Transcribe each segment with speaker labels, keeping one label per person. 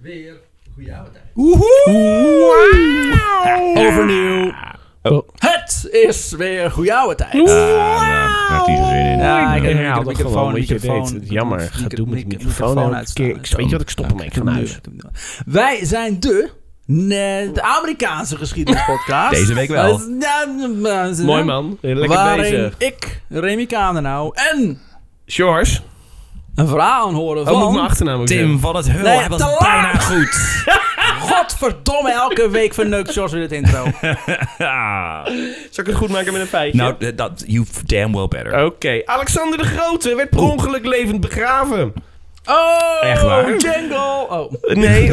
Speaker 1: weer goede oude tijd.
Speaker 2: Overnieuw.
Speaker 3: Oh.
Speaker 2: Het is weer goede oude tijd.
Speaker 3: Ah, nou, daar heeft hij geen zin in.
Speaker 2: Ja, ik
Speaker 3: Ja,
Speaker 2: heb
Speaker 3: ja,
Speaker 2: de
Speaker 3: dat
Speaker 2: microfoon,
Speaker 3: gewoon, weet je,
Speaker 2: microfoon.
Speaker 3: dit, jammer,
Speaker 2: micro-
Speaker 3: gedoe met de
Speaker 2: micro-
Speaker 3: microfoon elke
Speaker 2: uitstaan.
Speaker 3: keer. Ik- weet je wat, ik stop hem, ik ga
Speaker 2: doe
Speaker 3: naar
Speaker 2: hem
Speaker 3: huis.
Speaker 2: nu, doe hem nu. Wij zijn de, ne- de Amerikaanse geschiedenispodcast.
Speaker 4: Deze week wel.
Speaker 2: Eh, ja, eh,
Speaker 3: Mooi man. Lekker
Speaker 2: waarin
Speaker 3: bezig.
Speaker 2: ik, Remy Kadenau en
Speaker 3: Sjors.
Speaker 2: een verhaal horen
Speaker 3: Oh, moet ik mijn
Speaker 2: van...
Speaker 3: achternaam ook
Speaker 4: Tim
Speaker 3: zeggen?
Speaker 4: van het Heul,
Speaker 2: Nee,
Speaker 4: hij was
Speaker 2: te laat.
Speaker 4: bijna goed.
Speaker 2: Godverdomme, elke week verneukt zoals we dit intro.
Speaker 3: Zal ik het goed maken met een feitje?
Speaker 4: nou, eh, dat, you damn well better.
Speaker 2: Oh,
Speaker 3: Oké. Alexander de Grote werd per ongeluk levend begraven.
Speaker 2: Oh,
Speaker 3: Echt waar?
Speaker 2: Django. Oh.
Speaker 3: Nee,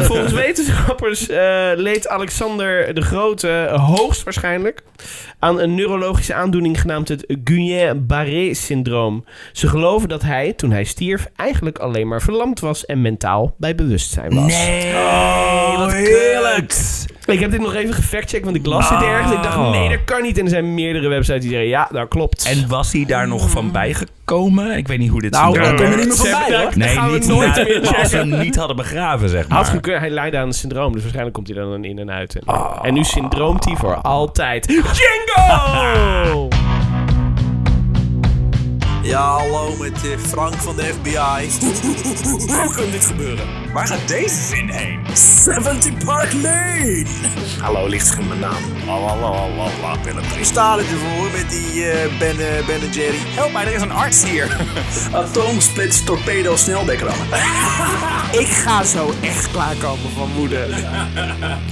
Speaker 3: volgens wetenschappers eh, leed Alexander de Grote hoogstwaarschijnlijk aan een neurologische aandoening genaamd het Guillain-Barré-syndroom. Ze geloven dat hij, toen hij stierf, eigenlijk alleen maar verlamd was en mentaal bij bewustzijn was.
Speaker 4: Nee,
Speaker 3: Oh,
Speaker 2: wat
Speaker 4: wat
Speaker 2: Oh, heerlijk.
Speaker 4: kut.
Speaker 3: Ik heb dit nog even gefactcheckt, want ik las
Speaker 2: Nou.
Speaker 3: dit
Speaker 4: Ah.
Speaker 3: ergens. Ik dacht, nee, dat kan niet. En er zijn meerdere websites die zeggen, ja, dat klopt. Eh,
Speaker 4: En was hij daar nog van bijgekomen? Ik weet niet hoe dit
Speaker 2: Nou,
Speaker 4: syndroom
Speaker 2: daar kom je
Speaker 4: werkt.
Speaker 2: niet meer
Speaker 3: Ze
Speaker 2: voorbij,
Speaker 3: hebben
Speaker 2: hoor.
Speaker 3: daar-
Speaker 4: Nee,
Speaker 3: gaan we
Speaker 4: niet
Speaker 3: nooit
Speaker 4: na-
Speaker 3: meer
Speaker 4: als ze
Speaker 3: checken.
Speaker 4: hem niet hadden begraven, zeg
Speaker 3: Had
Speaker 4: maar.
Speaker 3: gekund, hij leidde aan een syndroom, dus waarschijnlijk komt hij dan dan in en uit. En,
Speaker 2: Ah.
Speaker 3: en nu syndroomt hij voor altijd. Django!
Speaker 5: Ja, hallo met eh, Frank van de FBI. Hoe kan dit gebeuren? Waar gaat deze zin heen? 70 Park Lane! Hallo, licht in mijn naam. We staan
Speaker 2: dus
Speaker 5: ervoor met die eh ben, eh, ben en Jerry.
Speaker 4: Help mij, er is een arts hier.
Speaker 5: Atomsplits torpedo sneldekrammen. Ik ga zo echt klaarkomen van moeder.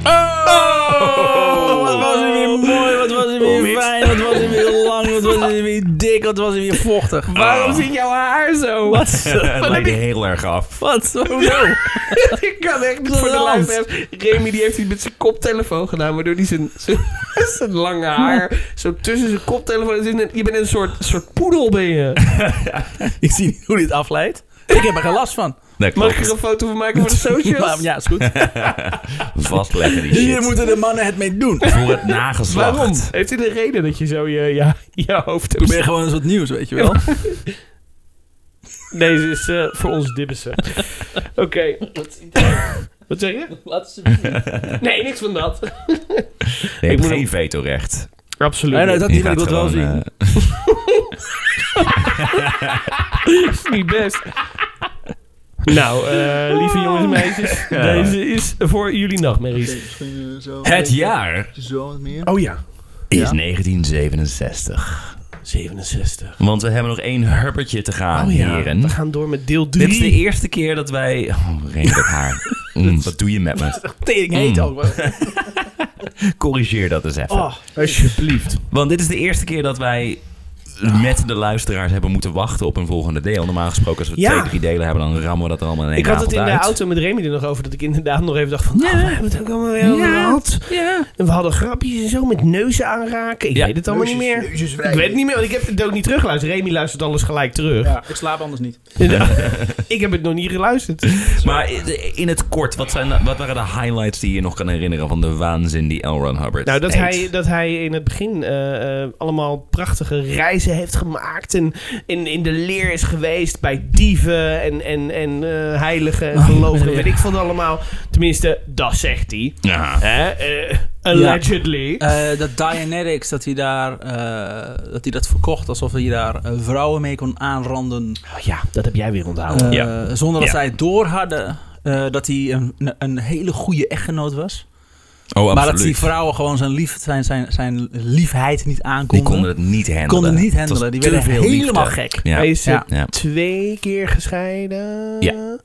Speaker 5: Oh!
Speaker 2: Oh, wat was hij weer mooi, wat was hij
Speaker 5: Oh,
Speaker 2: weer fijn, wat was hij weer lang, wat was hij weer dik, wat was hij weer vochtig.
Speaker 3: Waarom zit Oh, jouw haar zo?
Speaker 4: Het lijkt heel erg af.
Speaker 2: Wat? Hoezo?
Speaker 3: Ik kan echt niet voor de
Speaker 2: Glans.
Speaker 3: luisteraars. Remy die heeft iets met zijn koptelefoon gedaan, waardoor hij zijn, zijn, zijn lange haar zo tussen zijn koptelefoon. het is een- Je bent een soort, soort poedel ben je.
Speaker 2: Ik zie niet hoe dit afleidt. Ik heb er geen last van.
Speaker 4: Nee,
Speaker 3: Mag ik
Speaker 4: klopt.
Speaker 3: er een foto van maken voor de socials?
Speaker 2: Maar ja, is goed.
Speaker 4: Vastleggen die
Speaker 2: Hier
Speaker 4: shit.
Speaker 2: moeten de mannen het mee doen.
Speaker 4: Voor het nageslacht.
Speaker 3: Waarom? Heeft hij een reden dat je zo je, ja, je hoofd
Speaker 2: Ik ben
Speaker 3: hebt?
Speaker 2: gewoon een soort nieuws, weet je wel.
Speaker 3: Deze is eh, voor ons dibbissen. Oké. Wat zeg je? Nee, niks van dat.
Speaker 4: Nee, je
Speaker 3: Ik
Speaker 4: hebt
Speaker 3: moet
Speaker 4: geen
Speaker 3: hem-
Speaker 4: vetorecht.
Speaker 3: Absoluut.
Speaker 2: Nee, nee, Eh, dat niet,
Speaker 4: Je
Speaker 2: maar ik wil
Speaker 4: gaat
Speaker 2: het wel
Speaker 4: gewoon...
Speaker 2: zien.
Speaker 4: eh,
Speaker 3: is niet best. Nou, eh, lieve jongens en meisjes, deze is voor jullie nachtmerries.
Speaker 1: Misschien eh, zo.
Speaker 4: Het jaar
Speaker 1: Zo wat meer.
Speaker 3: Oh ja.
Speaker 4: is 1967.
Speaker 3: 67.
Speaker 4: Want we hebben nog één huppertje te gaan,
Speaker 3: Oh ja,
Speaker 4: heren.
Speaker 3: we gaan door met deel
Speaker 4: Dit is de
Speaker 3: 3.
Speaker 4: eerste keer dat wij... Oh, Remy, dat haar. Mm, wat doe je met me?
Speaker 2: Tering heet
Speaker 4: Mm.
Speaker 2: ook.
Speaker 4: Corrigeer dat eens even.
Speaker 3: Oh. Alsjeblieft.
Speaker 4: Want dit is de eerste keer dat wij met de luisteraars hebben moeten wachten op een volgende deel. Normaal gesproken, als we
Speaker 3: Ja.
Speaker 4: twee, drie delen hebben, dan rammen we dat er allemaal in één
Speaker 3: Ik had het
Speaker 4: avond
Speaker 3: in de
Speaker 4: uit.
Speaker 3: auto met Remy er nog over dat ik inderdaad nog even dacht van... Nou, we hebben het ook allemaal weer over gehad.
Speaker 2: Ja.
Speaker 3: En we hadden grapjes en zo met neuzen aanraken. Ik
Speaker 4: Ja.
Speaker 3: weet het allemaal niet meer. Ik weet het niet meer, want ik heb het ook niet teruggeluisterd. Remy luistert alles gelijk terug.
Speaker 2: Ja, ik slaap anders niet.
Speaker 3: Ik heb het nog niet geluisterd.
Speaker 4: Maar in het kort, wat, zijn, wat waren de highlights die je nog kan herinneren van de waanzin die L. Ron Hubbard
Speaker 3: Nou, dat
Speaker 4: deed?
Speaker 3: hij, dat hij in het begin eh, eh, allemaal prachtige reizen heeft gemaakt. En in, in de leer is geweest bij dieven en, en, en eh, heiligen
Speaker 4: Oh,
Speaker 3: en gelovigen.
Speaker 2: ja.
Speaker 3: Weet ik veel allemaal. Tenminste, dat zegt hij.
Speaker 4: Ja.
Speaker 3: Hè? Eh, allegedly.
Speaker 2: Eh, dat Dianetics, dat hij daar, eh, dat hij dat verkocht alsof hij daar eh, vrouwen mee kon aanranden.
Speaker 3: Oh ja, dat heb jij weer onthouden.
Speaker 2: Eh,
Speaker 4: Ja.
Speaker 2: Zonder dat
Speaker 4: Ja.
Speaker 2: zij het door hadden eh, dat hij een, een- een hele goede echtgenoot was.
Speaker 4: Oh,
Speaker 2: Maar dat die
Speaker 4: absoluut.
Speaker 2: vrouwen gewoon zijn, lief, zijn, zijn, zijn liefheid niet
Speaker 4: die
Speaker 2: aankonden.
Speaker 4: konden het niet handelen.
Speaker 2: Konden niet
Speaker 4: Het was
Speaker 2: handelen. Die
Speaker 4: te
Speaker 2: werden
Speaker 4: veel liefde.
Speaker 2: helemaal gek.
Speaker 4: Ja.
Speaker 3: Hij is eh,
Speaker 2: Ja.
Speaker 4: Ja.
Speaker 3: twee keer gescheiden.
Speaker 4: Ja.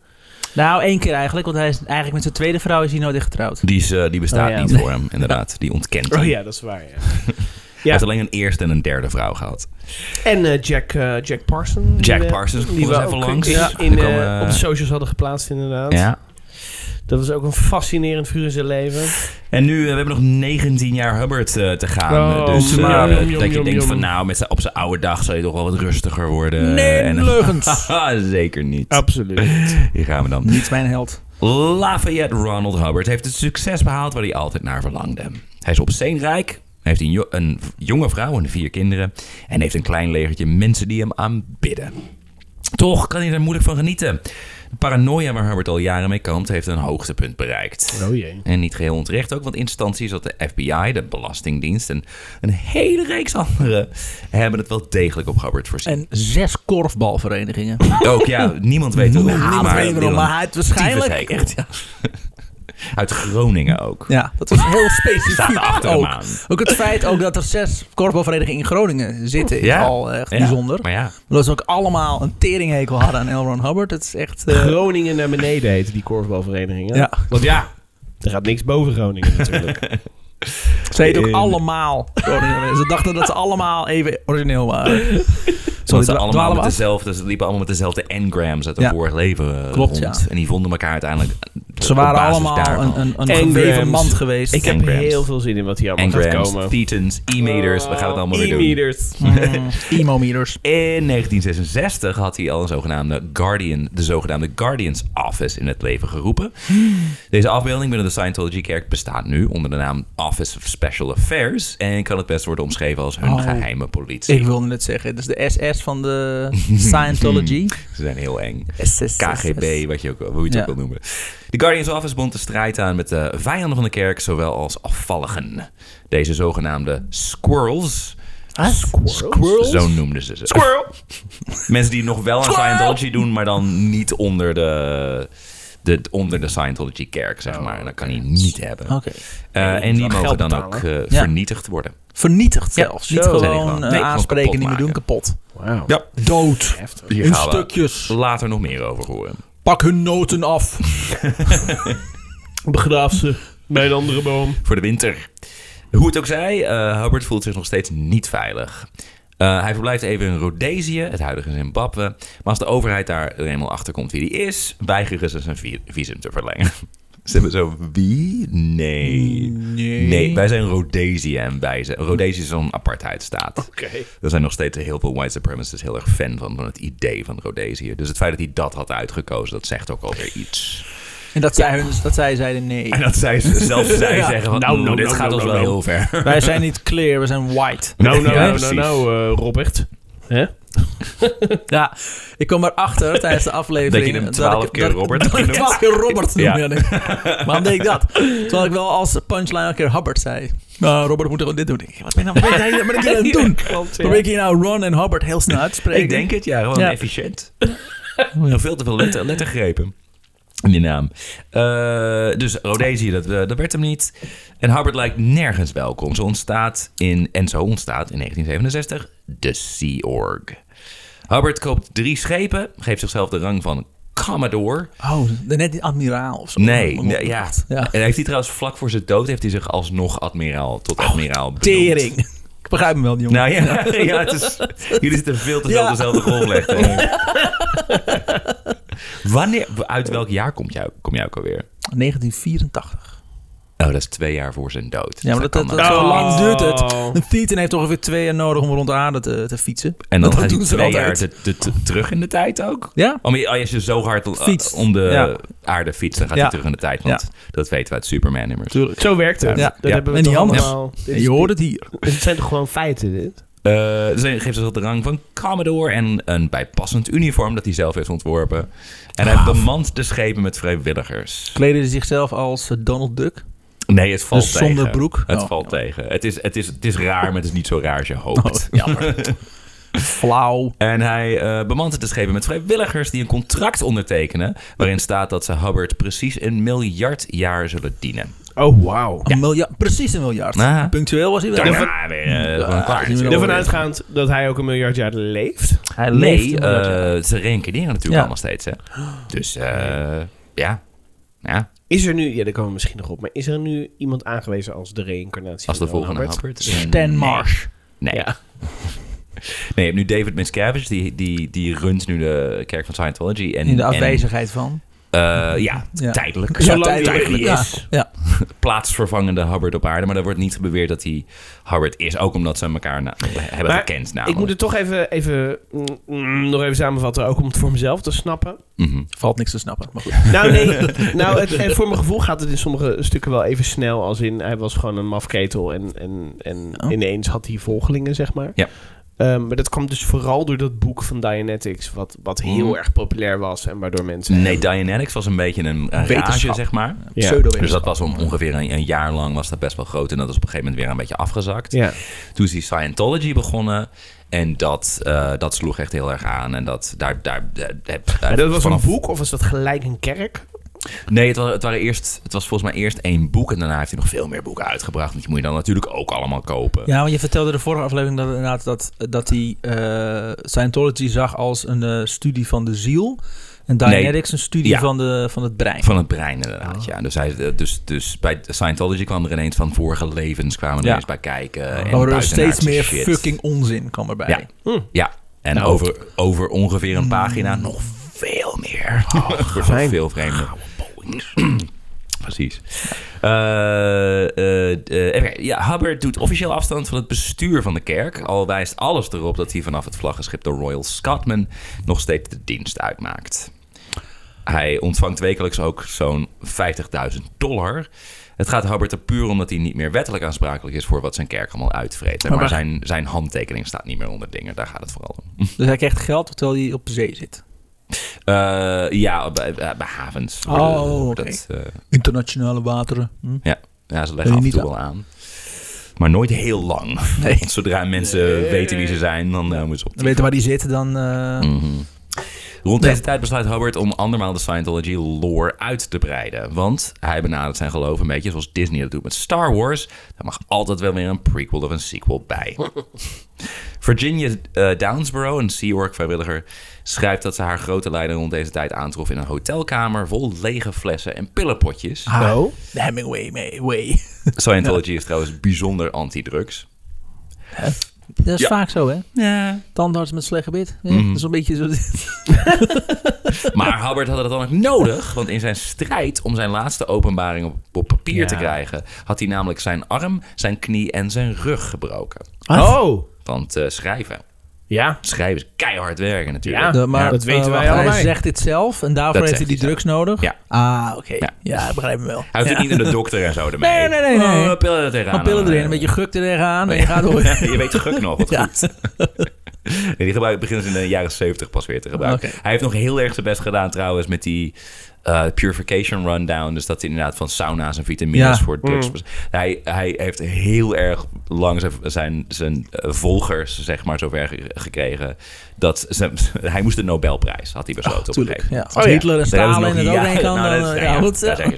Speaker 2: Nou, één keer eigenlijk, want hij is eigenlijk met zijn tweede vrouw is hij nooit echt getrouwd.
Speaker 4: Die, is, eh, die bestaat
Speaker 3: Oh, ja.
Speaker 4: niet voor hem, inderdaad. Die ontkent hem.
Speaker 3: Oh ja, dat is waar. Ja.
Speaker 4: Hij
Speaker 3: Ja.
Speaker 4: heeft alleen een eerste en een derde vrouw gehad.
Speaker 3: En eh, Jack, eh, Jack Parsons.
Speaker 4: Jack
Speaker 3: eh,
Speaker 4: Parsons, kom
Speaker 3: Die
Speaker 4: eens
Speaker 3: we
Speaker 4: even
Speaker 3: ook
Speaker 4: langs.
Speaker 3: in-
Speaker 4: Ja.
Speaker 3: in,
Speaker 4: Er
Speaker 3: eh,
Speaker 4: komen-
Speaker 3: op de socials hadden geplaatst inderdaad.
Speaker 4: Ja.
Speaker 3: Dat was ook een fascinerend vuur in zijn leven.
Speaker 4: En nu, eh, we hebben nog 19 jaar Hubbard eh, te gaan.
Speaker 3: Oh,
Speaker 4: dus eh,
Speaker 3: maar-
Speaker 4: dat
Speaker 3: jom,
Speaker 4: je
Speaker 3: jom,
Speaker 4: denkt
Speaker 3: jom, jom.
Speaker 4: van nou, met zijn, op zijn oude dag zal je toch wel wat rustiger worden. Eh, En-
Speaker 2: leugens.
Speaker 4: Haha, Zeker niet.
Speaker 3: Absoluut.
Speaker 4: Hier gaan we dan.
Speaker 2: Niet mijn held.
Speaker 4: Lafayette Ronald Hubbard heeft het succes behaald waar hij altijd naar verlangde. Hij is opzeenrijk, heeft een, jo- een jonge vrouw en vier kinderen en heeft een klein legertje mensen die hem aanbidden. Toch kan hij er moeilijk van genieten. paranoia waar Hubbard al jaren mee kampt, heeft een hoogtepunt bereikt.
Speaker 3: Oh jee.
Speaker 4: En niet geheel onterecht ook, want instanties als de FBI, de Belastingdienst en een hele reeks anderen hebben het wel degelijk op Hubbard voorzien.
Speaker 2: En zes korfbalverenigingen.
Speaker 4: Ook ja, niemand weet het.
Speaker 2: Niemand
Speaker 4: maar
Speaker 2: weet waarom,
Speaker 4: Dylan,
Speaker 2: maar het waarschijnlijk.
Speaker 4: tyfus hekel.
Speaker 2: Echt, ja.
Speaker 4: Uit Groningen ook.
Speaker 2: ja, dat was heel specifiek
Speaker 4: Staat achter hem
Speaker 2: ook.
Speaker 4: aan.
Speaker 2: Ook het feit ook dat er zes korfbalverenigingen in Groningen zitten is al echt
Speaker 4: Ja,
Speaker 2: bijzonder.
Speaker 4: Maar ja,
Speaker 2: Omdat ze ook allemaal een teringhekel hadden aan Elron Hubbard. Het is echt... eh,
Speaker 3: Groningen naar beneden heet die korfbalvereniging. hè?
Speaker 2: Ja.
Speaker 3: Want ja, er gaat niks boven Groningen natuurlijk.
Speaker 2: Ze heet ook
Speaker 3: Eh,
Speaker 2: allemaal Groningen. Ze dachten dat ze allemaal even origineel waren.
Speaker 4: Sorry, ze
Speaker 2: dwa-
Speaker 4: allemaal
Speaker 2: dwalen
Speaker 4: met
Speaker 2: we af?
Speaker 4: dezelfde, ze liepen allemaal met dezelfde engrams uit het
Speaker 2: Ja.
Speaker 4: vorig leven eh,
Speaker 2: Klopt,
Speaker 4: rond.
Speaker 2: ja.
Speaker 4: En die vonden elkaar uiteindelijk eh,
Speaker 2: Ze
Speaker 4: op
Speaker 2: waren
Speaker 4: basis
Speaker 2: allemaal
Speaker 4: daarvan.
Speaker 2: een, een, een
Speaker 3: Engrams.
Speaker 2: geweven mand geweest.
Speaker 3: Ik heb
Speaker 4: Engrams.
Speaker 3: heel veel zin in wat hier allemaal gaat
Speaker 4: Engrams,
Speaker 3: komen. Eh,
Speaker 4: Thetans, E-meters, we gaan het allemaal weer doen. Hm.
Speaker 3: E-meters.
Speaker 2: Mm, Emo-meters.
Speaker 4: In 1966 had hij al een zogenaamde Guardian, de zogenaamde Guardians Office in het leven geroepen. Deze afbeelding binnen de Scientology-kerk bestaat nu onder de naam Office of Special Affairs en kan het best worden omschreven als hun
Speaker 2: Oh.
Speaker 4: geheime politie.
Speaker 2: Ik wilde net zeggen, het is de SS van de Scientology.
Speaker 4: Ze zijn heel eng.
Speaker 2: SSS.
Speaker 4: KGB, wat je ook, hoe je het
Speaker 2: Ja.
Speaker 4: ook wil noemen. De Guardians Office bond de strijd aan met de vijanden van de kerk, zowel als afvalligen. Deze zogenaamde squirrels. Squirrels? Zo noemden ze ze.
Speaker 3: Squirrel.
Speaker 4: Mensen die nog wel aan Scientology doen, maar dan niet onder de, de, onder de Scientology kerk, zeg maar. En dat kan hij niet hebben.
Speaker 2: Oké.
Speaker 4: Eh, en die
Speaker 3: Geld
Speaker 4: mogen dan ook
Speaker 3: betalen.
Speaker 4: eh,
Speaker 2: Ja.
Speaker 4: vernietigd worden.
Speaker 2: Vernietigd
Speaker 4: Ja,
Speaker 2: zelfs.
Speaker 4: zo
Speaker 2: Niet
Speaker 4: zijn die
Speaker 2: gewoon
Speaker 4: gewoon.
Speaker 2: eh,
Speaker 4: Nee, gewoon
Speaker 2: aanspreken,
Speaker 4: kapot
Speaker 2: niet meer doen,
Speaker 4: maken.
Speaker 2: kapot.
Speaker 3: Wauw.
Speaker 4: Ja.
Speaker 2: Dood.
Speaker 3: Heftig.
Speaker 4: Hier
Speaker 2: In
Speaker 4: gaan we
Speaker 2: stukjes.
Speaker 4: Later nog meer over horen.
Speaker 2: Pak hun noten af.
Speaker 3: Begraaf ze bij een andere boom.
Speaker 4: voor de winter. Hoe het ook zij, eh, Hubbard voelt zich nog steeds niet veilig. Eh, hij verblijft even in Rhodesië, het huidige Zimbabwe. Maar als de overheid daar er eenmaal achter komt wie die is, weigeren ze zijn vi- visum te verlengen. Ze hebben zo, wie? Nee.
Speaker 2: Nee.
Speaker 4: wij zijn Rhodesië en wij zijn... Rhodesië is zo'n apartheidstaat.
Speaker 3: Oké.
Speaker 4: Er zijn nog steeds heel veel white supremacists heel erg fan van, van het idee van Rhodesië. Dus het feit dat hij dat had uitgekozen, dat zegt ook alweer iets.
Speaker 2: En dat zij, hun, dat zij zeiden nee.
Speaker 4: En dat zij zelf zij
Speaker 2: Ja.
Speaker 4: zeggen van,
Speaker 3: Nou,
Speaker 4: "Mm,
Speaker 3: nou,
Speaker 4: dit
Speaker 3: nou,
Speaker 4: gaat
Speaker 3: nou,
Speaker 4: ons
Speaker 3: nou,
Speaker 4: wel
Speaker 3: nou."
Speaker 4: heel ver.
Speaker 2: Wij zijn niet clear, we zijn white.
Speaker 3: Nou, nou,
Speaker 4: Ja,
Speaker 3: nou,
Speaker 4: precies.
Speaker 3: nou, nou, eh, Robert. Hè?
Speaker 2: Ja, ik kwam erachter tijdens de aflevering...
Speaker 4: Dat je hem 12
Speaker 2: ik-
Speaker 4: keer
Speaker 2: dat ik-
Speaker 4: Robert
Speaker 2: Dat ik
Speaker 4: noemt.
Speaker 2: 12 keer Robert
Speaker 4: Ja.
Speaker 2: noemde. Ja. denk- Waarom deed ik dat? Terwijl ik wel als punchline elke keer Hubbard zei. Nou, Robert moet gewoon dit doen. Ik denk, Wat ben je nou, wat ben je- wat ben ik hier aan het doen?
Speaker 3: Klopt,
Speaker 2: Probeer ik hier nou Ron en Hubbard heel snel uit te spreken?
Speaker 4: Ik denk het, ja. Gewoon
Speaker 2: Ja.
Speaker 4: efficiënt. Nog veel te veel letter, lettergrepen. In die naam. Eh, dus Rhodesië, dat, eh, dat werd hem niet. En Hubbard lijkt nergens welkom. Zo ontstaat in, en zo ontstaat in 1967 de Sea Org. Hubbard koopt drie schepen, geeft zichzelf de rang van Commodore.
Speaker 2: Oh, net die admiraal of zo.
Speaker 4: Nee,
Speaker 2: Om-
Speaker 4: nee, ja.
Speaker 2: Oh, Ja.
Speaker 4: En heeft hij trouwens vlak voor zijn dood heeft hij zich alsnog admiraal tot admiraal benoemd.
Speaker 2: Tering. Ik begrijp hem wel, die jongen.
Speaker 4: Nou ja, ja het is, jullie zitten veel te veel
Speaker 2: Ja.
Speaker 4: op dezelfde golflengte. Wanneer, uit welk jaar komt jou, kom jij ook alweer?
Speaker 2: 1984.
Speaker 4: Oh, dat is twee jaar voor zijn dood.
Speaker 2: Ja, maar dat, dat,
Speaker 4: kan
Speaker 2: dat-
Speaker 4: nog.
Speaker 2: zo
Speaker 3: Oh.
Speaker 2: lang duurt het. Een Titan heeft ongeveer twee jaar nodig om rond de aarde te, te fietsen.
Speaker 4: en dan
Speaker 2: dat
Speaker 4: gaat hij
Speaker 2: doen ze
Speaker 4: twee jaar
Speaker 2: altijd.
Speaker 4: te, te- te- terug in de tijd ook?
Speaker 2: Ja?
Speaker 4: Om, als je zo hard om-
Speaker 2: Fietst.
Speaker 4: om de
Speaker 2: Ja.
Speaker 4: aarde fietst, dan gaat
Speaker 2: Ja.
Speaker 4: hij terug in de tijd. Want dat weten we uit Superman-nummers.
Speaker 3: Tuurlijk. Zo werkt het.
Speaker 2: Ja.
Speaker 3: Dat
Speaker 4: Ja.
Speaker 3: hebben we
Speaker 2: En
Speaker 3: toch
Speaker 2: niet anders.
Speaker 3: allemaal. Dit is-
Speaker 2: Je hoort het hier.
Speaker 3: dit- Het zijn toch gewoon feiten, dit?
Speaker 4: Eh, dus hij geeft zich de rang van Commodore en een bijpassend uniform dat hij zelf heeft ontworpen. En hij bemant de schepen met vrijwilligers.
Speaker 2: Kleden ze zichzelf als eh, Donald Duck.
Speaker 4: Nee, het valt
Speaker 2: Dus
Speaker 4: tegen.
Speaker 2: zonder broek?
Speaker 4: Het
Speaker 2: Oh.
Speaker 4: valt tegen. Het is, het, is, het is raar, maar het is niet zo raar als je
Speaker 2: Oh,
Speaker 4: hoopt.
Speaker 2: Flauw.
Speaker 4: En hij eh bemant het de schepen met vrijwilligers die een contract ondertekenen... waarin staat dat ze Hubbard precies een miljard jaar zullen dienen.
Speaker 3: Oh, wauw.
Speaker 2: Een miljard, precies een miljard.
Speaker 4: Ah.
Speaker 2: Punctueel was hij wel.
Speaker 4: Daarna weer eh, gewoon klaar.
Speaker 2: zien we
Speaker 3: Ervan uitgaand dat hij ook een miljard jaar leeft.
Speaker 2: Hij
Speaker 4: Nee,
Speaker 2: leeft een miljard jaar.
Speaker 4: eh, ze reïncarneren natuurlijk
Speaker 2: Ja.
Speaker 4: allemaal steeds. Hè? Dus eh, ja. ja,
Speaker 3: Is er nu, ja, daar komen we misschien nog op, maar is er nu iemand aangewezen als de reïncarnatie?
Speaker 4: als de
Speaker 3: van Ron
Speaker 4: volgende
Speaker 3: Hubbard?
Speaker 4: Hubbard.
Speaker 2: Stan
Speaker 4: Nee.
Speaker 2: Marsh.
Speaker 4: Nee.
Speaker 3: Ja.
Speaker 4: Nee, je hebt nu David Miscavige, die, die, die runt nu de kerk van Scientology. En,
Speaker 2: In de
Speaker 4: en,
Speaker 2: afwezigheid van.
Speaker 4: eh, ja,
Speaker 2: Ja.
Speaker 4: tijdelijk.
Speaker 2: Ja,
Speaker 3: Zolang die
Speaker 2: tijdelijk,
Speaker 3: er is.
Speaker 2: Ja, ja.
Speaker 4: plaatsvervangende Hubbard op aarde. Maar daar wordt niet beweerd dat hij Hubbard is. Ook omdat ze elkaar na- hebben
Speaker 3: Maar
Speaker 4: gekend
Speaker 3: Ik
Speaker 4: namelijk.
Speaker 3: moet het toch even, even mm, mm, nog even samenvatten, ook om het voor mezelf te snappen.
Speaker 4: Mhm.
Speaker 2: Valt niks te snappen. Maar goed.
Speaker 3: Nou, nee. nou, het, en voor mijn gevoel gaat het in sommige stukken wel even snel. Als in, hij was gewoon een mafketel. En, en, en
Speaker 2: Oh.
Speaker 3: ineens had hij volgelingen, zeg maar.
Speaker 4: Ja.
Speaker 3: Ehm, maar dat kwam dus vooral door dat boek van Dianetics, wat, wat heel
Speaker 4: Mm.
Speaker 3: erg populair was en waardoor mensen...
Speaker 4: Nee, Dianetics was een beetje een, een rage,
Speaker 2: Wetenschap.
Speaker 4: zeg maar.
Speaker 3: Ja.
Speaker 4: Dus dat
Speaker 2: Pseudo-wetenschap.
Speaker 4: was om ongeveer een, een jaar lang was dat best wel groot. En dat is op een gegeven moment weer een beetje afgezakt.
Speaker 3: Ja.
Speaker 4: Toen is die Scientology begonnen. En dat, eh, dat sloeg echt heel erg aan. En dat, daar, daar, eh, heb-
Speaker 3: En dat was
Speaker 4: vanaf-
Speaker 3: een boek of was dat gelijk een kerk?
Speaker 4: Nee, het was, het, waren eerst, het was volgens mij eerst één boek. En daarna heeft hij nog veel meer boeken uitgebracht. Want die moet je dan natuurlijk ook allemaal kopen.
Speaker 2: Ja, want je vertelde de vorige aflevering dat inderdaad dat, dat hij eh, Scientology zag als een eh, studie van de ziel. En Dianetics een studie
Speaker 4: Ja.
Speaker 2: van, de, van het brein.
Speaker 4: Van het brein inderdaad, ja. Dus, hij, dus, dus bij Scientology kwam er ineens van vorige levens kwamen er
Speaker 2: Ja.
Speaker 4: eens bij kijken. En
Speaker 2: Waardoor Oh, er
Speaker 4: buitenaardse
Speaker 2: steeds meer
Speaker 4: shit.
Speaker 2: fucking onzin kwam erbij.
Speaker 4: Oh. Ja. Ja, en over, over ongeveer een pagina nog veel meer. Oh, Wordt wel veel vreemder. Precies. Eh, eh, eh, even kijken. ja, Hubbard doet officieel afstand van het bestuur van de kerk. Al wijst alles erop dat hij vanaf het vlaggenschip de Royal Scotman nog steeds de dienst uitmaakt. Hij ontvangt wekelijks ook zo'n 50.000 dollar. Het gaat Hubbard er puur om dat hij niet meer wettelijk aansprakelijk is voor wat zijn kerk allemaal uitvreet. Maar zijn, zijn handtekening staat niet meer onder dingen. Daar gaat het vooral om.
Speaker 2: Dus hij krijgt geld terwijl hij op zee zit.
Speaker 4: Eh, ja, bij, bij bij havens. wordt
Speaker 2: Oh,
Speaker 4: het- wordt
Speaker 2: oké.
Speaker 4: het, eh,
Speaker 2: Internationale wateren. Hm?
Speaker 4: ja. ja, ze
Speaker 2: je
Speaker 4: leggen af en
Speaker 2: niet
Speaker 4: toe
Speaker 2: aan.
Speaker 4: wel aan. Maar nooit heel lang.
Speaker 2: Nee.
Speaker 4: Want zodra mensen weten wie ze zijn, dan eh, moeten ze op.
Speaker 2: Dan weten waar die zitten dan. eh,
Speaker 4: Mhm. Rond deze tijd besluit Hubbard om andermaal de Scientology-lore uit te breiden. Want hij benadert zijn geloof een beetje zoals Disney dat doet met Star Wars. Daar mag altijd wel weer een prequel of een sequel bij. Virginia eh, Downsborough, een Sea Org-vrijwilliger, schrijft dat ze haar grote leider rond deze tijd aantrof in een hotelkamer vol lege flessen en pillenpotjes.
Speaker 2: ah, De Hemingway, mee, way.
Speaker 4: Scientology is trouwens bijzonder anti-drugs.
Speaker 2: Dat is
Speaker 4: Ja. Mhm.
Speaker 2: vaak zo, hè?
Speaker 4: Ja.
Speaker 2: Tandarts met slecht gebit. Ja, Dat is een beetje zo.
Speaker 4: Maar Hubbard had dat dan ook nodig, want in zijn strijd om zijn laatste openbaring op, op papier te krijgen, had hij namelijk zijn arm, zijn knie en zijn rug gebroken.
Speaker 2: Ah.
Speaker 3: Oh!
Speaker 4: Want eh, schrijven,
Speaker 3: Ja.
Speaker 4: schrijven is keihard werken natuurlijk.
Speaker 3: Ja.
Speaker 2: De- maar,
Speaker 3: dat weten
Speaker 2: eh,
Speaker 3: wij
Speaker 2: wacht, Hij
Speaker 3: allebei.
Speaker 2: zegt dit zelf en daarvoor
Speaker 4: Dat
Speaker 2: heeft hij
Speaker 4: zegt
Speaker 2: die
Speaker 4: hij
Speaker 2: drugs nodig.
Speaker 4: Ja.
Speaker 2: Ah, oké.
Speaker 4: Ja.
Speaker 2: Ja. ik begrijp hem wel.
Speaker 4: Hij hoeft
Speaker 2: Ja.
Speaker 4: ook niet naar de dokter en zo ermee.
Speaker 2: Nee, nee, nee, nee.
Speaker 4: Oh, pillen er tegenaan. Oh,
Speaker 2: Gewoon pillen erin, een beetje guk er tegenaan en je gaat door.
Speaker 4: je weet guk nog, wat
Speaker 2: Ja.
Speaker 4: goed. Nee, die gebruik beginnen ze in de jaren 70 pas weer te gebruiken.
Speaker 2: Oké.
Speaker 4: Hij heeft nog heel erg zijn best gedaan trouwens met die eh, purification rundown. Dus dat hij inderdaad van sauna's en vitamines
Speaker 2: Ja.
Speaker 4: voor drugs... Hij, hij heeft heel erg lang zijn, zijn, zijn eh, volgers, zeg maar, zover ge- gekregen... dat ze, hij moest de Nobelprijs, had hij besloten op een
Speaker 2: Tuurlijk.
Speaker 4: gegeven
Speaker 2: Ja.
Speaker 4: moment.
Speaker 2: Als
Speaker 3: ja.
Speaker 2: Hitler en
Speaker 4: Daar hebben
Speaker 2: Stalin
Speaker 4: ze
Speaker 2: het
Speaker 4: nog-
Speaker 2: ook heen kan,
Speaker 4: nou,
Speaker 2: dan
Speaker 4: dat is-
Speaker 2: eh, ja, goed.
Speaker 4: daar zeg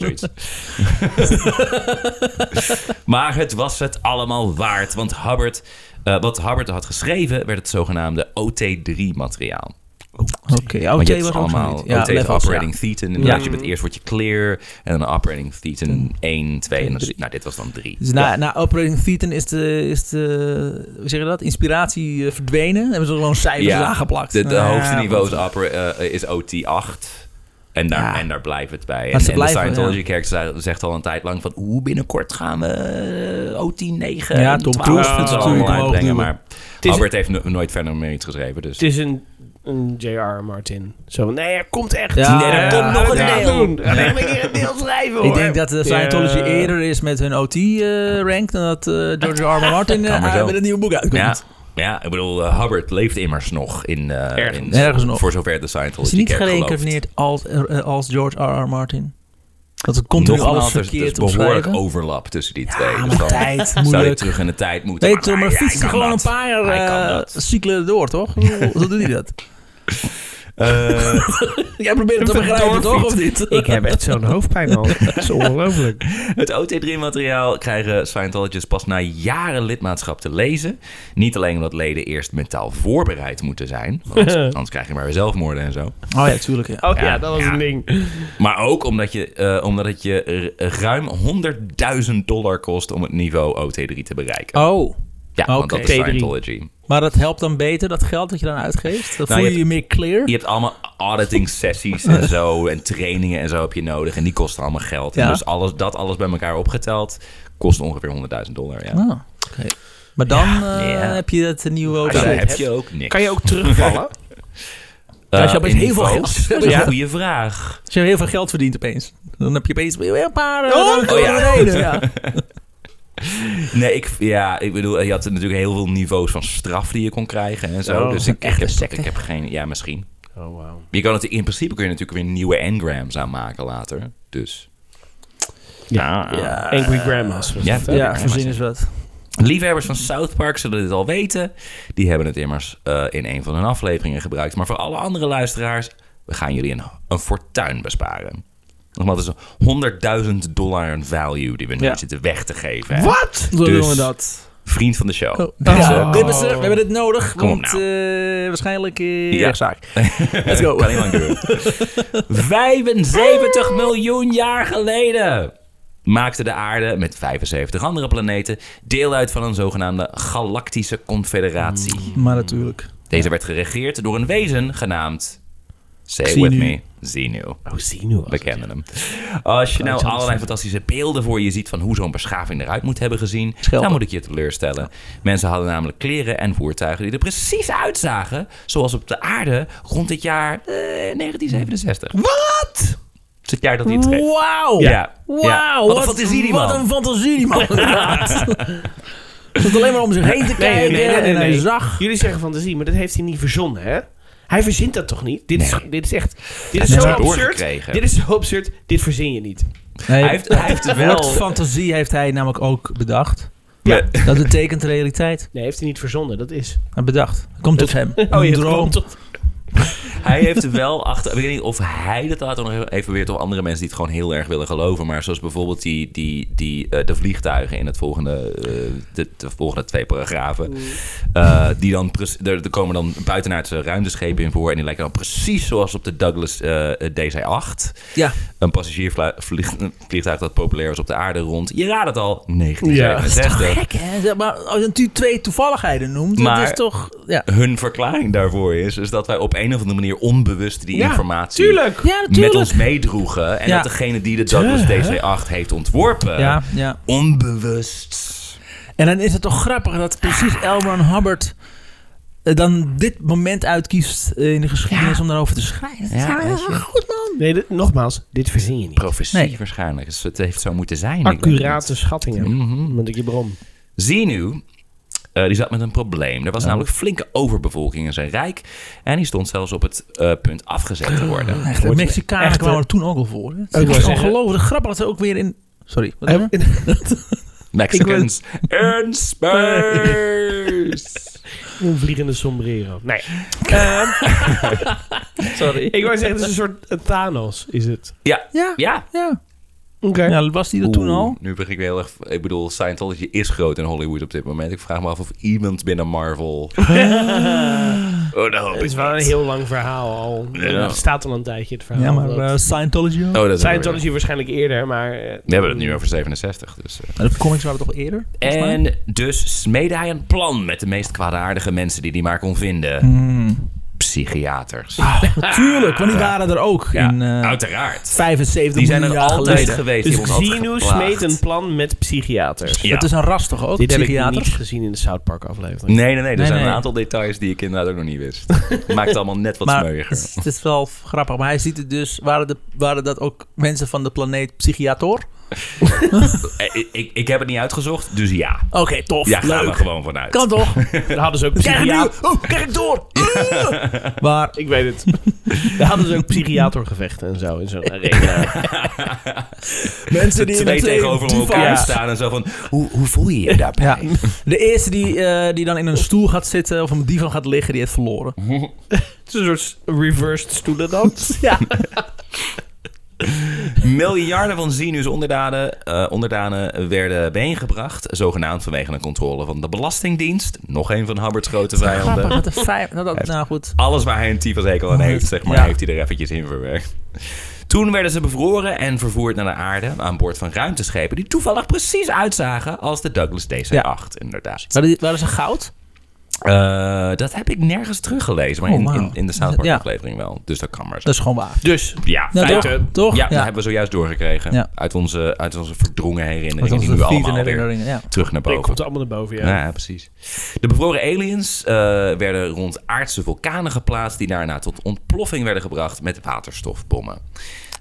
Speaker 4: je zoiets. maar het was het allemaal waard, want Hubbard, eh, wat Hubbard had geschreven, werd het zogenaamde OT3-materiaal.
Speaker 2: Oké, OJ
Speaker 4: Want je
Speaker 2: was
Speaker 4: hebt
Speaker 2: allemaal.
Speaker 4: allemaal
Speaker 2: Ja,
Speaker 4: OT is
Speaker 2: levels,
Speaker 4: operating
Speaker 2: ja. Hm.
Speaker 4: thetan. Inderdaad, je bent eerst wordt je clear en dan operating thetan 1, 2 en dan, is- nou, dit was dan 3.
Speaker 2: Dus na, na Operating Thetan is de, is de hoe zeg je dat, inspiratie eh, verdwenen. Dan hebben ze gewoon cijfers aangeplakt.
Speaker 4: De, de
Speaker 2: Ja,
Speaker 4: hoogste
Speaker 2: goed.
Speaker 4: niveau is, opera- eh, is OT8. En daar,
Speaker 2: Ja.
Speaker 4: en daar blijft het bij. En,
Speaker 2: Maar ze
Speaker 4: en
Speaker 2: blijven,
Speaker 4: de Scientology-kerk ze- zegt al een tijd lang van... oeh, binnenkort gaan we eh, OT9
Speaker 2: Ja,
Speaker 4: en
Speaker 2: Tom
Speaker 4: 12
Speaker 2: Cruise
Speaker 4: en
Speaker 2: vindt
Speaker 4: zo
Speaker 2: het
Speaker 4: allemaal
Speaker 2: natuurlijk omhoog
Speaker 4: uitbrengen.
Speaker 2: duwen.
Speaker 4: Maar
Speaker 3: is-
Speaker 4: Albert heeft no- nooit verder meer iets geschreven. Dus
Speaker 3: Het is een, een J.R. Martin. Zo van, nee, er komt echt.
Speaker 2: Ja,
Speaker 3: nee, er
Speaker 2: ja,
Speaker 3: komt nog een
Speaker 2: ja.
Speaker 3: deel. Doen. Ga ik een keer een deel schrijven, hoor.
Speaker 2: Ik
Speaker 4: Oh,
Speaker 2: denk dat de Scientology
Speaker 3: Ja.
Speaker 2: eerder is met hun OT-rank dan dat eh, George R. R. Martin eh,
Speaker 4: Kan maar zo.
Speaker 2: met een nieuw boek uitkomt.
Speaker 4: ja, ja, ik bedoel, eh, Hubbard leeft immers nog in... eh,
Speaker 3: Ergens.
Speaker 4: in-
Speaker 2: Ergens nog.
Speaker 4: Voor zover de
Speaker 2: Is
Speaker 4: Scientology
Speaker 2: hij niet
Speaker 4: kerk gelooft.
Speaker 2: gereïncarneerd als, eh, als George R. R. Martin? Dat het continu
Speaker 4: Nogmaals,
Speaker 2: alles
Speaker 4: er is-
Speaker 2: verkeerd
Speaker 4: Er is behoorlijk
Speaker 2: opschrijven?
Speaker 4: overlap tussen die twee.
Speaker 2: Ja,
Speaker 4: dus
Speaker 2: maar
Speaker 4: dan
Speaker 2: tijd,
Speaker 4: zou hij
Speaker 2: moeilijk.
Speaker 4: terug in de tijd moeten.
Speaker 2: Weet je, eh, maar
Speaker 4: Ah, hij- hij
Speaker 2: fietsen
Speaker 4: kan
Speaker 2: gewoon
Speaker 4: dat.
Speaker 2: een paar jaar
Speaker 4: Hij kan
Speaker 2: eh,
Speaker 4: dat.
Speaker 2: cyclen door, toch? Hoe hoe doet hij dat?
Speaker 4: Eh,
Speaker 2: Jij probeert het te begrijpen, toch? Of niet?
Speaker 3: Ik heb echt zo'n hoofdpijn al. Dat is ongelooflijk.
Speaker 4: Het OT3-materiaal krijgen Scientologists pas na jaren lidmaatschap te lezen. Niet alleen omdat leden eerst mentaal voorbereid moeten zijn. Want anders krijg je maar weer zelfmoorden en zo.
Speaker 2: Oh ja, tuurlijk. Ja.
Speaker 3: Oh
Speaker 4: Ja,
Speaker 3: ja, dat was
Speaker 4: ja.
Speaker 3: een ding.
Speaker 4: Maar ook omdat, je, eh, omdat het je r- eh, ruim 100.000 dollar kost om het niveau OT3 te bereiken.
Speaker 2: Oh,
Speaker 4: ja, want dat
Speaker 2: oké.
Speaker 4: is
Speaker 3: T3.
Speaker 4: Scientology.
Speaker 2: maar dat helpt dan beter, dat geld dat je dan uitgeeft? Dan
Speaker 4: Nou,
Speaker 2: voel
Speaker 4: je
Speaker 2: je je meer clear?
Speaker 4: Je hebt allemaal auditing sessies en zo. En trainingen en zo heb je nodig. En die kosten allemaal geld. En
Speaker 2: Ja.
Speaker 4: dus alles, dat alles bij elkaar opgeteld kost ongeveer 100.000 dollar. Ja.
Speaker 2: Ah, oké. Maar dan eh,
Speaker 4: ja.
Speaker 2: heb je dat nieuwe OT.
Speaker 4: Daar
Speaker 3: je het
Speaker 4: heb
Speaker 3: hebt,
Speaker 4: je ook niks.
Speaker 3: Kan je ook terugvallen?
Speaker 4: Eh,
Speaker 2: Als je opeens
Speaker 4: in
Speaker 2: heel veel
Speaker 4: niveaus?
Speaker 2: geld-
Speaker 4: Dat is
Speaker 3: Ja.
Speaker 4: een goede vraag.
Speaker 2: Als je heel veel geld verdient opeens, dan heb je opeens weer een paar eh,
Speaker 3: Oh,
Speaker 2: ranken
Speaker 4: oh ja.
Speaker 2: naar beneden, ja.
Speaker 4: Nee, ik, ja, ik bedoel, je had natuurlijk heel veel niveaus van straf die je kon krijgen en zo.
Speaker 3: Oh,
Speaker 4: dus
Speaker 3: een
Speaker 4: ik, ik, heb,
Speaker 2: secte.
Speaker 4: ik heb geen... Ja, misschien.
Speaker 3: Oh, wauw.
Speaker 4: Je kan het, in principe kun je natuurlijk weer nieuwe engrams aanmaken later. Dus...
Speaker 3: Ja,
Speaker 2: Ja.
Speaker 3: Angry Grandma's. was
Speaker 4: Ja,
Speaker 3: het, hè?
Speaker 4: ja.
Speaker 2: Ja, voorzien is wat.
Speaker 4: Liefhebbers van South Park zullen dit al weten. Die hebben het immers eh, in een van hun afleveringen gebruikt. Maar voor alle andere luisteraars, we gaan jullie een, een fortuin besparen. Nogmaals, dat is 100.000 dollar in value die we nu
Speaker 2: Ja.
Speaker 4: zitten weg te geven. hè.
Speaker 3: Wat?
Speaker 2: Zo
Speaker 4: Dus-
Speaker 2: doen we dat.
Speaker 4: Vriend van de show.
Speaker 2: Oh,
Speaker 4: Dus,
Speaker 2: ja,
Speaker 4: eh,
Speaker 2: dit is er. we hebben dit nodig,
Speaker 4: Kom op nou.
Speaker 2: want eh, waarschijnlijk eh
Speaker 4: Ja. eh,
Speaker 2: rechtszaak. Let's go.
Speaker 4: Kan niet lang duren. 75 miljoen jaar geleden maakte de aarde met 75 andere planeten deel uit van een zogenaamde galactische confederatie.
Speaker 2: Maar natuurlijk.
Speaker 4: Deze werd geregeerd door een wezen genaamd. Say it
Speaker 2: Xenu.
Speaker 4: with me, Xenu.
Speaker 3: Oh, zie nu
Speaker 4: We kennen hem. Als je nou allerlei fantastische beelden voor je ziet van hoe zo'n beschaving eruit moet hebben gezien,
Speaker 2: Schelpen.
Speaker 4: dan moet ik je teleurstellen. Mensen hadden namelijk kleren en voertuigen die er precies uitzagen zoals op de aarde rond het jaar eh, 1967.
Speaker 2: Wat?
Speaker 4: Het is het jaar dat hij het schreef.
Speaker 2: Wauw!
Speaker 4: Ja. Ja.
Speaker 2: Wauw!
Speaker 4: Wat een fantasie die
Speaker 2: Wat
Speaker 4: man.
Speaker 2: een fantasie die man, inderdaad. Hij zat alleen maar om zich heen te kijken en hij zag...
Speaker 3: Jullie zeggen fantasie, maar dat heeft hij niet verzonnen, hè? Hij verzint dat toch niet? Dit, is,
Speaker 4: Nee.
Speaker 3: dit is echt... Dit is
Speaker 4: heeft
Speaker 3: zo
Speaker 4: het
Speaker 3: absurd.
Speaker 4: doorgekregen.
Speaker 3: Dit is zo absurd. Dit verzin je niet.
Speaker 4: Hij heeft- hij heeft
Speaker 2: het
Speaker 4: wel-
Speaker 2: woord fantasie heeft hij namelijk ook bedacht.
Speaker 3: Ja.
Speaker 2: Dat betekent realiteit.
Speaker 3: Nee, heeft hij niet verzonnen. Dat is...
Speaker 2: Hij bedacht. Komt tot hem.
Speaker 3: Oh,
Speaker 2: Een
Speaker 3: je
Speaker 2: droom.
Speaker 3: komt tot...
Speaker 4: Hij heeft er wel achter. Ik weet niet of hij dat later nog even probeert. Of andere mensen die het gewoon heel erg willen geloven. Maar zoals bijvoorbeeld die, die, die, eh, de vliegtuigen in het volgende, eh, de, de volgende twee paragrafen. Eh, die dan precies- er, er komen dan buitenaardse ruimteschepen in voor. En die lijken dan precies zoals op de Douglas eh, DC-8.
Speaker 2: Ja.
Speaker 4: Een passagiersvliegtuig dat populair was op de aarde rond. Je raadt het al, 1967.
Speaker 2: Gek hè? Zeg Maar als je natuurlijk twee toevalligheden noemt,
Speaker 4: Maar-
Speaker 2: dat is toch... Ja,
Speaker 4: Hun verklaring daarvoor is, is dat wij op een of andere manier onbewust die
Speaker 3: Ja,
Speaker 4: informatie
Speaker 3: Tuurlijk!
Speaker 2: ja
Speaker 4: met
Speaker 2: natuurlijk.
Speaker 4: ons meedroegen. En
Speaker 2: Ja.
Speaker 4: dat degene die de Douglas DC-8 heeft ontworpen,
Speaker 2: Ja, ja.
Speaker 4: onbewust.
Speaker 2: En dan is het toch grappig dat precies L. Ron Hubbard eh, dan dit moment uitkiest eh, in de geschiedenis om daarover te schrijven.
Speaker 4: Ja, weet je.
Speaker 2: goed man.
Speaker 3: Nee, dit- nogmaals. Dit verzin je niet.
Speaker 4: Profetie
Speaker 2: Nee.
Speaker 4: waarschijnlijk. Dus het heeft zo moeten zijn. Ik weet Mhm.
Speaker 3: Accurate schattingen. Met ik je bron.
Speaker 4: Zenu, eh die zat met een probleem. Er was namelijk flinke overbevolking in zijn rijk. En die stond zelfs op het eh, punt afgezet te worden.
Speaker 2: Echt, eh, de Mexicanen
Speaker 3: echt,
Speaker 2: kwamen er toen ook al voor. hè.
Speaker 3: wou
Speaker 2: Het is
Speaker 3: zeggen-
Speaker 2: ongelooflijk grappig dat ze ook weer in... Sorry, wat hebben we?
Speaker 4: Mexicans in space.
Speaker 3: Een vliegende sombrero. Nee. Sorry. Ehm, Ik wou zeggen, het is een soort een Thanos, is het.
Speaker 4: Ja,
Speaker 2: Ja,
Speaker 4: ja.
Speaker 2: ja.
Speaker 3: Oké.
Speaker 2: Ja, was die er toen
Speaker 4: Oeh,
Speaker 2: al?
Speaker 4: Nu begin ik weer heel erg... Ik bedoel, Scientology is groot in Hollywood op dit moment. Ik vraag me af of iemand binnen Marvel... oh, dat hoop
Speaker 3: Het is
Speaker 4: ik
Speaker 3: wel een
Speaker 4: niet.
Speaker 3: heel lang verhaal al.
Speaker 4: Ja.
Speaker 3: Het staat al een tijdje, het verhaal.
Speaker 2: Ja, maar
Speaker 3: dat-
Speaker 2: eh, Scientology ook.
Speaker 4: Oh, dat zijn we weer.
Speaker 3: Scientology waarschijnlijk eerder, maar... eh,
Speaker 4: We hebben het nu over 67, dus... eh.
Speaker 2: Maar De comics waren toch eerder? volgens mij?
Speaker 4: En dus smeedde hij een plan met de meest kwaadaardige mensen die hij maar kon vinden. Hmm. Psychiaters.
Speaker 2: Natuurlijk, want die waren er ook
Speaker 4: Ah. Ja,
Speaker 2: in eh,
Speaker 4: uiteraard.
Speaker 2: 75
Speaker 4: Die zijn er
Speaker 2: miljoen jaar
Speaker 4: altijd
Speaker 2: geleden.
Speaker 4: geweest.
Speaker 3: Dus
Speaker 4: die hebben ons
Speaker 3: Xenu
Speaker 4: altijd geplaagd.
Speaker 3: smeet een plan met psychiaters.
Speaker 4: Ja.
Speaker 2: Dat is een ras toch ook,
Speaker 3: Dit heb ik niet
Speaker 2: psychiaters?
Speaker 3: gezien in de South Park aflevering.
Speaker 4: Nee, nee, nee. Er
Speaker 2: Nee,
Speaker 4: zijn
Speaker 2: nee.
Speaker 4: een aantal details die ik inderdaad ook nog niet wist. Maakt het allemaal net wat
Speaker 2: Maar
Speaker 4: smeuiger.
Speaker 2: het is, het is wel grappig. Maar hij ziet het dus. Waren, de, waren dat ook mensen van de planeet Psychiator? Oké,
Speaker 4: Eh, Ik, ik, ik heb het niet uitgezocht, dus ja.
Speaker 2: tof.
Speaker 4: Ja, gaan we
Speaker 2: leuk.
Speaker 4: gewoon vanuit.
Speaker 2: Kan toch?
Speaker 3: Daar hadden ze ook
Speaker 2: Krijg ik nu?
Speaker 3: psychiater...
Speaker 2: Oh, krijg ik door? Ah! Maar
Speaker 3: Ik weet het. Daar hadden ze ook psychiatergevechten en zo in zo'n arena.
Speaker 2: mensen
Speaker 4: Twee,
Speaker 2: die in het
Speaker 4: tegenover elkaar
Speaker 3: Ja.
Speaker 4: staan en zo van... Hoe, hoe voel je je daarbij?
Speaker 2: Ja. De eerste die, eh, die dan in een stoel gaat zitten of op een divan gaat liggen, die heeft verloren.
Speaker 4: Mhm.
Speaker 3: Het is een soort reversed stoelendans. Ja.
Speaker 4: Miljarden van Zinus onderdanen, eh, onderdanen werden bijeengebracht. Zogenaamd vanwege een controle van de Belastingdienst. Nog een van Hubbards grote
Speaker 2: Grappig,
Speaker 4: vijanden.
Speaker 2: dat de vijf... Nou, dat, nou goed.
Speaker 4: Alles waar hij een tyfushekel aan heeft, zeg maar,
Speaker 2: Ja.
Speaker 4: heeft hij er eventjes in verwerkt. Toen werden ze bevroren en vervoerd naar de aarde aan boord van ruimteschepen die toevallig precies uitzagen als de Douglas DC-8, inderdaad.
Speaker 2: Waren, die- waren ze goud?
Speaker 4: Eh, dat heb ik nergens teruggelezen, maar
Speaker 2: Oh,
Speaker 4: in,
Speaker 2: wauw.
Speaker 4: in, in de South Park
Speaker 2: Ja.
Speaker 4: aflevering wel. Dus dat kan maar zo.
Speaker 2: Dat is gewoon waar.
Speaker 3: Dus,
Speaker 4: Ja,
Speaker 2: Nou,
Speaker 4: feiten.
Speaker 2: toch? toch?
Speaker 4: Ja, dat hebben we zojuist doorgekregen.
Speaker 2: Ja.
Speaker 4: Uit, onze, uit onze verdrongen herinneringen
Speaker 2: Dat was
Speaker 4: die
Speaker 2: de
Speaker 4: nu
Speaker 2: feed en
Speaker 4: allemaal weer
Speaker 2: herinneringen, ja.
Speaker 4: terug naar
Speaker 3: ik
Speaker 4: boven.
Speaker 3: komt allemaal naar boven, ja.
Speaker 4: Ja, precies. De bevroren aliens eh, werden rond aardse vulkanen geplaatst... die daarna tot ontploffing werden gebracht met waterstofbommen.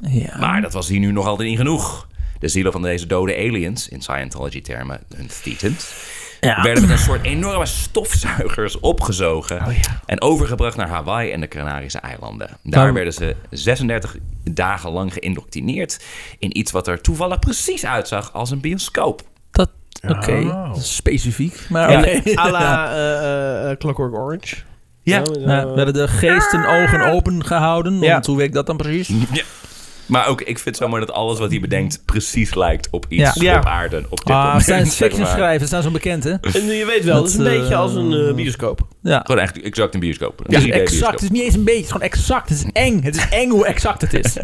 Speaker 2: Ja.
Speaker 4: Maar dat was hier nu nog altijd niet genoeg. De zielen van deze dode aliens, in Scientology-termen hun thetans,
Speaker 2: Ja.
Speaker 4: werden met een soort enorme stofzuigers opgezogen
Speaker 2: Oh,
Speaker 4: en overgebracht naar Hawaii en de Canarische eilanden. Daar
Speaker 2: Maar-
Speaker 4: werden ze 36 dagen lang geïndoctrineerd in iets wat er toevallig precies uitzag als een bioscoop.
Speaker 2: Dat, oké,
Speaker 3: Oh.
Speaker 2: dat is specifiek. Maar
Speaker 4: Ja.
Speaker 2: oké.
Speaker 3: à la eh, eh, eh, Clockwork Orange.
Speaker 4: Ja.
Speaker 3: Zo, zo.
Speaker 2: Ja, nou, we hebben de geesten ogen open gehouden.
Speaker 3: Ja.
Speaker 2: Want hoe weet ik dat dan precies?
Speaker 4: Maar ook, ik vind het zo mooi dat alles wat hij bedenkt precies lijkt op iets
Speaker 3: Ja.
Speaker 4: op aarde op dit
Speaker 2: Ah,
Speaker 4: moment.
Speaker 2: science
Speaker 4: zeg
Speaker 2: fiction
Speaker 4: maar.
Speaker 2: schrijvers staan zo bekend, hè?
Speaker 3: En je weet wel,
Speaker 2: Dat,
Speaker 3: het is een
Speaker 2: eh,
Speaker 3: beetje als een eh, bioscoop.
Speaker 2: Ja.
Speaker 4: Gewoon echt exact een bioscoop. Een
Speaker 2: Ja,
Speaker 4: 3D
Speaker 3: dus
Speaker 2: exact.
Speaker 4: bioscoop.
Speaker 2: Het is niet eens een beetje, het is gewoon exact. Het is eng. Het is eng hoe exact het is.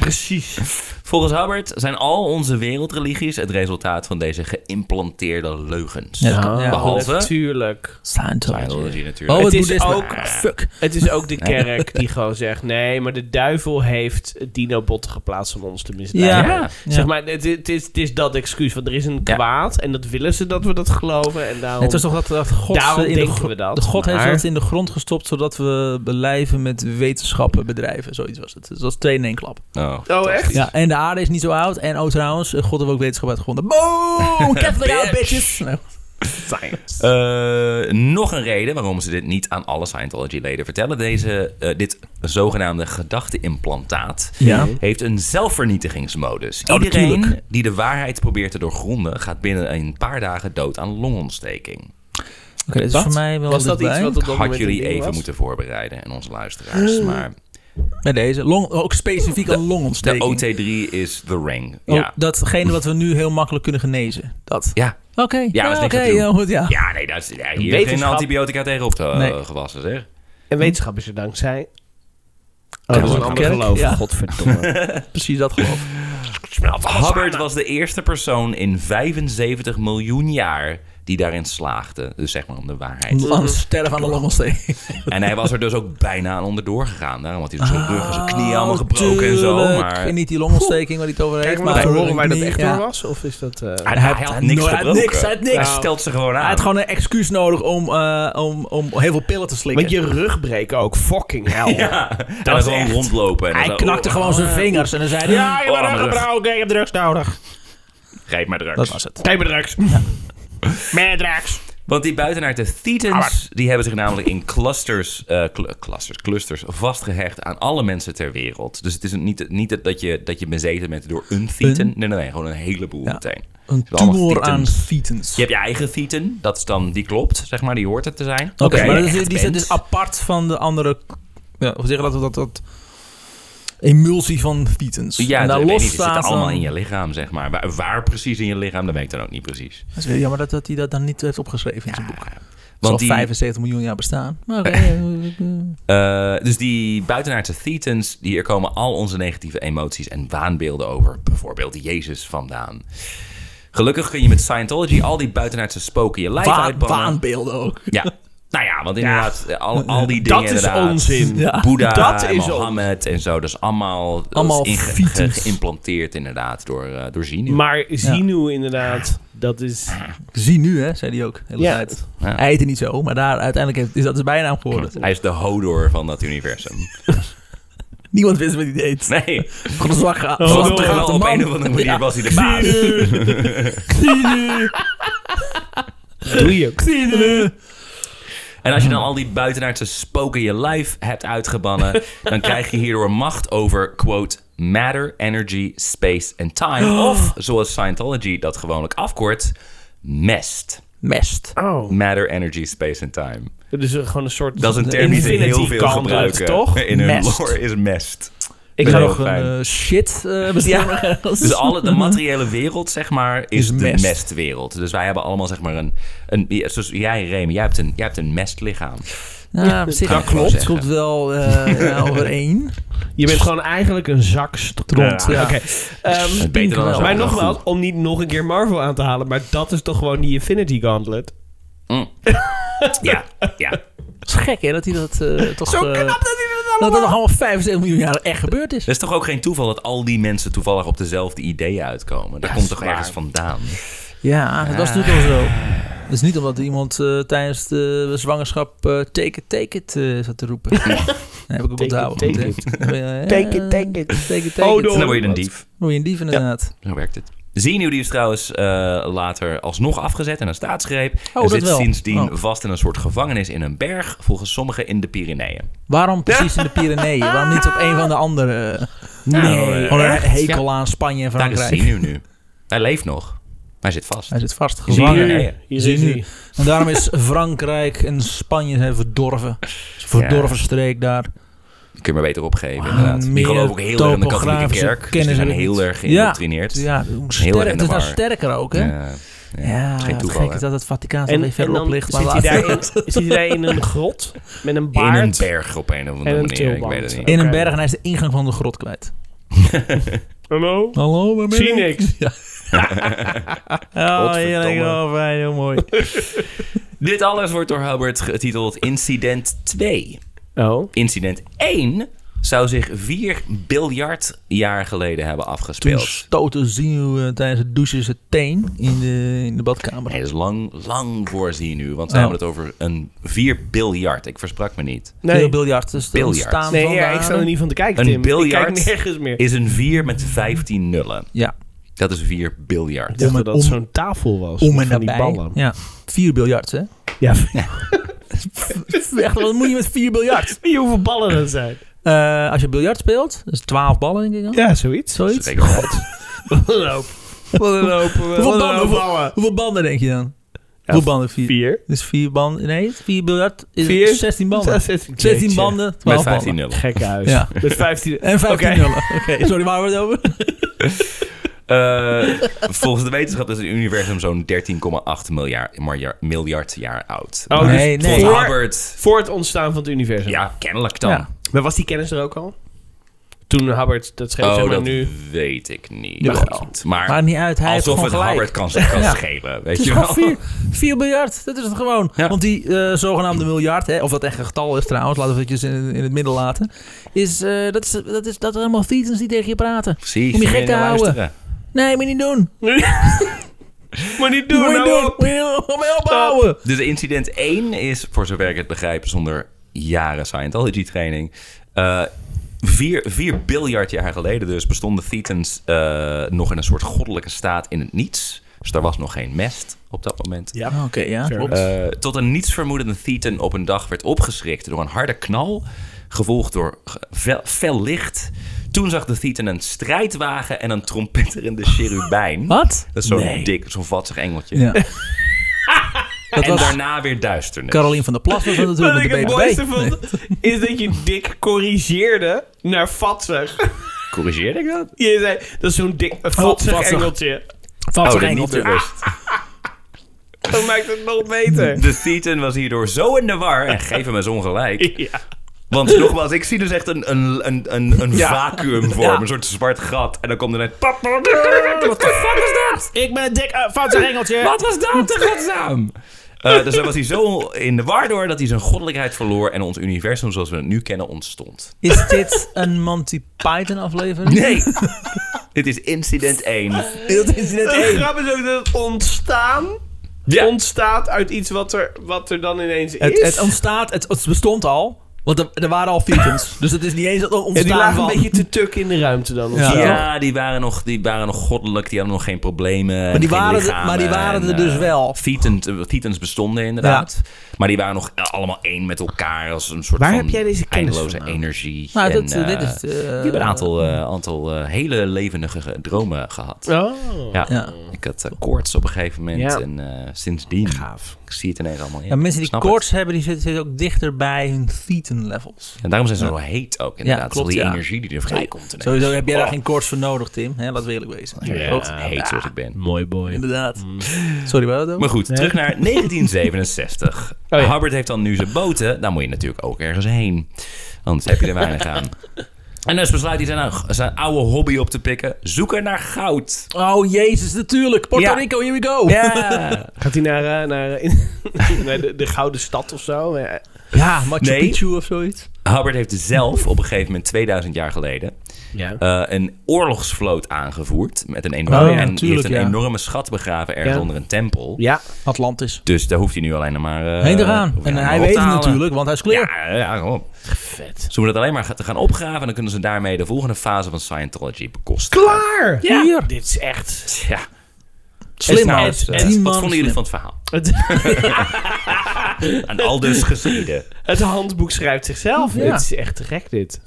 Speaker 4: Precies. Volgens Hubbard zijn al onze wereldreligies het resultaat van deze geïmplanteerde leugens.
Speaker 2: Ja, dat kan-
Speaker 3: Ah.
Speaker 2: ja.
Speaker 4: Behalve
Speaker 3: Natuurlijk.
Speaker 2: Scientology.
Speaker 4: Scientology natuurlijk.
Speaker 2: Oh, het
Speaker 3: Het is
Speaker 2: boeddhisme.
Speaker 3: ook-
Speaker 2: Ah, fuck.
Speaker 3: Het is ook de kerk die gewoon zegt: nee, maar de duivel heeft dinobotten geplaatst om ons te misleiden.
Speaker 2: Ja. Ja.
Speaker 3: Zeg maar, het, het is, het is dat excuus, want er is een
Speaker 4: Ja.
Speaker 3: kwaad en dat willen ze dat we dat geloven. En daarom...
Speaker 2: Het was toch dat, dat God,
Speaker 3: Daarom
Speaker 2: in de,
Speaker 3: denken
Speaker 2: gro-
Speaker 3: we dat,
Speaker 2: de God
Speaker 3: maar-
Speaker 2: heeft dat in de grond gestopt zodat we blijven met wetenschappen bedrijven. Zoiets was het. Dus dat was twee in één klap.
Speaker 4: Oh,
Speaker 3: Oh, echt?
Speaker 2: Ja, en de aarde is niet zo oud. En oh trouwens, eh, God heeft ook wetenschap uitgevonden. Boom! Catholic out, bitches! Nou,
Speaker 4: Eh, nog een reden waarom ze dit niet aan alle Scientology-leden vertellen. Deze, eh, dit zogenaamde gedachteimplantaat
Speaker 2: Ja.
Speaker 4: heeft een zelfvernietigingsmodus.
Speaker 2: Oh,
Speaker 4: Iedereen
Speaker 2: natuurlijk.
Speaker 4: die de waarheid probeert te doorgronden... gaat binnen een paar dagen dood aan longontsteking.
Speaker 2: Oké, dit is
Speaker 3: Wat?
Speaker 2: voor mij wel
Speaker 3: Was dat
Speaker 2: dichtbij.
Speaker 3: iets wat op dat
Speaker 4: Had
Speaker 3: moment een
Speaker 4: jullie
Speaker 3: ding
Speaker 4: even
Speaker 3: was?
Speaker 4: moeten voorbereiden en onze luisteraars. Maar
Speaker 2: Bij deze. Long, ook specifiek een
Speaker 4: de
Speaker 2: longontsteking.
Speaker 4: OT3 is The Ring.
Speaker 2: Oh,
Speaker 4: Ja.
Speaker 2: Datgene wat we nu heel makkelijk kunnen genezen. Dat.
Speaker 4: Ja.
Speaker 2: Oké.
Speaker 4: Ja, dat
Speaker 2: oké.
Speaker 4: is niks aan te doen.
Speaker 2: heel goed, ja.
Speaker 4: ja, nee, daar is ja, hier geen
Speaker 3: Wetenschap.
Speaker 4: antibiotica tegen op te-
Speaker 2: Ah. Nee.
Speaker 4: gewassen, zeg.
Speaker 3: En wetenschap is er dankzij. Oh, dat is een
Speaker 2: Kerk.
Speaker 3: ander geloof.
Speaker 2: Ja.
Speaker 3: Godverdomme.
Speaker 2: Precies dat geloof. ik.
Speaker 4: Hubbard was de eerste persoon in 75 miljoen jaar die daarin slaagde. Dus zeg maar om de waarheid.
Speaker 2: Om Aan sterven aan de longontsteking.
Speaker 4: En hij was er dus ook bijna aan onderdoor gegaan. Daarom had hij dus zijn rug en zijn knieën allemaal gebroken en zo.
Speaker 2: Ah, Oh, Tuurlijk.
Speaker 4: Maar
Speaker 2: En niet die longontsteking waar hij het over heeft.
Speaker 3: Kijk maar,
Speaker 2: maar
Speaker 3: even horen waar dat
Speaker 2: niet,
Speaker 3: echt
Speaker 2: ja.
Speaker 3: door was? Of is dat... eh,
Speaker 4: hij, hij had niks
Speaker 2: Hij had
Speaker 4: gebroken.
Speaker 2: niks, hij had niks.
Speaker 4: Hij stelt ze gewoon aan.
Speaker 2: Hij had gewoon een excuus nodig om, eh, om, om heel veel pillen te slikken.
Speaker 3: Want je rug breekt ook. Fucking hell.
Speaker 4: ja, en dan gewoon rondlopen. En dan
Speaker 2: Hij
Speaker 4: zo,
Speaker 2: knakte
Speaker 4: oh,
Speaker 2: gewoon zijn vingers en dan zei hij... Ja,
Speaker 4: Oh, aan mijn rug.
Speaker 3: gebroken. Ik heb drugs nodig.
Speaker 4: Grijp maar drugs.
Speaker 2: dat was het.
Speaker 3: Geef me drugs. Meer drugs.
Speaker 4: Want die buitenaard, de Thetans, die hebben zich namelijk in clusters, eh, cl- clusters, clusters vastgehecht aan alle mensen ter wereld. Dus het is niet, niet dat- dat, je, dat je bezeten bent door een Thetan. Nee, nee, nee, gewoon een heleboel meteen.
Speaker 2: Een
Speaker 4: Het zijn allemaal
Speaker 2: tumor
Speaker 4: Thetans.
Speaker 2: aan fietens.
Speaker 4: Je hebt je eigen Thetan, dat is dan, die klopt, zeg maar, die hoort het te zijn.
Speaker 2: Oké,
Speaker 4: Oké,
Speaker 2: maar dat is, die zijn dus apart van de andere... Ja, hoe zeggen dat, dat, dat emulsie van fietens.
Speaker 4: Ja,
Speaker 2: en
Speaker 4: dat
Speaker 2: daar
Speaker 4: weet
Speaker 2: los
Speaker 4: niet, het zit
Speaker 2: staat
Speaker 4: allemaal
Speaker 2: dan-
Speaker 4: in je lichaam, zeg maar. Waar, waar precies in je lichaam, dat weet ik dan ook niet precies.
Speaker 2: Dat is weer jammer dat, dat hij dat dan niet heeft opgeschreven in zijn boek. Want
Speaker 4: Want
Speaker 2: al
Speaker 4: die,
Speaker 2: 75 miljoen jaar bestaan. Maar oké, eh,
Speaker 4: eh, dus die buitenaardse Thetans, hier komen al onze negatieve emoties en waanbeelden over bijvoorbeeld Jezus vandaan. Gelukkig kun je met Scientology al die buitenaardse spoken je lijf
Speaker 2: wa-
Speaker 4: uitbannen.
Speaker 2: waanbeelden ook.
Speaker 4: Ja. Nou ja, want inderdaad, al, al die dingen
Speaker 3: Dat is
Speaker 4: inderdaad.
Speaker 3: onzin.
Speaker 2: Ja.
Speaker 4: Boeddha,
Speaker 3: Dat
Speaker 4: en
Speaker 3: is
Speaker 4: Mohammed en zo. Dat is allemaal, dat is
Speaker 2: Allemaal
Speaker 4: inge-
Speaker 2: fietens.
Speaker 4: ge- geïmplanteerd inderdaad door, eh door Zini.
Speaker 3: Maar Zinu inderdaad, dat is...
Speaker 2: Zie nu, hè, zei hij ook. de Hele
Speaker 3: Ja.
Speaker 2: tijd.
Speaker 4: Ja.
Speaker 2: Hij heette niet zo, maar daar uiteindelijk heeft, is dat zijn bijnaam geworden.
Speaker 4: Hij is de hodor van dat universum.
Speaker 2: Niemand wist wat hij deed. Oh,
Speaker 4: Nee,
Speaker 2: Gewoon een zwak gaat.
Speaker 4: want toch wel op een of andere manier was hij de baas.
Speaker 3: Doe je.
Speaker 4: En als je dan al die buitenaardse spoken je lijf hebt uitgebannen, dan krijg je hierdoor macht over, quote, matter, energy, space en time. Of, zoals Scientology dat gewoonlijk afkort, MEST.
Speaker 2: Mest.
Speaker 3: Oh.
Speaker 4: Matter, energy, space en time.
Speaker 3: Dus gewoon een soort...
Speaker 4: Dat is een term die ze heel veel gebruiken.
Speaker 3: toch?
Speaker 4: In hun
Speaker 2: Mest.
Speaker 4: lore is MEST.
Speaker 3: Ik
Speaker 4: Ja.
Speaker 3: ga
Speaker 4: Heel
Speaker 3: nog...
Speaker 2: Nog een
Speaker 4: fijn.
Speaker 2: eh, shit eh bestaan.
Speaker 4: Dus alle, de materiële wereld, zeg maar, is,
Speaker 2: Is
Speaker 4: de
Speaker 2: mest.
Speaker 4: mestwereld. Dus wij hebben allemaal, zeg maar, een... een ja, zoals jij, Remy, jij hebt een, jij hebt een mestlichaam.
Speaker 2: Ja, op zich
Speaker 4: Dat klopt.
Speaker 2: Het komt wel eh ja, overeen.
Speaker 3: Je bent gewoon eigenlijk een zak stront.
Speaker 2: Stront, ja.
Speaker 3: Oké. Ehm,
Speaker 4: Beter dan
Speaker 2: wel.
Speaker 4: zo.
Speaker 3: maar
Speaker 4: Dat
Speaker 3: nogmaals, om niet nog een keer Marvel aan te halen, maar dat is toch gewoon die Infinity Gauntlet?
Speaker 4: goed. Ja, ja.
Speaker 2: Het is gek, hè, dat hij dat eh, toch...
Speaker 3: Zo
Speaker 2: eh,
Speaker 3: knap dat
Speaker 2: dat dat nog allemaal 75 miljoen jaar echt gebeurd is.
Speaker 4: Het is toch ook geen toeval dat al die mensen toevallig op dezelfde ideeën uitkomen. Dat komt toch ergens vandaan.
Speaker 2: Ja, dat was natuurlijk al zo. Het is niet omdat iemand eh, tijdens de zwangerschap eh take it, take it eh, zat te roepen. dat heb ik ook
Speaker 3: Take
Speaker 2: onthouden.
Speaker 3: it, take
Speaker 2: want, eh,
Speaker 3: Take it, take it.
Speaker 2: Take it, take
Speaker 3: Oh,
Speaker 2: it.
Speaker 3: no.
Speaker 4: En dan word je een dief.
Speaker 2: Word je een dief inderdaad.
Speaker 4: Zo werkt het. Zenuwdief is trouwens eh, later alsnog afgezet en een staatsgreep.
Speaker 2: Oh,
Speaker 4: en
Speaker 2: dat
Speaker 4: zit
Speaker 2: wel.
Speaker 4: sindsdien
Speaker 2: Oh.
Speaker 4: vast in een soort gevangenis in een berg, volgens sommigen in de Pyreneeën.
Speaker 2: Waarom precies in de Pyreneeën? Waarom niet op een van de andere? eh,
Speaker 4: Nee,
Speaker 2: Gewoon een
Speaker 4: echt?
Speaker 2: hekel aan Spanje en
Speaker 4: Daar is
Speaker 2: Frankrijk.
Speaker 4: Zenuw nu. Hij leeft nog. Hij zit vast.
Speaker 2: Hij zit vast
Speaker 4: Zie
Speaker 2: gevangen.
Speaker 4: je?
Speaker 3: Hier, hier
Speaker 2: Zie
Speaker 3: is
Speaker 2: nu.
Speaker 3: hij.
Speaker 2: En daarom is Frankrijk en Spanje zijn verdorven. Het is een verdorven streek daar.
Speaker 4: Kun je maar beter opgeven,
Speaker 2: Wow,
Speaker 4: inderdaad. Die
Speaker 2: meer
Speaker 4: geloven ook heel erg in de katholieke
Speaker 2: topografische
Speaker 4: kerk. Dus die
Speaker 2: kennis
Speaker 4: zijn
Speaker 2: hebben we
Speaker 4: heel
Speaker 2: niet.
Speaker 4: erg
Speaker 2: Ja.
Speaker 4: geïndoctrineerd.
Speaker 2: Ja, hoe
Speaker 4: Heel erg
Speaker 2: sterker,
Speaker 4: in
Speaker 2: het
Speaker 4: de
Speaker 2: is nou
Speaker 4: war.
Speaker 2: sterker ook, hè?
Speaker 4: Ja,
Speaker 2: Ja,
Speaker 4: ja.
Speaker 2: het is
Speaker 4: Het is geen
Speaker 2: gek
Speaker 4: toeval,
Speaker 2: is
Speaker 4: hè?
Speaker 2: dat het Vaticaan zo
Speaker 3: En,
Speaker 2: weer
Speaker 3: en
Speaker 2: verderop
Speaker 3: dan
Speaker 2: ligt.
Speaker 3: zit
Speaker 2: maar
Speaker 3: hij,
Speaker 2: laten we-
Speaker 3: daar in, zit hij daar in een grot met een
Speaker 4: In een
Speaker 3: baard.
Speaker 4: berg op een of andere
Speaker 3: En een
Speaker 4: manier. Ik weet
Speaker 3: tulband.
Speaker 4: het niet.
Speaker 2: in een
Speaker 3: Oké.
Speaker 2: berg en hij is de ingang van de grot kwijt.
Speaker 3: Hallo?
Speaker 2: Hallo, waar
Speaker 3: Zie niks.
Speaker 2: Oh,
Speaker 4: Godverdomme.
Speaker 2: heerlijk. Oh, fijn, heel mooi.
Speaker 4: Dit alles wordt door Hubbard getiteld Incident 2.
Speaker 3: Oh.
Speaker 4: Incident 1 zou zich 4 biljard jaar geleden hebben
Speaker 2: Toen
Speaker 4: afgespeeld.
Speaker 2: stoten zien we tijdens het douchen zijn teen in de, in de badkamer.
Speaker 4: Nee, dat is lang, lang voorzien nu. Want
Speaker 2: Oh.
Speaker 4: we hebben het over een 4 biljart. Ik versprak me niet.
Speaker 2: Nee. Heel
Speaker 3: Nee,
Speaker 2: biljart. Dus
Speaker 4: Biljart.
Speaker 2: biljart. Staan
Speaker 3: nee
Speaker 2: van
Speaker 3: ja,
Speaker 2: de
Speaker 3: ik sta er
Speaker 2: adem.
Speaker 3: niet van te kijken,
Speaker 4: Een
Speaker 3: Tim. Ik kijk
Speaker 4: biljart
Speaker 3: nergens meer.
Speaker 4: Is een 4 met 15 nullen.
Speaker 2: Ja,
Speaker 4: Dat is 4 biljart.
Speaker 3: Ik dacht
Speaker 2: om en-
Speaker 3: dat dat
Speaker 2: om-
Speaker 3: zo'n tafel was.
Speaker 2: om
Speaker 3: met
Speaker 2: en
Speaker 3: van die
Speaker 2: nabij.
Speaker 3: ballen.
Speaker 2: Ja, vier biljart, hè?
Speaker 3: Ja.
Speaker 2: Echt, wat moet je met vier biljart?
Speaker 3: Wie hoeveel ballen dat zijn.
Speaker 2: Eh, als je biljart speelt, dus 12 ballen, denk ik dan.
Speaker 3: Ja, zoiets.
Speaker 4: Dat
Speaker 2: Zoiets.
Speaker 4: denk ik wel.
Speaker 3: Wat een hoop. Wat een hoop.
Speaker 2: Hoeveel
Speaker 3: Wat een
Speaker 2: ballen?
Speaker 3: hoop ballen.
Speaker 2: Hoeveel banden denk je dan? Hoeveel banden? Vier.
Speaker 3: Vier.
Speaker 2: Dus vier banden. Nee, vier biljart is
Speaker 3: Vier?
Speaker 2: 16 banden.
Speaker 3: 16,
Speaker 2: 16 banden, 12
Speaker 4: Met 15
Speaker 2: ballen.
Speaker 4: nullen.
Speaker 3: Gek huis.
Speaker 2: Ja.
Speaker 3: Met 15.
Speaker 2: En 15
Speaker 3: Oké.
Speaker 2: nullen. Oké, sorry, waar hebben we het over?
Speaker 4: Eh, volgens de wetenschap is het universum zo'n 13,8 miljard, miljard, miljard jaar oud.
Speaker 3: Oh, dus
Speaker 2: Nee, nee.
Speaker 4: Volgens
Speaker 3: Voor,
Speaker 4: Hubbard.
Speaker 3: voor het ontstaan van het universum.
Speaker 4: Ja, kennelijk dan.
Speaker 2: Ja.
Speaker 3: Maar was die kennis er ook al? Toen Hubbard, dat schreef
Speaker 4: Oh,
Speaker 3: zeg maar
Speaker 4: dat
Speaker 3: nu.
Speaker 4: weet ik niet.
Speaker 2: Jawel.
Speaker 4: Maar goed, Maar,
Speaker 2: Maar niet uit, hij
Speaker 4: alsof
Speaker 2: heeft
Speaker 4: het
Speaker 2: gewoon
Speaker 4: Hubbard
Speaker 2: gelijk.
Speaker 4: kan, kan
Speaker 2: Ja.
Speaker 4: schelen, weet
Speaker 2: Het is
Speaker 4: je
Speaker 2: gewoon
Speaker 4: wel.
Speaker 2: vier, vier miljard, dat is het gewoon.
Speaker 4: Ja.
Speaker 2: Want die eh, zogenaamde miljard, hè, of dat echt een getal is trouwens, laten we het eventjes in, in het midden laten. Is, eh, dat, is, dat is dat zijn allemaal fietsers die tegen je praten.
Speaker 4: Precies.
Speaker 2: Om je gek
Speaker 4: Nee,
Speaker 2: te
Speaker 4: nou,
Speaker 2: houden.
Speaker 4: luisteren.
Speaker 2: Nee, moet je niet doen.
Speaker 3: Maar niet
Speaker 2: Moet
Speaker 3: doen,
Speaker 2: je niet
Speaker 3: nou
Speaker 2: doen.
Speaker 3: op.
Speaker 2: Moet je niet- moet je ophouden.
Speaker 4: Dus incident 1 is, voor zover ik het begrijp, zonder jaren Scientology training. eh, vier, vier biljard jaar geleden dus bestonden Thetans eh, nog in een soort goddelijke staat in het niets. Dus daar was nog geen mest op dat moment.
Speaker 3: Ja.
Speaker 2: Oké, ja.
Speaker 3: Fair
Speaker 2: Ah, klopt.
Speaker 4: Eh, tot een nietsvermoedende Thetan op een dag werd opgeschrikt door een harde knal, gevolgd door ge- fel, fel licht. Toen zag de Thetan een strijdwagen en een trompetterende cherubijn.
Speaker 2: Wat?
Speaker 4: Dat is zo'n
Speaker 2: Nee.
Speaker 4: dik, zo'n vatzig engeltje.
Speaker 2: Ja. dat
Speaker 4: En
Speaker 2: was
Speaker 4: daarna weer duisternis.
Speaker 2: Carolien van der Plas was Eh, dat natuurlijk
Speaker 3: Wat
Speaker 2: met
Speaker 3: ik
Speaker 2: de
Speaker 3: het
Speaker 2: BBB.
Speaker 3: mooiste vond, is dat je dik corrigeerde naar vatzig.
Speaker 4: Corrigeerde ik
Speaker 2: Oh,
Speaker 4: dat?
Speaker 3: Je zei, dat is zo'n dik een vatzig
Speaker 2: vatzig.
Speaker 3: engeltje.
Speaker 2: Vast
Speaker 4: Oh, dat
Speaker 2: geen
Speaker 4: niet
Speaker 2: op
Speaker 4: bewust.
Speaker 3: Dat maakt het nog beter.
Speaker 4: De Thetan was hierdoor zo in de war. En geef hem eens ongelijk.
Speaker 3: Ja.
Speaker 4: Want nogmaals, ik zie dus echt een, een, een, een, een vacuüm vormen. Een soort zwart gat. En dan komt er net... Wat de fuck is dat?
Speaker 3: Ik ben een dik uh, vatzig engeltje.
Speaker 4: Wat was dat? De godsnaam. Eh, dus dan was hij zo in de war door dat hij zijn goddelijkheid verloor. En ons universum zoals we het nu kennen ontstond.
Speaker 2: Is dit een Monty Python aflevering?
Speaker 4: Nee. Dit is incident 1.
Speaker 2: Dat is net
Speaker 3: De
Speaker 2: één.
Speaker 3: grap is ook dat het ontstaan
Speaker 4: Ja.
Speaker 3: ontstaat uit iets wat er, wat er dan ineens is.
Speaker 2: Het, het ontstaat, het, het bestond al, want er, er waren al Thetans. dus het is niet eens het
Speaker 3: en
Speaker 2: ontstaan
Speaker 3: die lagen
Speaker 2: van...
Speaker 3: een beetje te tuk in de ruimte dan. of
Speaker 2: Ja.
Speaker 3: zo.
Speaker 4: Ja, die waren, nog, die waren nog goddelijk. Die hadden nog geen problemen. Maar
Speaker 2: die waren er- maar die waren er dus wel.
Speaker 4: Thetans, eh, Thetans bestonden inderdaad. Maar die waren nog eh, allemaal één met elkaar. Als een soort
Speaker 3: Waar
Speaker 4: van
Speaker 3: heb jij deze kennis
Speaker 4: eindeloze
Speaker 3: vandaan?
Speaker 4: energie.
Speaker 2: Nou, dat,
Speaker 4: en,
Speaker 2: eh,
Speaker 4: eh,
Speaker 2: dit is... eh,
Speaker 4: die hebben een aantal, eh, aantal eh, hele levendige ge- dromen gehad.
Speaker 3: Oh.
Speaker 4: Ja.
Speaker 2: Ja.
Speaker 4: ik had eh, koorts op een gegeven moment.
Speaker 3: Ja.
Speaker 4: En eh, sindsdien, ik zie het ineens allemaal in.
Speaker 2: ja, mensen die
Speaker 4: Snap
Speaker 2: koorts
Speaker 4: het.
Speaker 2: hebben, die zitten, zitten ook dichter bij hun Thetan levels.
Speaker 4: En daarom zijn ze zo heet ook inderdaad.
Speaker 2: klopt,
Speaker 4: Al die
Speaker 2: ja.
Speaker 4: energie die er vrijkomt. ineens.
Speaker 2: Sowieso heb jij daar geen koorts voor nodig, Tim. Hè, laten we eerlijk wezen. Klopt.
Speaker 4: Oh. Ja, heet zoals ik ben.
Speaker 3: Mooi boy.
Speaker 2: Inderdaad. Sorry, waar dat
Speaker 4: Maar goed, terug naar 1967.
Speaker 3: Oh ja.
Speaker 4: Hubbard heeft dan nu zijn boten. Daar moet je natuurlijk ook ergens heen. Anders heb je er weinig aan. En dus besluit hij zijn, zijn oude hobby op te pikken. Zoeken naar goud.
Speaker 2: Oh, jezus, natuurlijk. Puerto
Speaker 4: Ja.
Speaker 2: Rico, here we go.
Speaker 4: Ja.
Speaker 3: Gaat hij naar, eh, naar, eh, in- naar de, de Gouden Stad of zo? Ja.
Speaker 2: Ja, Machu
Speaker 4: Nee.
Speaker 2: Picchu of zoiets.
Speaker 4: Hubbard heeft zelf op een gegeven moment 2000 jaar geleden...
Speaker 3: Ja.
Speaker 4: eh, een oorlogsvloot aangevoerd. Met een enorme,
Speaker 2: Oh, ja,
Speaker 4: en die heeft
Speaker 2: natuurlijk,
Speaker 4: een
Speaker 2: ja.
Speaker 4: enorme schat begraven ergens
Speaker 3: Ja.
Speaker 4: onder een tempel.
Speaker 3: ja.
Speaker 2: Atlantis.
Speaker 4: Dus daar hoeft hij nu alleen nog maar... eh,
Speaker 2: Heen eraan.
Speaker 4: hoeft
Speaker 2: en
Speaker 4: alleen
Speaker 2: hij
Speaker 4: maar op
Speaker 2: weet
Speaker 4: te
Speaker 2: het
Speaker 4: halen.
Speaker 2: natuurlijk, want hij is clear.
Speaker 4: Ja, ja, kom op.
Speaker 3: Vet.
Speaker 4: Ze moeten dat alleen maar ga- te gaan opgraven... en dan kunnen ze daarmee de volgende fase van Scientology bekostigen.
Speaker 3: Klaar!
Speaker 2: Ja.
Speaker 3: Hier. Dit is echt...
Speaker 4: Ja.
Speaker 2: Slim
Speaker 4: nou,
Speaker 2: man.
Speaker 4: dus, eh,
Speaker 2: Tien man
Speaker 4: wat vonden jullie
Speaker 2: slim.
Speaker 4: van het verhaal? Aan al dus geschieden.
Speaker 3: Het handboek schrijft zichzelf.
Speaker 2: Ja.
Speaker 3: Het is echt te gek, dit.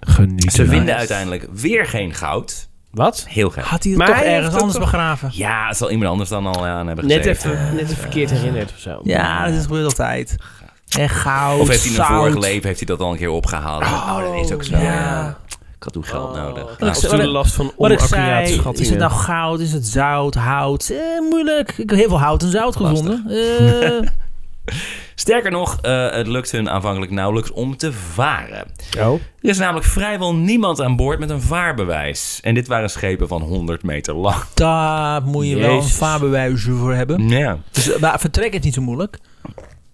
Speaker 3: Geniet.
Speaker 4: Ze vinden uiteindelijk weer geen goud.
Speaker 3: Wat?
Speaker 4: Heel gek.
Speaker 2: Had hij het
Speaker 3: Maar
Speaker 2: toch
Speaker 3: hij heeft
Speaker 2: ergens
Speaker 3: het
Speaker 2: anders
Speaker 3: toch-
Speaker 2: begraven?
Speaker 4: Ja, het zal iemand anders dan al eh, aan hebben gezeten.
Speaker 3: Net even, net even verkeerd herinnerd of zo.
Speaker 2: Ja, dat is gebeurd altijd. En goud,
Speaker 4: Of heeft hij in een
Speaker 2: zout.
Speaker 4: vorig leven heeft hij dat al een keer opgehaald? Oh, dat is ook zo.
Speaker 2: ja.
Speaker 4: Ja. Ik had toen geld nodig.
Speaker 3: Nou,
Speaker 4: Nou,
Speaker 3: ik
Speaker 2: ze-
Speaker 3: heb last van
Speaker 2: Wat ik
Speaker 3: onaccurate
Speaker 2: zei, is het
Speaker 3: schattingen.
Speaker 2: nou goud, is het zout, hout? Eh, moeilijk. Ik heb heel veel hout en zout gevonden. Eh,
Speaker 4: Sterker nog, eh, het lukt hun aanvankelijk nauwelijks om te varen.
Speaker 3: Oh.
Speaker 4: Er is namelijk vrijwel niemand aan boord met een vaarbewijs. En dit waren schepen van 100 meter lang.
Speaker 2: daar moet je wel een
Speaker 3: Jezus.
Speaker 2: vaarbewijs voor hebben.
Speaker 4: Ja.
Speaker 2: Dus, eh, maar vertrek is niet zo moeilijk.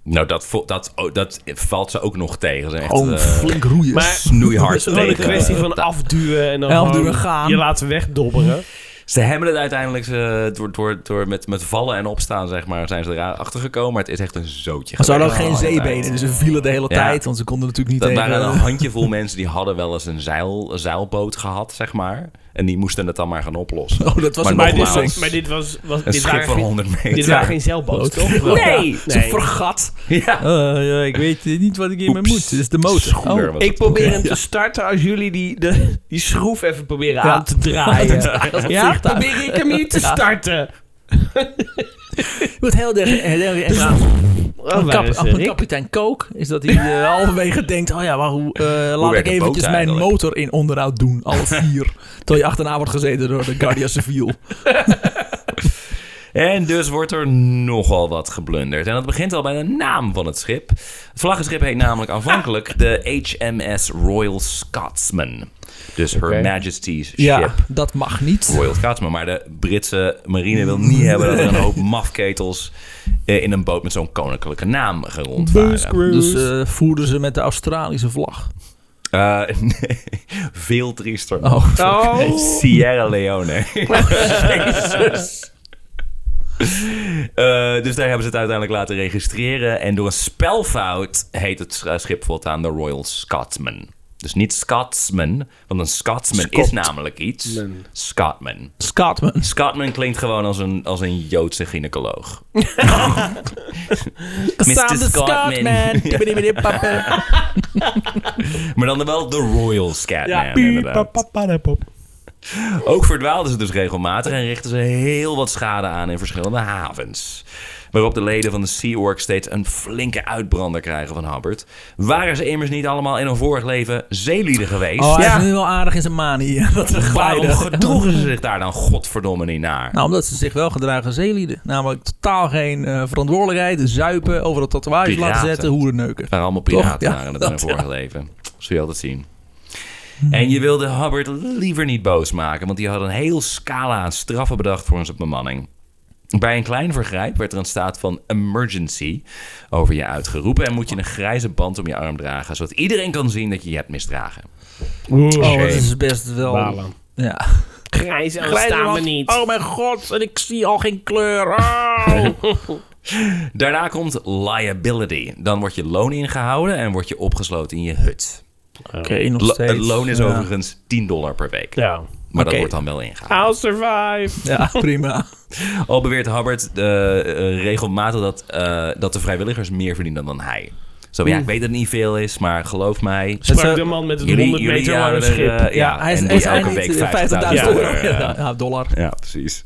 Speaker 4: Nou, dat, vo- dat, oh, dat valt ze ook nog tegen. Ze zijn echt
Speaker 2: Gewoon
Speaker 4: eh,
Speaker 2: Oh, flink roeien.
Speaker 3: Maar
Speaker 4: snoeihard
Speaker 3: het is wel een
Speaker 4: tegen.
Speaker 3: kwestie van afduwen en dan
Speaker 2: Afduwen,
Speaker 3: gewoon
Speaker 2: gaan.
Speaker 3: je laten wegdobberen.
Speaker 4: Ze hebben het uiteindelijk eh, door, door, door met, met vallen en opstaan, zeg maar, zijn ze erachter gekomen. Maar het is echt een zootje.
Speaker 2: Maar ze hadden ook
Speaker 4: geweest.
Speaker 2: geen zeebenen, dus ze vielen de hele
Speaker 4: Ja.
Speaker 2: tijd. Want ze konden natuurlijk niet
Speaker 4: Dat
Speaker 2: tegen...
Speaker 4: waren een
Speaker 3: eh,
Speaker 4: handjevol mensen die hadden wel eens een, zeil, een zeilboot gehad, zeg maar. En die moesten het dan maar gaan oplossen.
Speaker 2: Oh, dat was
Speaker 4: Maar
Speaker 2: een
Speaker 3: Maar dit,
Speaker 4: nogmaals,
Speaker 3: was, maar dit was... was
Speaker 4: Een
Speaker 3: dit,
Speaker 4: schip
Speaker 3: waren
Speaker 4: van
Speaker 3: geen,
Speaker 4: 100
Speaker 3: dit
Speaker 4: meter.
Speaker 3: waren geen zeilboten, toch?
Speaker 4: Nee,
Speaker 3: Ja.
Speaker 4: ze
Speaker 3: Nee.
Speaker 4: vergat. Ja.
Speaker 2: Eh, ja, ik weet eh, niet wat ik hiermee
Speaker 4: Oeps.
Speaker 2: moet. Dit is de motor. Oh.
Speaker 4: Schoener was
Speaker 3: Oh, Ik
Speaker 4: het.
Speaker 3: probeer hem te starten als jullie die, de, die schroef even proberen
Speaker 2: Ja.
Speaker 3: aan te draaien.
Speaker 2: Dat is
Speaker 3: Ja,
Speaker 2: ja,
Speaker 3: probeer ik hem hier te starten.
Speaker 2: Je wordt heel erg... heel erg- heel erg-
Speaker 3: Oh,
Speaker 2: Kap- op een kapitein Kook is dat hij eh, halverwege denkt: Oh ja, maar hoe, eh, laat ik
Speaker 4: werkt een boot
Speaker 2: eventjes mijn
Speaker 4: eigenlijk?
Speaker 2: motor in onderhoud doen, alle vier. terwijl je achterna wordt gezeten door de Guardia Civil.
Speaker 4: En dus wordt er nogal wat geblunderd. En dat begint al bij de naam van het schip. Het vlaggenschip heet namelijk
Speaker 3: Ah.
Speaker 4: aanvankelijk de HMS Royal Scotsman. Dus Her
Speaker 3: Oké.
Speaker 4: Majesty's Ship
Speaker 2: Ja, dat mag niet.
Speaker 4: Royal Scotsman. Maar de Britse marine wil niet hebben dat er een hoop mafketels eh, in een boot met zo'n koninklijke naam gerond waren.
Speaker 2: Dus eh, voerden ze met de Australische vlag.
Speaker 4: Eh, nee, veel triester.
Speaker 2: Oh,
Speaker 4: Nee, Sierra Leone. Jezus. Eh, dus daar hebben ze het uiteindelijk laten registreren. En door een spelfout heet het eh, schip voortaan de Royal Scotsman. Dus niet Scotsman, want een Scotsman is namelijk iets. Scotsman.
Speaker 2: Scotman.
Speaker 4: Scotsman klinkt gewoon als een, als een Joodse gynaecoloog.
Speaker 2: Cassandra Scotman. Tibbidi-bidi-papa.
Speaker 4: Maar dan wel de Royal Scatman,
Speaker 3: Ja,
Speaker 4: inderdaad. Ook verdwaalden ze dus regelmatig en richtten ze heel wat schade aan in verschillende havens. Waarop de leden van de Sea Org steeds een flinke uitbrander krijgen van Hubbard. Waren ze immers niet allemaal in hun vorig leven zeelieden geweest?
Speaker 2: Oh, hij
Speaker 4: Ja.
Speaker 2: is nu wel aardig in zijn manie. Dat ze
Speaker 4: Waarom
Speaker 2: glijden.
Speaker 4: gedroegen ze zich daar dan godverdomme niet naar?
Speaker 2: Nou, omdat ze zich wel gedragen als zeelieden. Namelijk totaal geen eh, verantwoordelijkheid. Zuipen, overal tatoeages laten
Speaker 4: Piraten.
Speaker 2: zetten, hoerenneuken.
Speaker 4: Het waren allemaal piraten
Speaker 2: Toch? Ja,
Speaker 4: waren het
Speaker 2: dat,
Speaker 4: in hun vorige leven. Zul je altijd zien. En je wilde Hubbard liever niet boos maken, want die had een heel scala aan straffen bedacht voor zijn bemanning. Bij een klein vergrijp werd er een staat van emergency over je uitgeroepen en moet je een grijze band om je arm dragen, zodat iedereen kan zien dat je je hebt misdragen.
Speaker 2: Oh, dat is best wel...
Speaker 3: Balen.
Speaker 2: Ja.
Speaker 3: Grijs en staan we niet.
Speaker 2: Oh mijn god, en ik zie al geen kleur. Oh.
Speaker 4: Daarna komt liability. Dan wordt je loon ingehouden en word je opgesloten in je hut.
Speaker 2: Oké, nog
Speaker 4: Lo-
Speaker 2: steeds.
Speaker 4: het loon is
Speaker 2: Ja.
Speaker 4: overigens 10 dollar per week, maar
Speaker 3: Ja.
Speaker 4: dat
Speaker 2: Oké.
Speaker 4: wordt dan wel ingehouden.
Speaker 3: I'll survive.
Speaker 2: Ja, prima.
Speaker 4: Al beweert Hubbard eh, eh, regelmatig dat, eh, dat de vrijwilligers meer verdienen dan hij. Zo, ja, ik weet dat het niet veel is, maar geloof mij.
Speaker 3: Sprak
Speaker 2: zou-
Speaker 3: de man met het
Speaker 4: Jullie-
Speaker 3: 100
Speaker 4: jullie
Speaker 3: meter lange
Speaker 4: houden er,
Speaker 3: schip.
Speaker 4: eh, ja,
Speaker 2: hij is,
Speaker 4: en
Speaker 2: hij is
Speaker 4: die elke
Speaker 2: eigenlijk
Speaker 4: week
Speaker 2: 50.000
Speaker 4: euro.
Speaker 2: euro. Ja, ja, dollar.
Speaker 4: Ja, precies.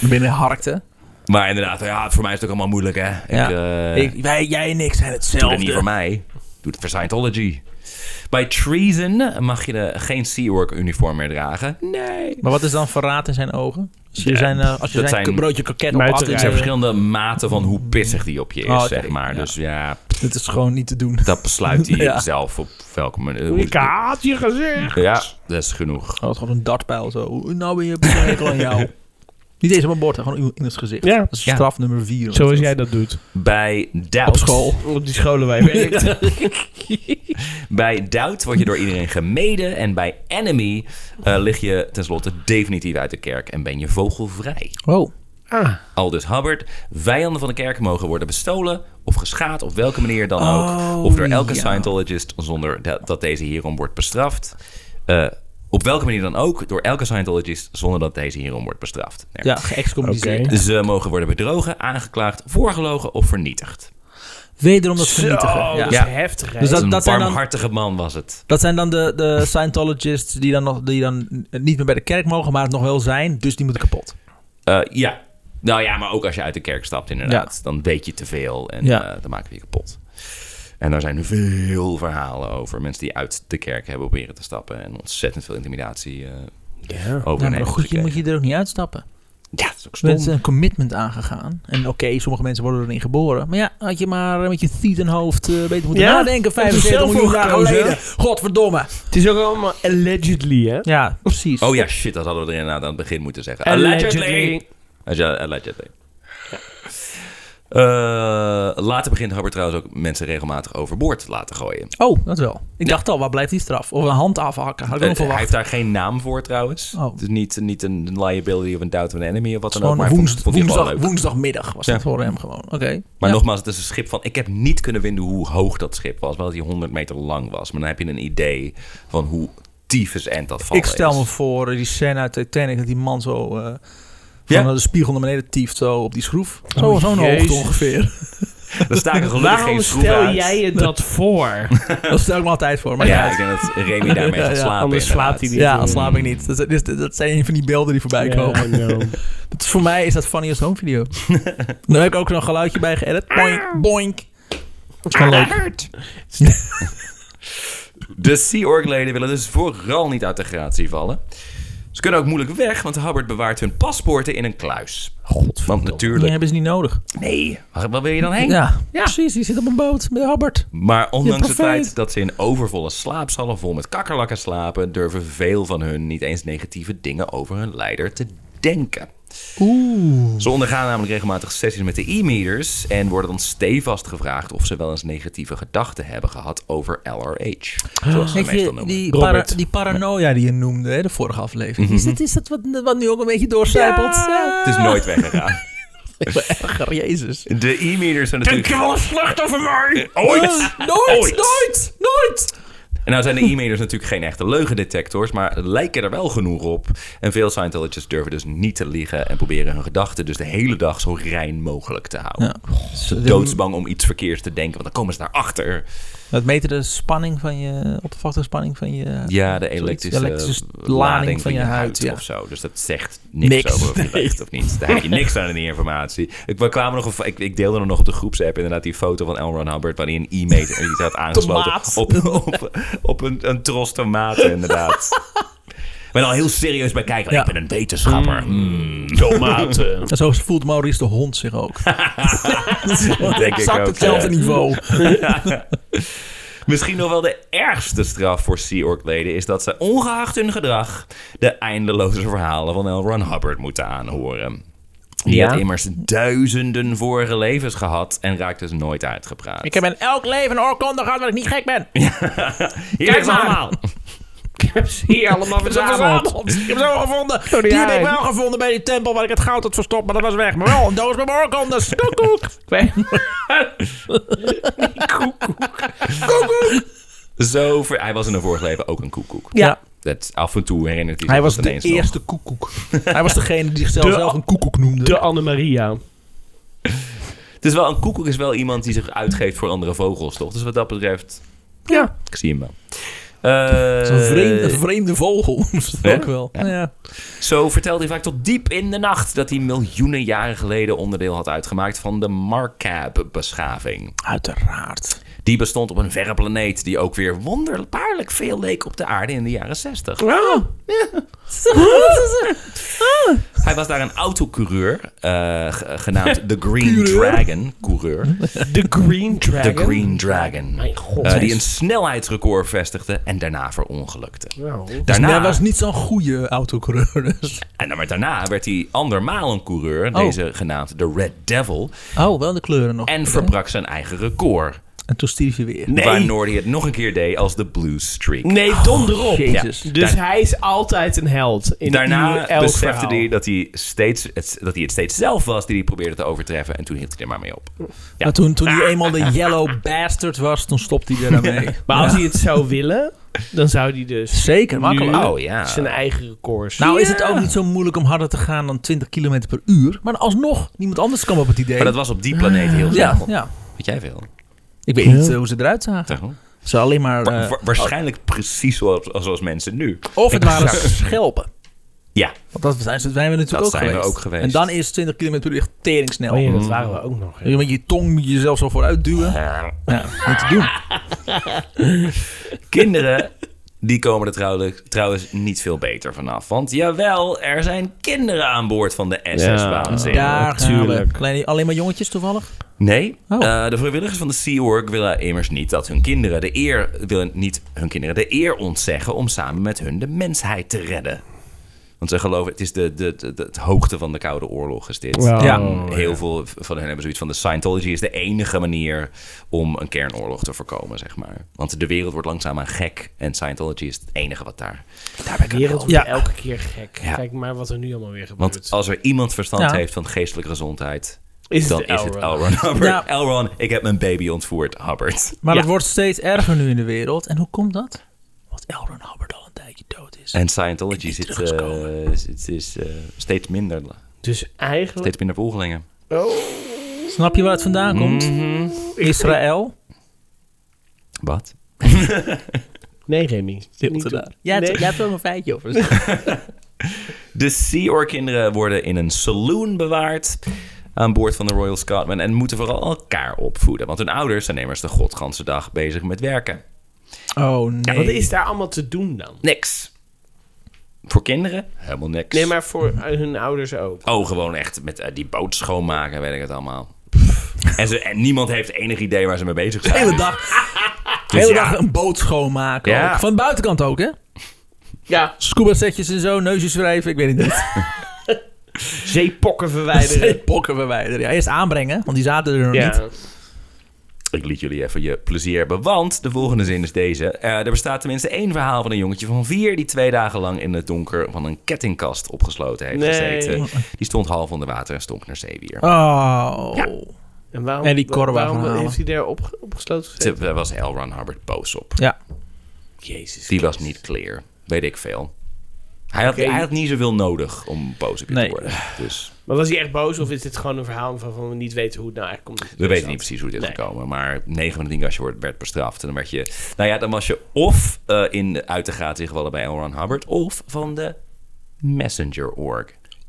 Speaker 2: Binnen harkte.
Speaker 4: Maar inderdaad, ja, voor mij is het ook allemaal moeilijk, hè. Ik,
Speaker 2: Ja.
Speaker 4: eh,
Speaker 2: Ik, wij, jij en ik zijn
Speaker 4: doe het niet voor
Speaker 2: hetzelfde.
Speaker 4: mij. Doe het voor Scientology. Bij treason mag je de, geen Sea Org uniform meer dragen. Nee.
Speaker 2: Maar wat is dan verraad in zijn ogen? Als je
Speaker 4: Ja,
Speaker 2: zijn, eh, als je
Speaker 4: dat
Speaker 2: zijn,
Speaker 4: zijn
Speaker 2: broodje kroket
Speaker 3: muiterij.
Speaker 2: opat,
Speaker 4: Er
Speaker 2: is,
Speaker 4: zijn
Speaker 2: eh,
Speaker 4: verschillende maten van hoe pissig die op je is,
Speaker 2: Oh, oké.
Speaker 4: zeg maar.
Speaker 2: Ja.
Speaker 4: Dus ja,
Speaker 2: dat is gewoon niet te doen.
Speaker 4: dat besluit hij
Speaker 2: Ja.
Speaker 4: zelf op welke manier.
Speaker 3: Ik haat je gezicht.
Speaker 4: Ja, dat is genoeg.
Speaker 2: Oh, het is gewoon een dartpijl zo. Nou ben je op de regel aan jou. Niet eens op mijn bord, hè, gewoon in- in het gezicht.
Speaker 3: Ja.
Speaker 2: Dat is
Speaker 4: Ja.
Speaker 2: straf nummer vier.
Speaker 3: Zoals jij dat doet.
Speaker 4: Bij Doubt.
Speaker 3: Op school. Op die scholen waar je werkt.
Speaker 4: Bij Doubt word je door iedereen gemeden. En bij Enemy eh, lig je tenslotte definitief uit de kerk en ben je vogelvrij.
Speaker 2: Oh,
Speaker 3: Ah.
Speaker 4: Aldus Hubbard, vijanden van de kerk mogen worden bestolen of geschaad op welke manier dan ook. Of door elke
Speaker 2: ja.
Speaker 4: Scientologist zonder dat, dat deze hierom wordt bestraft. Eh, op welke manier dan ook, door elke Scientologist zonder dat deze hierom wordt bestraft. Nou, Ja.
Speaker 2: ja, geëxcommuniceerd.
Speaker 3: Oké.
Speaker 4: Ze mogen worden bedrogen, aangeklaagd, voorgelogen of vernietigd.
Speaker 2: Wederom dat
Speaker 3: Zo,
Speaker 2: vernietigen.
Speaker 3: dat
Speaker 2: Ja.
Speaker 3: is
Speaker 4: Ja.
Speaker 3: heftig. hè.
Speaker 2: Dus dat-
Speaker 4: een
Speaker 2: zijn dan-
Speaker 4: barmhartige man was het.
Speaker 2: Dat zijn dan de, de Scientologists die dan, nog, die dan niet meer bij de kerk mogen, maar het nog wel zijn. Dus die moeten kapot.
Speaker 4: Eh, ja. Nou ja, maar ook als je uit de kerk stapt, inderdaad. Dan weet je te veel en
Speaker 2: Ja.
Speaker 4: eh, dan maak je je kapot. En daar zijn veel verhalen over. Mensen die uit de kerk hebben proberen te stappen. En ontzettend veel intimidatie eh, over
Speaker 2: Ja, Nou,
Speaker 4: hun
Speaker 2: maar
Speaker 4: heen
Speaker 2: goed, je moet
Speaker 4: gekregen.
Speaker 2: je er ook niet uitstappen.
Speaker 4: Ja, dat is ook
Speaker 2: Ze
Speaker 4: stom.
Speaker 2: hebben een commitment aangegaan. En oké, sommige mensen worden erin geboren. Maar ja, had je maar met je tietenhoofd eh beter moeten
Speaker 3: Ja?
Speaker 2: nadenken.
Speaker 3: Hebben ze
Speaker 2: 75
Speaker 3: zelf
Speaker 2: miljoen jaar
Speaker 3: voor gekozen,
Speaker 2: geleden. Godverdomme.
Speaker 3: Het is ook allemaal allegedly, hè?
Speaker 2: Ja, precies.
Speaker 4: Oh ja, shit, dat hadden we er inderdaad aan het begin moeten zeggen. Als je- Allegedly. Eh, later begint Hubbard trouwens ook mensen regelmatig overboord te laten gooien.
Speaker 2: Oh, dat wel. Ik dacht al, waar blijft die straf? Of een hand afhakken. Had ik ook nog
Speaker 4: Eh, hij
Speaker 2: verwacht.
Speaker 4: heeft daar geen naam voor trouwens.
Speaker 2: Oh.
Speaker 4: Het is niet, niet een liability of een doubt of an enemy of wat dan ook.
Speaker 2: Gewoon
Speaker 4: Maar hij
Speaker 2: woensd-
Speaker 4: vond, vond hij gewoon
Speaker 2: woensdag,
Speaker 4: leuk.
Speaker 2: woensdagmiddag was
Speaker 4: Ja.
Speaker 2: dat voor hem gewoon. Oké.
Speaker 4: Maar
Speaker 2: Ja.
Speaker 4: nogmaals, het is een schip van... Ik heb niet kunnen vinden hoe hoog dat schip was. Wel dat hij 100 meter lang was. Maar dan heb je een idee van hoe tyfus end dat vallen
Speaker 2: Ik stel
Speaker 4: is.
Speaker 2: me voor eh, die scène uit Titanic dat die man zo eh,
Speaker 4: Ja.
Speaker 2: van de spiegel naar beneden tieft zo op die schroef. Zo,
Speaker 3: Oh,
Speaker 2: zo'n
Speaker 3: jezus.
Speaker 2: hoogte ongeveer.
Speaker 4: Er staken gelukkig
Speaker 3: Waarom
Speaker 4: geen schroeven
Speaker 3: stel
Speaker 4: uit.
Speaker 3: jij je dat voor?
Speaker 2: dat stel ik me altijd voor. Maar
Speaker 4: Maar
Speaker 2: ja,
Speaker 4: ja, ik denk dat Remy daarmee
Speaker 2: Ja,
Speaker 4: gaat
Speaker 2: ja,
Speaker 4: slapen.
Speaker 3: anders slaapt hij
Speaker 4: inderdaad.
Speaker 3: niet.
Speaker 2: ja dan slaap ik niet. Dat, dat, dat zijn een van die beelden die voorbij komen.
Speaker 3: Ja, I know.
Speaker 2: Dat is- voor mij is dat Funniest Home Video. Daar heb ik ook zo'n geluidje bij geëdit. Boink, boink.
Speaker 3: Dat is wel leuk.
Speaker 4: De Sea Org-leden willen dus vooral niet uit de gratie vallen. Ze kunnen ook moeilijk weg, want Hubbard bewaart hun paspoorten in een kluis. Want
Speaker 2: Die
Speaker 4: natuurlijk...
Speaker 2: hebben ze niet nodig.
Speaker 4: Nee, waar waar wil je dan heen?
Speaker 2: Ja, precies. Die zit op een boot met Hubbard.
Speaker 4: Maar ondanks
Speaker 2: Je
Speaker 4: het
Speaker 2: profeet.
Speaker 4: feit dat ze in overvolle slaapzallen vol met kakkerlakken slapen, durven veel van hun niet eens negatieve dingen over hun leider te denken. Oeh. Ze ondergaan namelijk regelmatig sessies met de e-meters en worden dan stevast gevraagd of ze wel eens negatieve gedachten hebben gehad over LRH. Zoals ze
Speaker 2: Weet
Speaker 4: dat meestal
Speaker 2: je,
Speaker 4: noemen.
Speaker 2: die,
Speaker 3: Robert.
Speaker 2: para- die paranoia die je noemde, hè, de vorige aflevering. Is dat, is dat wat, wat nu ook een beetje doorcijpelt? Ja.
Speaker 4: Mhm. Het is nooit weggegaan.
Speaker 2: Erger, jezus. Eh,
Speaker 4: De e-meters zijn
Speaker 3: Ik
Speaker 4: natuurlijk...
Speaker 3: wil een slachtoffer mij!
Speaker 4: Ooit!
Speaker 2: Nooit,
Speaker 4: Ooit.
Speaker 2: nooit, nooit.
Speaker 4: En nou zijn de e-mailers natuurlijk geen echte leugendetectors, maar lijken er wel genoeg op. En veel Scientologists durven dus niet te liegen en proberen hun gedachten dus de hele dag zo rein mogelijk te houden. Ze
Speaker 2: dus-
Speaker 4: doodsbang om iets verkeers te denken, want dan komen ze daarachter.
Speaker 2: Het meten de spanning van je, oppervlakte spanning van je...
Speaker 4: Ja, de
Speaker 2: zoiets,
Speaker 4: elektrische, lading, van, je, huid,
Speaker 2: ja.
Speaker 4: of zo. Dus dat zegt niks,
Speaker 2: Niks,
Speaker 4: over of je
Speaker 2: nee.
Speaker 4: licht of niet. Daar heb je niks aan in die informatie. Ik, we kwamen nog, een- ik, ik deelde er nog op de groepsapp inderdaad die foto van Elron Ron Hubbard... waarin een e-meter en die had aangesloten
Speaker 2: Tomaat.
Speaker 4: op, op, op een, een tros tomaten inderdaad. Ik ben al heel serieus bij kijken.
Speaker 2: Ja.
Speaker 4: Ik ben een wetenschapper. Hmm.
Speaker 3: Tomaten.
Speaker 2: En zo voelt Maurice de hond zich ook.
Speaker 4: Dat denk ik
Speaker 2: Exact
Speaker 4: ook.
Speaker 2: hetzelfde
Speaker 4: ja.
Speaker 2: niveau.
Speaker 4: Misschien nog wel de ergste straf voor Sea Org-leden is dat ze, ongeacht hun gedrag, de eindeloze verhalen van L. Ron Hubbard moeten aanhoren. Die
Speaker 3: Ja.
Speaker 4: had immers duizenden vorige levens gehad en raakt dus nooit uitgepraat.
Speaker 2: Ik heb in elk leven een oorkonde gehad dat ik niet gek ben.
Speaker 4: Hier
Speaker 3: Kijk
Speaker 4: is
Speaker 3: maar.
Speaker 4: allemaal.
Speaker 3: Ik heb ze hier allemaal verzameld.
Speaker 2: Ik heb zo gevonden. Die
Speaker 3: ja,
Speaker 2: heb ik
Speaker 3: ja.
Speaker 2: wel gevonden bij die tempel waar ik het goud had verstopt, maar dat was weg. Maar wel een doos met mijn oorkondes. Koekoek.
Speaker 3: Ik weet-
Speaker 4: Zo ver- hij was in een vorige leven ook een koekoek.
Speaker 2: Ja,
Speaker 4: Dat, af en toe herinnert hij zich
Speaker 2: hij was
Speaker 4: dat
Speaker 2: de
Speaker 4: ineens nog.
Speaker 2: eerste koekoek. Hij was degene die zichzelf
Speaker 3: De-
Speaker 2: zelf een koekoek noemde.
Speaker 3: De Annemaria.
Speaker 4: Het is wel, een koekoek is wel iemand die zich uitgeeft voor andere vogels, toch? Dus wat dat betreft,
Speaker 3: Ja.
Speaker 4: ik zie hem wel. Eh,
Speaker 2: Zo'n vreemde, vreemde vogel. Moest het
Speaker 4: Ja?
Speaker 2: ook wel.
Speaker 4: Ja.
Speaker 2: Ja.
Speaker 4: Zo vertelde hij vaak tot diep in de nacht dat hij miljoenen jaren geleden onderdeel had uitgemaakt van de Markab-beschaving.
Speaker 2: Uiteraard.
Speaker 4: Die bestond op een verre planeet die ook weer wonderbaarlijk veel leek op de aarde in de jaren 60.
Speaker 3: Ah,
Speaker 4: Hij was daar een autocoureur eh, g- genaamd The Green Dragon. Coureur.
Speaker 3: De Green Dragon.
Speaker 4: The Green Dragon.
Speaker 3: Mijn god.
Speaker 4: Eh, die een snelheidsrecord vestigde en daarna verongelukte.
Speaker 3: Nou.
Speaker 4: Daarna,
Speaker 2: Hij was niet zo'n goede autocoureur. Dus.
Speaker 4: en dan, maar daarna werd hij andermaal een coureur,
Speaker 2: Oh.
Speaker 4: deze genaamd de Red Devil,
Speaker 2: Oh, wel de kleuren nog.
Speaker 4: en verbrak zijn eigen record.
Speaker 2: En toen stierf je weer.
Speaker 3: Nee.
Speaker 4: Waardoor hij het nog een keer deed als de Blue Streak.
Speaker 3: Nee, donderop.
Speaker 2: Jezus.
Speaker 3: Ja. Oh, Dus
Speaker 4: Daar-
Speaker 3: hij is altijd een held. In
Speaker 4: Daarna
Speaker 3: elk
Speaker 4: besefte
Speaker 3: verhaal.
Speaker 4: hij dat hij, steeds, het, dat hij het steeds zelf was die hij probeerde te overtreffen. En toen hield hij er maar mee op.
Speaker 2: Maar toen, toen hij eenmaal de yellow bastard was, toen stopte hij er aan mee.
Speaker 3: Maar als hij het zou willen, dan zou hij dus
Speaker 2: Zeker, makkelijk.
Speaker 4: Oh ja.
Speaker 3: zijn eigen records.
Speaker 2: Nou is het ook niet zo moeilijk om harder te gaan dan 20 km per uur. Maar alsnog, niemand anders kwam op het idee.
Speaker 4: Maar dat was op die planeet
Speaker 3: Ah,
Speaker 4: heel
Speaker 2: ja,
Speaker 4: snel.
Speaker 2: ja.
Speaker 4: Weet jij veel?
Speaker 2: Ik weet niet eh, hoe ze eruit zagen.
Speaker 4: Daarom.
Speaker 2: Ze alleen maar...
Speaker 4: Wa-
Speaker 2: eh,
Speaker 4: wa- waarschijnlijk precies zoals, zoals mensen nu.
Speaker 2: of het waren
Speaker 4: Exact.
Speaker 2: schelpen.
Speaker 4: Ja,
Speaker 2: Want dat zijn, dat zijn we natuurlijk
Speaker 4: Dat
Speaker 2: ook,
Speaker 4: zijn we
Speaker 2: geweest.
Speaker 4: ook geweest.
Speaker 2: En dan is 20 km per uur echt teringsnel.
Speaker 3: Oh ja, dat waren we ook nog. ja.
Speaker 2: Je Met je tong moet je jezelf zo vooruit duwen.
Speaker 4: Eh,
Speaker 2: Ja, niet te doen.
Speaker 4: kinderen. Die komen er trouwens, trouwens niet veel beter vanaf. Want jawel, er zijn kinderen aan boord van de SS-waanzin.
Speaker 2: Daar gaan we.
Speaker 3: tuurlijk.
Speaker 2: Kleine, alleen maar jongetjes toevallig?
Speaker 4: Nee,
Speaker 2: Oh.
Speaker 4: eh, de vrijwilligers van de Sea Org willen immers niet dat hun kinderen de eer willen niet hun kinderen de eer ontzeggen om samen met hun de mensheid te redden. Want ze geloven, het is de, de, de, de- het hoogte van de Koude Oorlog is dit.
Speaker 3: Wow.
Speaker 2: Ja.
Speaker 4: En Heel veel van hen hebben zoiets van de Scientology is de enige manier om een kernoorlog te voorkomen, zeg maar. Want de wereld wordt langzaamaan gek en Scientology is het enige wat daar, daarbij
Speaker 3: De
Speaker 4: kan
Speaker 3: wereld
Speaker 4: helpen.
Speaker 2: Ja.
Speaker 3: wordt elke keer gek.
Speaker 4: Ja.
Speaker 3: Kijk maar wat er nu allemaal weer gebeurt.
Speaker 4: Want als er iemand verstand
Speaker 2: Ja.
Speaker 4: heeft van geestelijke gezondheid,
Speaker 3: Is
Speaker 4: dan
Speaker 3: het
Speaker 4: is
Speaker 3: Elron.
Speaker 4: het Elron Hubbard.
Speaker 2: Ja.
Speaker 4: Elron, ik heb mijn baby ontvoerd, Hubbard.
Speaker 2: Maar
Speaker 3: Ja.
Speaker 2: het wordt steeds erger nu in de wereld. En hoe komt dat? Want Elron Hubbard al een tijdje dood is.
Speaker 4: En Scientology
Speaker 2: En die
Speaker 4: zit,
Speaker 2: terug is
Speaker 4: eh,
Speaker 2: komen.
Speaker 4: is- het is eh, steeds minder,
Speaker 3: dus eigenlijk...
Speaker 4: steeds minder volgelingen.
Speaker 2: Snap je waar het vandaan komt?
Speaker 4: Mhm.
Speaker 2: Israël?
Speaker 4: Wat?
Speaker 3: Nee, Remy. Niet doen.
Speaker 2: Ja,
Speaker 3: Nee.
Speaker 2: hebt wel een feitje over.
Speaker 4: De Sea Org kinderen worden in een saloon bewaard aan boord van de Royal Scotsman en moeten vooral elkaar opvoeden, want hun ouders zijn immers de godganse dag bezig met werken.
Speaker 2: Oh nee.
Speaker 3: Wat is daar allemaal te doen dan?
Speaker 4: Niks. Voor kinderen? Helemaal niks.
Speaker 3: Nee, maar voor eh, hun ouders ook.
Speaker 4: Oh, gewoon echt met eh, die boot schoonmaken, weet ik het allemaal. En, ze, en niemand heeft enig idee waar ze mee bezig zijn.
Speaker 2: de hele dag, de
Speaker 4: Dus
Speaker 2: hele
Speaker 4: ja.
Speaker 2: dag een boot schoonmaken.
Speaker 4: Ja.
Speaker 2: ook. Van de buitenkant ook, hè?
Speaker 3: Ja,
Speaker 2: Scuba setjes en zo, neusjes wrijven, ik weet het niet.
Speaker 3: zeepokken verwijderen.
Speaker 2: Pokken verwijderen. Ja, eerst aanbrengen, want die zaten er nog niet.
Speaker 3: ja.
Speaker 4: Ik liet jullie even je plezier hebben, want de volgende zin is deze. Eh, er bestaat tenminste één verhaal van een jongetje van vier... die twee dagen lang in het donker van een kettingkast opgesloten heeft
Speaker 3: Nee.
Speaker 4: gezeten. Die stond half onder water en stonk naar zeewier.
Speaker 2: Oh.
Speaker 3: En, waarom,
Speaker 2: En die korwa
Speaker 3: waarom
Speaker 2: gaan halen.
Speaker 3: heeft hij daar op, opgesloten gezeten?
Speaker 4: Daar was L. Ron Hubbard boos op.
Speaker 2: Ja.
Speaker 3: Jezus.
Speaker 4: Die was niet clear. Weet ik veel. Hij had, hij had niet zoveel nodig om boos op je
Speaker 2: Nee.
Speaker 4: te worden. Dus
Speaker 3: Maar was hij echt boos of is dit gewoon een verhaal van, van we niet weten hoe het nou eigenlijk komt?
Speaker 4: we weten niet precies hoe dit is
Speaker 3: Nee.
Speaker 4: gekomen. Maar 9 van de 10 als je wordt- werd bestraft. En dan werd je... Nou ja, dan was je of eh, in de, uit de gaten gevallen bij L. Ron Hubbard... of van de Messenger Org.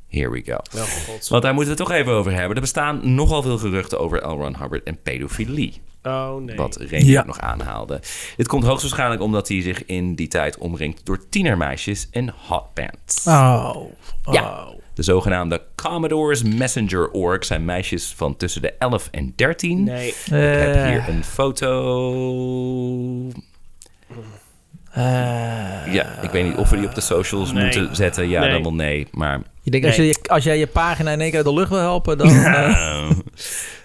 Speaker 4: Here we go.
Speaker 3: Wel god.
Speaker 4: Want daar moeten we het toch even over hebben. Er bestaan nogal veel geruchten over L. Ron Hubbard en pedofilie.
Speaker 3: Oh nee.
Speaker 4: Wat Remy
Speaker 2: Ja.
Speaker 4: ook nog aanhaalde. Dit komt hoogstwaarschijnlijk omdat hij zich in die tijd omringt door tienermeisjes en hotpants.
Speaker 2: Oh.
Speaker 4: Ja. De zogenaamde Commodores Messenger Org zijn meisjes van tussen de 11 en 13.
Speaker 3: Nee.
Speaker 4: Ik heb
Speaker 2: Eh.
Speaker 4: hier een foto. Eh, ja, ik weet niet of we die op de socials
Speaker 3: Nee.
Speaker 4: moeten zetten. Ja,
Speaker 3: Nee.
Speaker 4: dan wel nee. Maar
Speaker 2: Je denkt, als,
Speaker 3: Nee.
Speaker 2: je, als jij je pagina in één keer uit de lucht wil helpen, dan... eh,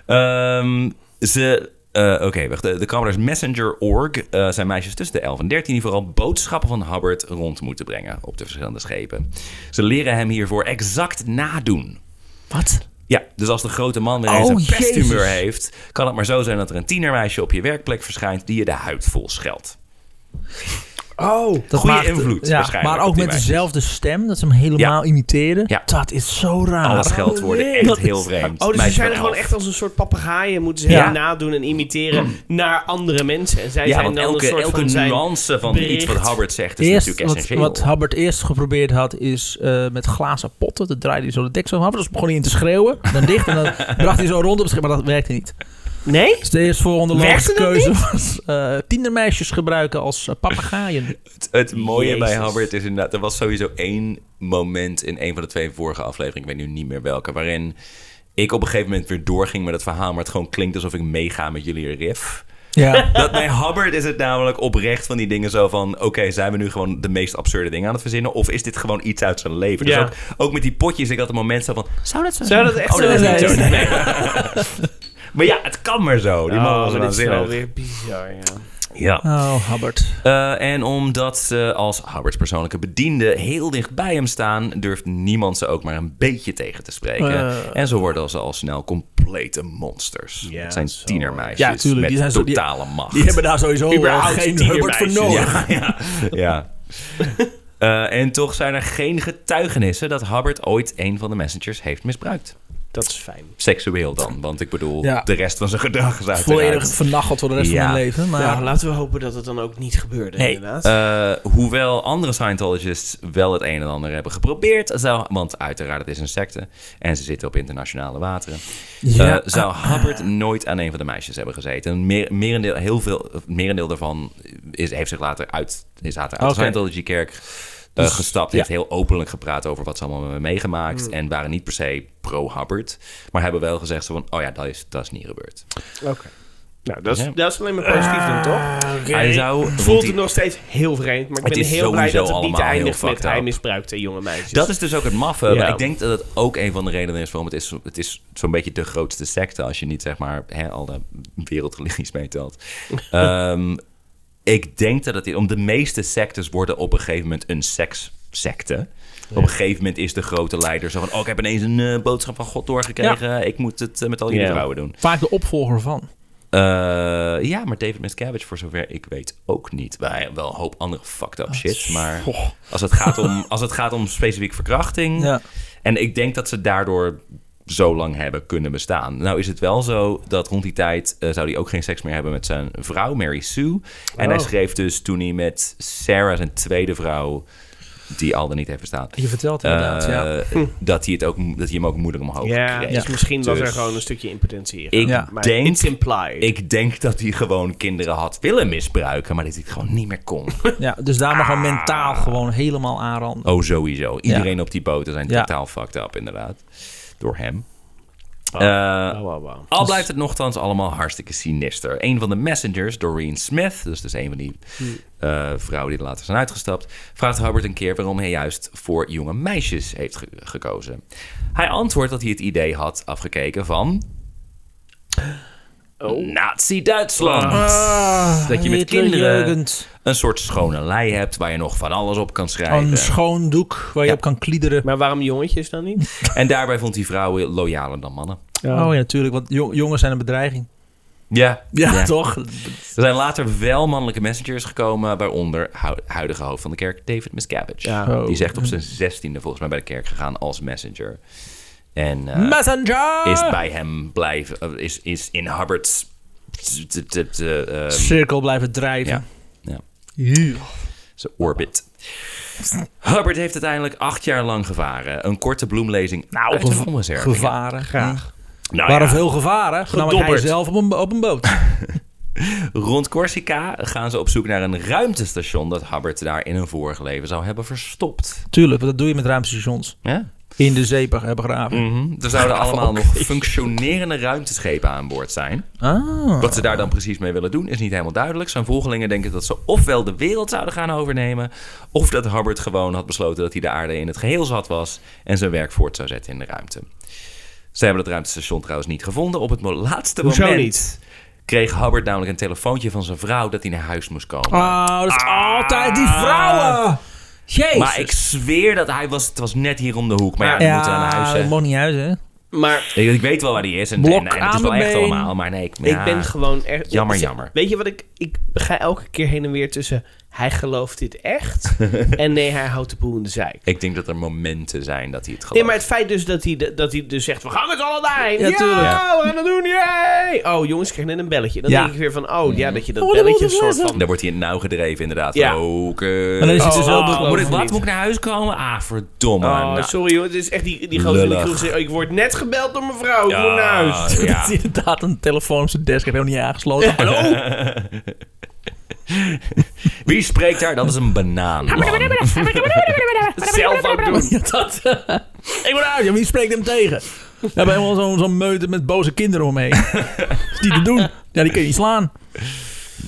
Speaker 4: Ehm, ze. eh, Oké, wacht. De, de Commodores Messenger Org eh, zijn meisjes tussen de 11 en 13 die vooral boodschappen van Hubbard rond moeten brengen op de verschillende schepen. Ze leren hem hiervoor exact nadoen.
Speaker 2: Wat?
Speaker 4: Ja, dus als de grote man weer
Speaker 2: Oh,
Speaker 4: eens een pesthumeur
Speaker 2: Jezus.
Speaker 4: heeft, kan het maar zo zijn dat er een tienermeisje op je werkplek verschijnt die je de huid vol scheldt.
Speaker 3: Oh.
Speaker 2: Dat
Speaker 4: Goeie
Speaker 2: maakt-
Speaker 4: invloed
Speaker 2: Ja,
Speaker 4: waarschijnlijk
Speaker 2: maar
Speaker 4: op
Speaker 2: ook
Speaker 4: die
Speaker 2: met
Speaker 4: meisjes.
Speaker 2: dezelfde stem, dat ze hem helemaal
Speaker 4: Ja.
Speaker 2: imiteren.
Speaker 4: Ja.
Speaker 2: Dat is zo raar.
Speaker 4: Alle scheldwoorden,
Speaker 3: nee.
Speaker 4: echt
Speaker 2: Dat
Speaker 4: heel
Speaker 2: is-
Speaker 4: vreemd.
Speaker 3: Oh, dus ze
Speaker 4: Meisje
Speaker 3: zijn er
Speaker 4: van
Speaker 3: gewoon
Speaker 4: 11.
Speaker 3: echt als een soort papegaaien moeten ze
Speaker 2: Ja.
Speaker 3: hem nadoen en imiteren naar andere mensen. En zij
Speaker 4: Ja,
Speaker 3: zijn
Speaker 4: want
Speaker 3: dan
Speaker 4: elke,
Speaker 3: een soort
Speaker 4: elke
Speaker 3: van zijn...
Speaker 4: nuance van iets wat
Speaker 3: bericht.
Speaker 4: Hubbard zegt is
Speaker 2: Eerst,
Speaker 4: natuurlijk
Speaker 2: wat,
Speaker 4: essentieel.
Speaker 2: wat Hubbard eerst geprobeerd had, is eh, met glazen potten. Dat draaide hij zo de deksel van. Dus begon hij in te schreeuwen. Dan dicht en dan bracht hij zo rond op het schip. Maar dat werkte niet.
Speaker 3: Nee?
Speaker 2: Dus de eerstvolgende
Speaker 3: Werkte
Speaker 2: logische
Speaker 3: dat
Speaker 2: keuze was eh, tienermeisjes gebruiken als eh, papegaaien.
Speaker 4: Het, het mooie bij
Speaker 3: Jezus.
Speaker 4: Halbert is inderdaad... Er was sowieso één moment in een van de twee vorige afleveringen... ik weet nu niet meer welke... waarin ik op een gegeven moment weer doorging met het verhaal... maar het gewoon klinkt alsof ik meega met jullie riff.
Speaker 2: Ja.
Speaker 4: Dat bij Hubbard is het namelijk oprecht van die dingen zo van... oké, zijn we nu gewoon de meest absurde dingen aan het verzinnen... of is dit gewoon iets uit zijn leven?
Speaker 3: Ja.
Speaker 4: Dus ook, ook met die potjes, ik had een moment zo van... zou dat zo
Speaker 3: Zou dat echt
Speaker 4: Oh, dat is
Speaker 3: zo
Speaker 4: niet
Speaker 3: zijn?
Speaker 4: zo. Nee. maar ja, het kan maar zo. Die man was
Speaker 3: maar dit is wel
Speaker 4: waanzinnig.
Speaker 3: weer bizar, ja.
Speaker 4: Ja.
Speaker 2: Oh, Hubbard.
Speaker 4: Eh, en omdat ze als Hubbards persoonlijke bediende heel dicht bij hem staan, durft niemand ze ook maar een beetje tegen te spreken.
Speaker 2: Eh.
Speaker 4: en zo worden ze al snel complete monsters.
Speaker 3: Ja,
Speaker 4: het zijn
Speaker 3: zo.
Speaker 4: tienermeisjes
Speaker 2: Ja, tuurlijk,
Speaker 4: met
Speaker 2: die zijn zo- die-
Speaker 4: totale macht.
Speaker 2: Die hebben daar sowieso eh,
Speaker 3: Überhaupt
Speaker 2: geen Hubbard voor
Speaker 3: tienermeisjes,
Speaker 2: nodig.
Speaker 4: ja, ja. ja. Eh, en toch zijn er geen getuigenissen dat Hubbard ooit een van de messengers heeft misbruikt.
Speaker 3: Dat is fijn.
Speaker 4: Seksueel dan, want ik bedoel,
Speaker 2: Ja.
Speaker 4: de rest van zijn gedrag is uiteraard
Speaker 2: Volledig vernacheld voor de rest
Speaker 4: Ja.
Speaker 2: van hun leven. Maar
Speaker 3: nou, laten we hopen dat het dan ook niet gebeurde, inderdaad.
Speaker 4: Eh, hoewel andere Scientologists wel het een en ander hebben geprobeerd, zou, want uiteraard het is een secte en ze zitten op internationale wateren,
Speaker 2: Ja.
Speaker 4: eh, zou Hubbard nooit aan een van de meisjes hebben gezeten. Een Meer, merendeel, heel veel, het merendeel daarvan is, heeft zich later uit, is later uit
Speaker 2: Oké. Dus,
Speaker 4: de Scientology-kerk eh, gestapt. Heeft heel openlijk gepraat over wat ze allemaal hebben meegemaakt
Speaker 3: Hmm.
Speaker 4: en waren niet per se pro-Hubbard, maar hebben wel gezegd zo van, oh ja, dat is, dat is niet gebeurd.
Speaker 3: Oké. Nou, dat is,
Speaker 4: Ja.
Speaker 3: dat is alleen maar positief dan, toch?
Speaker 4: Hij zou...
Speaker 3: Voelt het nog steeds heel vreemd, maar ik
Speaker 4: Het
Speaker 3: ben
Speaker 4: is
Speaker 3: heel blij
Speaker 4: sowieso
Speaker 3: dat het niet
Speaker 4: allemaal heel
Speaker 3: eindigt met
Speaker 4: fucked
Speaker 3: hij
Speaker 4: up.
Speaker 3: misbruikte jonge meisjes.
Speaker 4: Dat is dus ook het maffe.
Speaker 3: Ja.
Speaker 4: Maar ik denk dat het ook een van de redenen is waarom het is. Het is zo'n beetje de grootste secte als je niet zeg maar hè, al de wereldreligies meetelt. Ehm, ik denk dat het om de meeste sectes worden op een gegeven moment een sekssecte. Op een gegeven moment is de grote leider zo van: Oh, ik heb ineens een eh, boodschap van God doorgekregen. Ik moet het eh, met al jullie
Speaker 3: Ja.
Speaker 4: vrouwen doen.
Speaker 2: vaak de opvolger van.
Speaker 4: Eh, ja, maar David Miscavige, voor zover ik weet, ook niet. Wij wel een hoop andere fucked
Speaker 2: Ah,
Speaker 4: up shit. Maar als het, gaat om, als het gaat om specifiek verkrachting.
Speaker 2: Ja.
Speaker 4: En ik denk dat ze daardoor zo lang hebben kunnen bestaan. Nou is het wel zo dat rond die tijd eh, zou hij ook geen seks meer hebben met zijn vrouw, Mary Sue. En
Speaker 2: Oh.
Speaker 4: hij schreef dus toen hij met Sarah, zijn tweede vrouw, die al dan niet heeft bestaan.
Speaker 2: Je vertelt inderdaad, ja. Hm.
Speaker 4: eh, dat, hij het ook, dat hij hem ook moeilijk omhoog
Speaker 3: ja,
Speaker 4: kreeg.
Speaker 3: dus misschien was er
Speaker 4: Dus-
Speaker 3: gewoon een stukje impotentie hier.
Speaker 4: Ik
Speaker 2: Ja.
Speaker 3: maar
Speaker 4: denk...
Speaker 3: it's implied.
Speaker 4: Ik denk dat hij gewoon kinderen had willen misbruiken, maar dat hij het gewoon niet meer kon.
Speaker 2: ja. Dus daar mag hij mentaal gewoon helemaal aanranden.
Speaker 4: Oh, sowieso. Iedereen op die boten zijn
Speaker 2: Ja.
Speaker 4: totaal fucked up, inderdaad. Door hem.
Speaker 3: Wow.
Speaker 4: Eh,
Speaker 3: Wow, wow, wow.
Speaker 4: Al blijft het nogthans allemaal hartstikke sinister. Een van de messengers, Doreen Smith, dus, dus een van die
Speaker 2: Hm.
Speaker 4: eh, vrouwen die er later zijn uitgestapt, vraagt Hubbard een keer waarom hij juist voor jonge meisjes heeft ge- gekozen. Hij antwoordt dat hij het idee had afgekeken van.
Speaker 2: Oh.
Speaker 4: Nazi-Duitsland. Oh.
Speaker 2: Ah,
Speaker 4: dat je met kinderen
Speaker 2: Hitlerjugend.
Speaker 4: een soort schone lei hebt waar je nog van alles op kan schrijven.
Speaker 2: Een schoon doek waar je op kan kliederen.
Speaker 3: Maar waarom jongetjes dan niet?
Speaker 4: En daarbij vond hij vrouwen loyaler dan mannen.
Speaker 2: Oh ja, natuurlijk. Want jong- jongens zijn een bedreiging.
Speaker 4: Ja,
Speaker 2: Ja, toch?
Speaker 4: Er zijn later wel mannelijke messengers gekomen, waaronder hu- huidige hoofd van de kerk, David Miscavige.
Speaker 3: Ja.
Speaker 2: Oh.
Speaker 4: Die zegt op zijn zestiende volgens mij bij de kerk gegaan als messenger. En eh,
Speaker 2: Messenger!
Speaker 4: is bij hem blijven, eh, is, is in Hubbard's... t- t- t- eh,
Speaker 2: Cirkel blijven drijven.
Speaker 4: ja, ja,
Speaker 2: Ja.
Speaker 4: zijn orbit. Hubbard heeft uiteindelijk acht jaar lang gevaren. Een korte bloemlezing nou, uit de vomreserve.
Speaker 2: Gevaren. Graag.
Speaker 4: Nou
Speaker 2: Waren
Speaker 4: ja.
Speaker 2: veel gevaren. Namelijk hij
Speaker 3: Gedobberd.
Speaker 2: zelf op een, op een boot.
Speaker 4: Rond Corsica gaan ze op zoek naar een ruimtestation dat Hubbard daar in een vorig leven zou hebben verstopt.
Speaker 2: Tuurlijk, want dat doe je met ruimtestations.
Speaker 4: Ja?
Speaker 2: In de zee hebben graven.
Speaker 4: Mhm. Er zouden allemaal nog functionerende ruimteschepen aan boord zijn.
Speaker 3: Oh.
Speaker 2: Ah.
Speaker 4: Wat ze daar dan precies mee willen doen is niet helemaal duidelijk. Zijn volgelingen denken dat ze ofwel de wereld zouden gaan overnemen... of dat Hubbard gewoon had besloten dat hij de aarde in het geheel zat was... en zijn werk voort zou zetten in de ruimte. Ze hebben het ruimtestation trouwens niet gevonden. Op het mo- laatste
Speaker 3: Hoezo
Speaker 4: moment
Speaker 3: niet?
Speaker 4: kreeg Hubbard namelijk een telefoontje van zijn vrouw... dat hij naar huis moest komen.
Speaker 3: Ah.
Speaker 2: Oh, dat is altijd die vrouwen. Jezus.
Speaker 4: Ah. maar ik zweer dat hij was... Het was net hier om de hoek, maar ja, we moeten
Speaker 2: ja,
Speaker 4: naar huis.
Speaker 2: het
Speaker 4: hè.
Speaker 2: mag niet uit, hè?
Speaker 3: Maar
Speaker 4: Ik, ik weet wel waar die is en,
Speaker 2: Blok
Speaker 4: en, en het is
Speaker 2: aan
Speaker 4: wel
Speaker 2: mijn
Speaker 4: echt
Speaker 2: been.
Speaker 4: allemaal, maar nee. Ik, ja.
Speaker 3: ik ben gewoon echt...
Speaker 4: Jammer, jammer.
Speaker 3: Weet je wat ik... Ik ga elke keer heen en weer tussen hij gelooft dit echt. en nee, hij houdt de boel in de zeik.
Speaker 4: Ik denk dat er momenten zijn dat hij het gelooft.
Speaker 3: Nee, maar het feit dus dat hij, de- dat hij dus zegt, we gaan met z'n allen daarheen. Ja,
Speaker 2: Ja, tuurlijk.
Speaker 3: we gaan het doen, yay! Oh, jongens, ik krijg net een belletje. Dan
Speaker 2: Ja.
Speaker 3: denk ik weer van, oh, ja, dat je dat belletje een soort van...
Speaker 4: Daar wordt hij in het nauw gedreven, inderdaad.
Speaker 3: Ja.
Speaker 4: Roken.
Speaker 2: Maar dan is het dus wel
Speaker 4: Oh,
Speaker 2: dat-
Speaker 4: moet ik, wat,
Speaker 3: niet.
Speaker 4: moet ik naar huis komen? Ah, verdomme.
Speaker 3: Oh,
Speaker 4: Nou,
Speaker 3: sorry hoor, het is echt die, die gozer in de
Speaker 4: Lullig.
Speaker 3: kroeg zegt, oh, ik word net gebeld door mevrouw, ik
Speaker 4: ja,
Speaker 3: moet naar huis.
Speaker 2: Dat
Speaker 4: ja.
Speaker 2: is inderdaad een telefoon op zijn desk. Heb helemaal niet aangesloten. Hallo?
Speaker 4: Wie spreekt daar? Dat is een banaan. man.
Speaker 3: Zelf ook doen.
Speaker 2: Ja, dat. eh. ik ben uit. Ja, wie spreekt hem tegen? We hebben helemaal zo'n zo'n meute met boze kinderen omheen. Dat is niet te doen. Ja, die kun je niet slaan.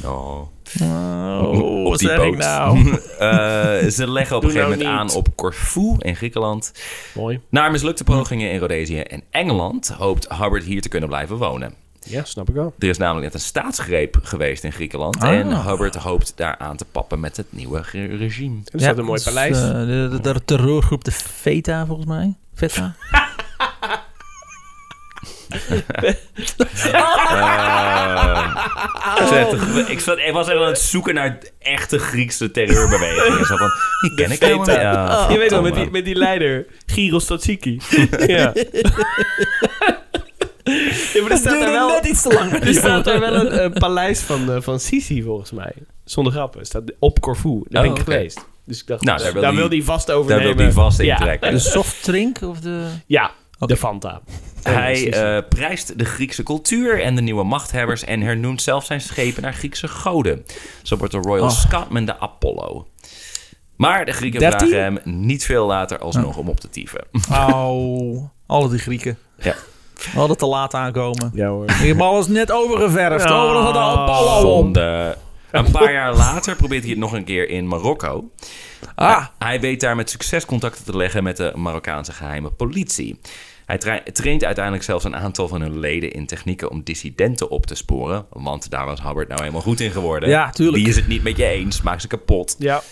Speaker 4: Oh.
Speaker 2: Oh,
Speaker 4: op
Speaker 2: wat
Speaker 4: die
Speaker 2: zeg
Speaker 4: boot.
Speaker 2: ik nou?
Speaker 4: Eh, ze leggen op een
Speaker 3: Doe nou
Speaker 4: gegeven moment aan
Speaker 3: niet.
Speaker 4: op Corfu in Griekenland.
Speaker 3: Mooi.
Speaker 4: Na mislukte pogingen in Rhodesië en Engeland hoopt Hubbard hier te kunnen blijven wonen.
Speaker 3: Ja, snap ik wel.
Speaker 4: Er is namelijk net een staatsgreep geweest in Griekenland.
Speaker 2: Ah.
Speaker 4: En Hubbard hoopt daar aan te pappen met het nieuwe ge- regime.
Speaker 3: Er staat een mooi paleis.
Speaker 2: eh, de, de, de terreurgroep de Veta, volgens mij. Veta?
Speaker 3: Oh.
Speaker 4: Zette ge- Ik, zat, ik was even aan het zoeken naar echte Griekse terreurbewegingen. Ik zat van, die ken ik helemaal niet. Ja,
Speaker 3: Je weet wel, met die,
Speaker 4: verdomme.
Speaker 3: met die leider, Giros Tatsiki. ja. ja, maar er staat daar wel,
Speaker 2: net iets te lang.
Speaker 3: er staat daar wel een eh, paleis van, eh, van Sisi, volgens mij. Zonder grappen. Staat op Corfu. Daar ben
Speaker 4: Oh,
Speaker 3: ik
Speaker 4: oké.
Speaker 3: geweest. Dus ik dacht,
Speaker 4: Nou,
Speaker 3: daar,
Speaker 4: daar wil
Speaker 3: wil
Speaker 4: die-
Speaker 3: hij vast
Speaker 4: Daar
Speaker 3: overnemen.
Speaker 4: wil hij vast in
Speaker 3: Ja. Dus
Speaker 4: trekken.
Speaker 2: De soft drink of de...
Speaker 3: Ja,
Speaker 2: Oké.
Speaker 3: de Fanta. Oh,
Speaker 4: Hij
Speaker 3: Precies.
Speaker 4: eh, prijst de Griekse cultuur en de nieuwe machthebbers en hernoemt zelf zijn schepen naar Griekse goden. Zo wordt de Royal
Speaker 2: Oh.
Speaker 4: Scotman de Apollo. Maar de Grieken
Speaker 2: Dertien?
Speaker 4: vragen hem niet veel later alsnog om op te tieven.
Speaker 2: Au. Alle die Grieken.
Speaker 4: Ja.
Speaker 2: We hadden te laat aankomen.
Speaker 3: Ja hoor.
Speaker 2: Ik heb alles net overgeverfd.
Speaker 3: Ja.
Speaker 2: Overal had de
Speaker 4: Oh.
Speaker 2: Apollo om.
Speaker 4: Zonde. Een paar jaar later probeert hij het nog een keer in Marokko.
Speaker 2: Ah.
Speaker 4: Hij weet daar met succes contacten te leggen met de Marokkaanse geheime politie. Hij tra- traint uiteindelijk zelfs een aantal van hun leden in technieken om dissidenten op te sporen. Want daar was Hubbard nou helemaal goed in geworden.
Speaker 2: Ja, tuurlijk.
Speaker 4: Die is het niet met je eens, maakt ze kapot.
Speaker 3: Ja.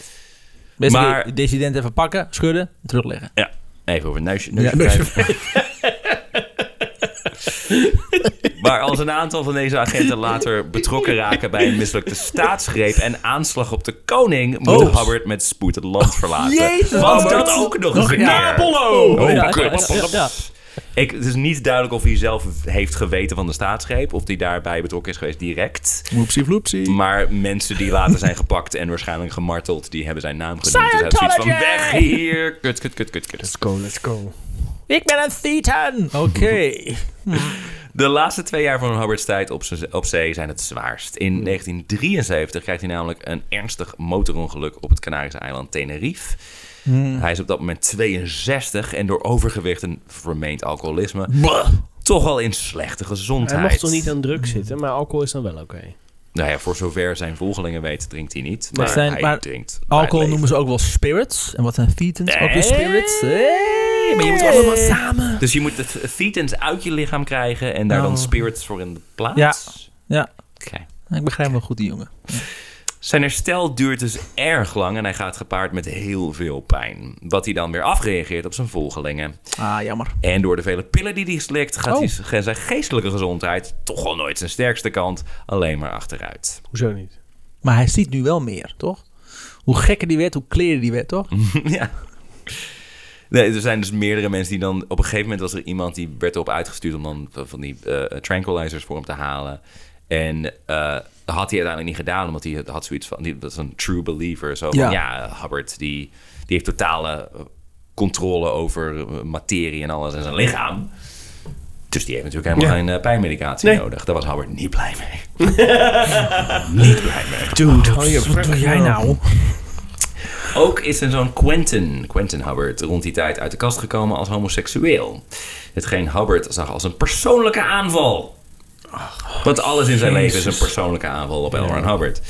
Speaker 2: Best
Speaker 4: Maar-
Speaker 2: maar... dissident even pakken, schudden, en terugleggen.
Speaker 4: Ja, even over het neusje.
Speaker 2: Ja,
Speaker 4: neusje
Speaker 2: neusje
Speaker 4: wrijven. maar als een aantal van deze agenten later betrokken raken bij een mislukte staatsgreep en aanslag op de koning, moet
Speaker 2: Oh.
Speaker 4: Hubbard met spoed het land verlaten.
Speaker 2: Jezus,
Speaker 4: Want
Speaker 2: Hubbard.
Speaker 4: dat ook nog eens een keer.
Speaker 3: Apollo!
Speaker 4: Oh,
Speaker 2: Ja,
Speaker 4: kut.
Speaker 2: ja, ja.
Speaker 4: Ik, het is niet duidelijk of hij zelf heeft geweten van de staatsgreep. Of hij daarbij betrokken is geweest direct.
Speaker 2: Moepsie vloepsie.
Speaker 4: Maar mensen die later zijn gepakt en waarschijnlijk gemarteld, die hebben zijn naam genoemd. Dus hij had zoiets van weg hier. Kut, kut, kut, kut, kut.
Speaker 3: go, let's go.
Speaker 2: Ik ben een Thetan. Oké.
Speaker 4: De laatste twee jaar van Hubbards tijd op, zee- op zee zijn het zwaarst.
Speaker 2: Hmm.
Speaker 4: In 1973 krijgt hij namelijk een ernstig motorongeluk op het Canarische eiland Tenerife.
Speaker 2: Hmm.
Speaker 4: Hij is op dat moment 62 en door overgewicht en vermeend alcoholisme toch al in slechte gezondheid.
Speaker 3: Hij mocht toch niet aan druk zitten, maar alcohol is dan wel oké.
Speaker 4: Nou ja, voor zover zijn volgelingen weten, drinkt hij niet. Maar
Speaker 2: zijn-
Speaker 4: hij
Speaker 2: maar
Speaker 4: drinkt.
Speaker 2: Alcohol noemen ze ook wel spirits. En wat zijn Thetans? Ook weer spirits. Hey.
Speaker 4: maar je moet
Speaker 2: Hey.
Speaker 4: allemaal samen. Dus je moet de th- thetans uit je lichaam krijgen en daar
Speaker 2: Oh.
Speaker 4: dan spirits voor in de plaats.
Speaker 2: Ja. Ja,
Speaker 4: Oké.
Speaker 2: ik begrijp wel goed die jongen.
Speaker 4: Zijn herstel duurt dus erg lang en hij gaat gepaard met heel veel pijn. Wat hij dan weer afreageert op zijn volgelingen.
Speaker 2: Ah, jammer.
Speaker 4: En door de vele pillen die hij slikt, gaat
Speaker 2: Oh.
Speaker 4: hij z- zijn geestelijke gezondheid toch al nooit zijn sterkste kant, alleen maar achteruit.
Speaker 3: Hoezo niet?
Speaker 2: Maar hij ziet nu wel meer, toch? Hoe gekker die werd, hoe kleren die werd, toch?
Speaker 4: ja. Nee, er zijn dus meerdere mensen die dan... Op een gegeven moment was er iemand die werd erop uitgestuurd... om dan van die eh, tranquilizers voor hem te halen. En eh, dat had hij uiteindelijk niet gedaan... omdat hij het- had zoiets van... Die, dat is een true believer. Zo van, ja,
Speaker 2: Ja.
Speaker 4: eh, Hubbard, die, die heeft totale eh, controle over eh, materie en alles en zijn lichaam. Dus die heeft natuurlijk helemaal geen eh, pijnmedicatie
Speaker 3: Nee.
Speaker 4: nodig. Daar was Hubbard niet blij mee.
Speaker 2: Dude, wat doe jij nou?
Speaker 4: Ook is er zo'n Quentin, Quentin Hubbard, rond die tijd uit de kast gekomen als homoseksueel. Hetgeen Hubbard zag als een persoonlijke aanval. Want alles in zijn leven is een persoonlijke aanval op L. Ron Hubbard.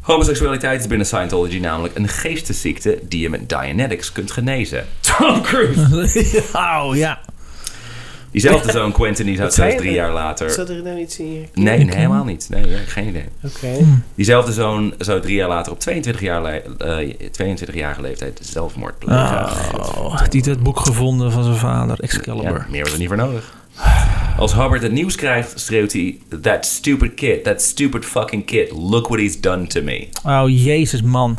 Speaker 4: Homoseksualiteit is binnen Scientology namelijk een geestesziekte die je met Dianetics kunt genezen. Tom Cruise!
Speaker 2: Oh, ja.
Speaker 4: Diezelfde zoon Quentin die zou
Speaker 3: zei
Speaker 4: zelfs drie
Speaker 3: je?
Speaker 4: jaar later...
Speaker 3: Zat er nou iets in hier?
Speaker 4: Nee, nee, helemaal niet. Nee, ja, geen idee.
Speaker 3: Oké.
Speaker 4: Diezelfde zoon zou drie jaar later op 22 jaar le- eh, 22-jarige leeftijd zelfmoord plegen.
Speaker 2: Ah. Oh, die had het boek gevonden van zijn vader, Excalibur.
Speaker 4: meer was er niet voor nodig. Als Hubbard het nieuws krijgt, schreeuwt hij... That stupid kid, that stupid fucking kid. Look what he's done to me.
Speaker 2: Oh, jezus, man.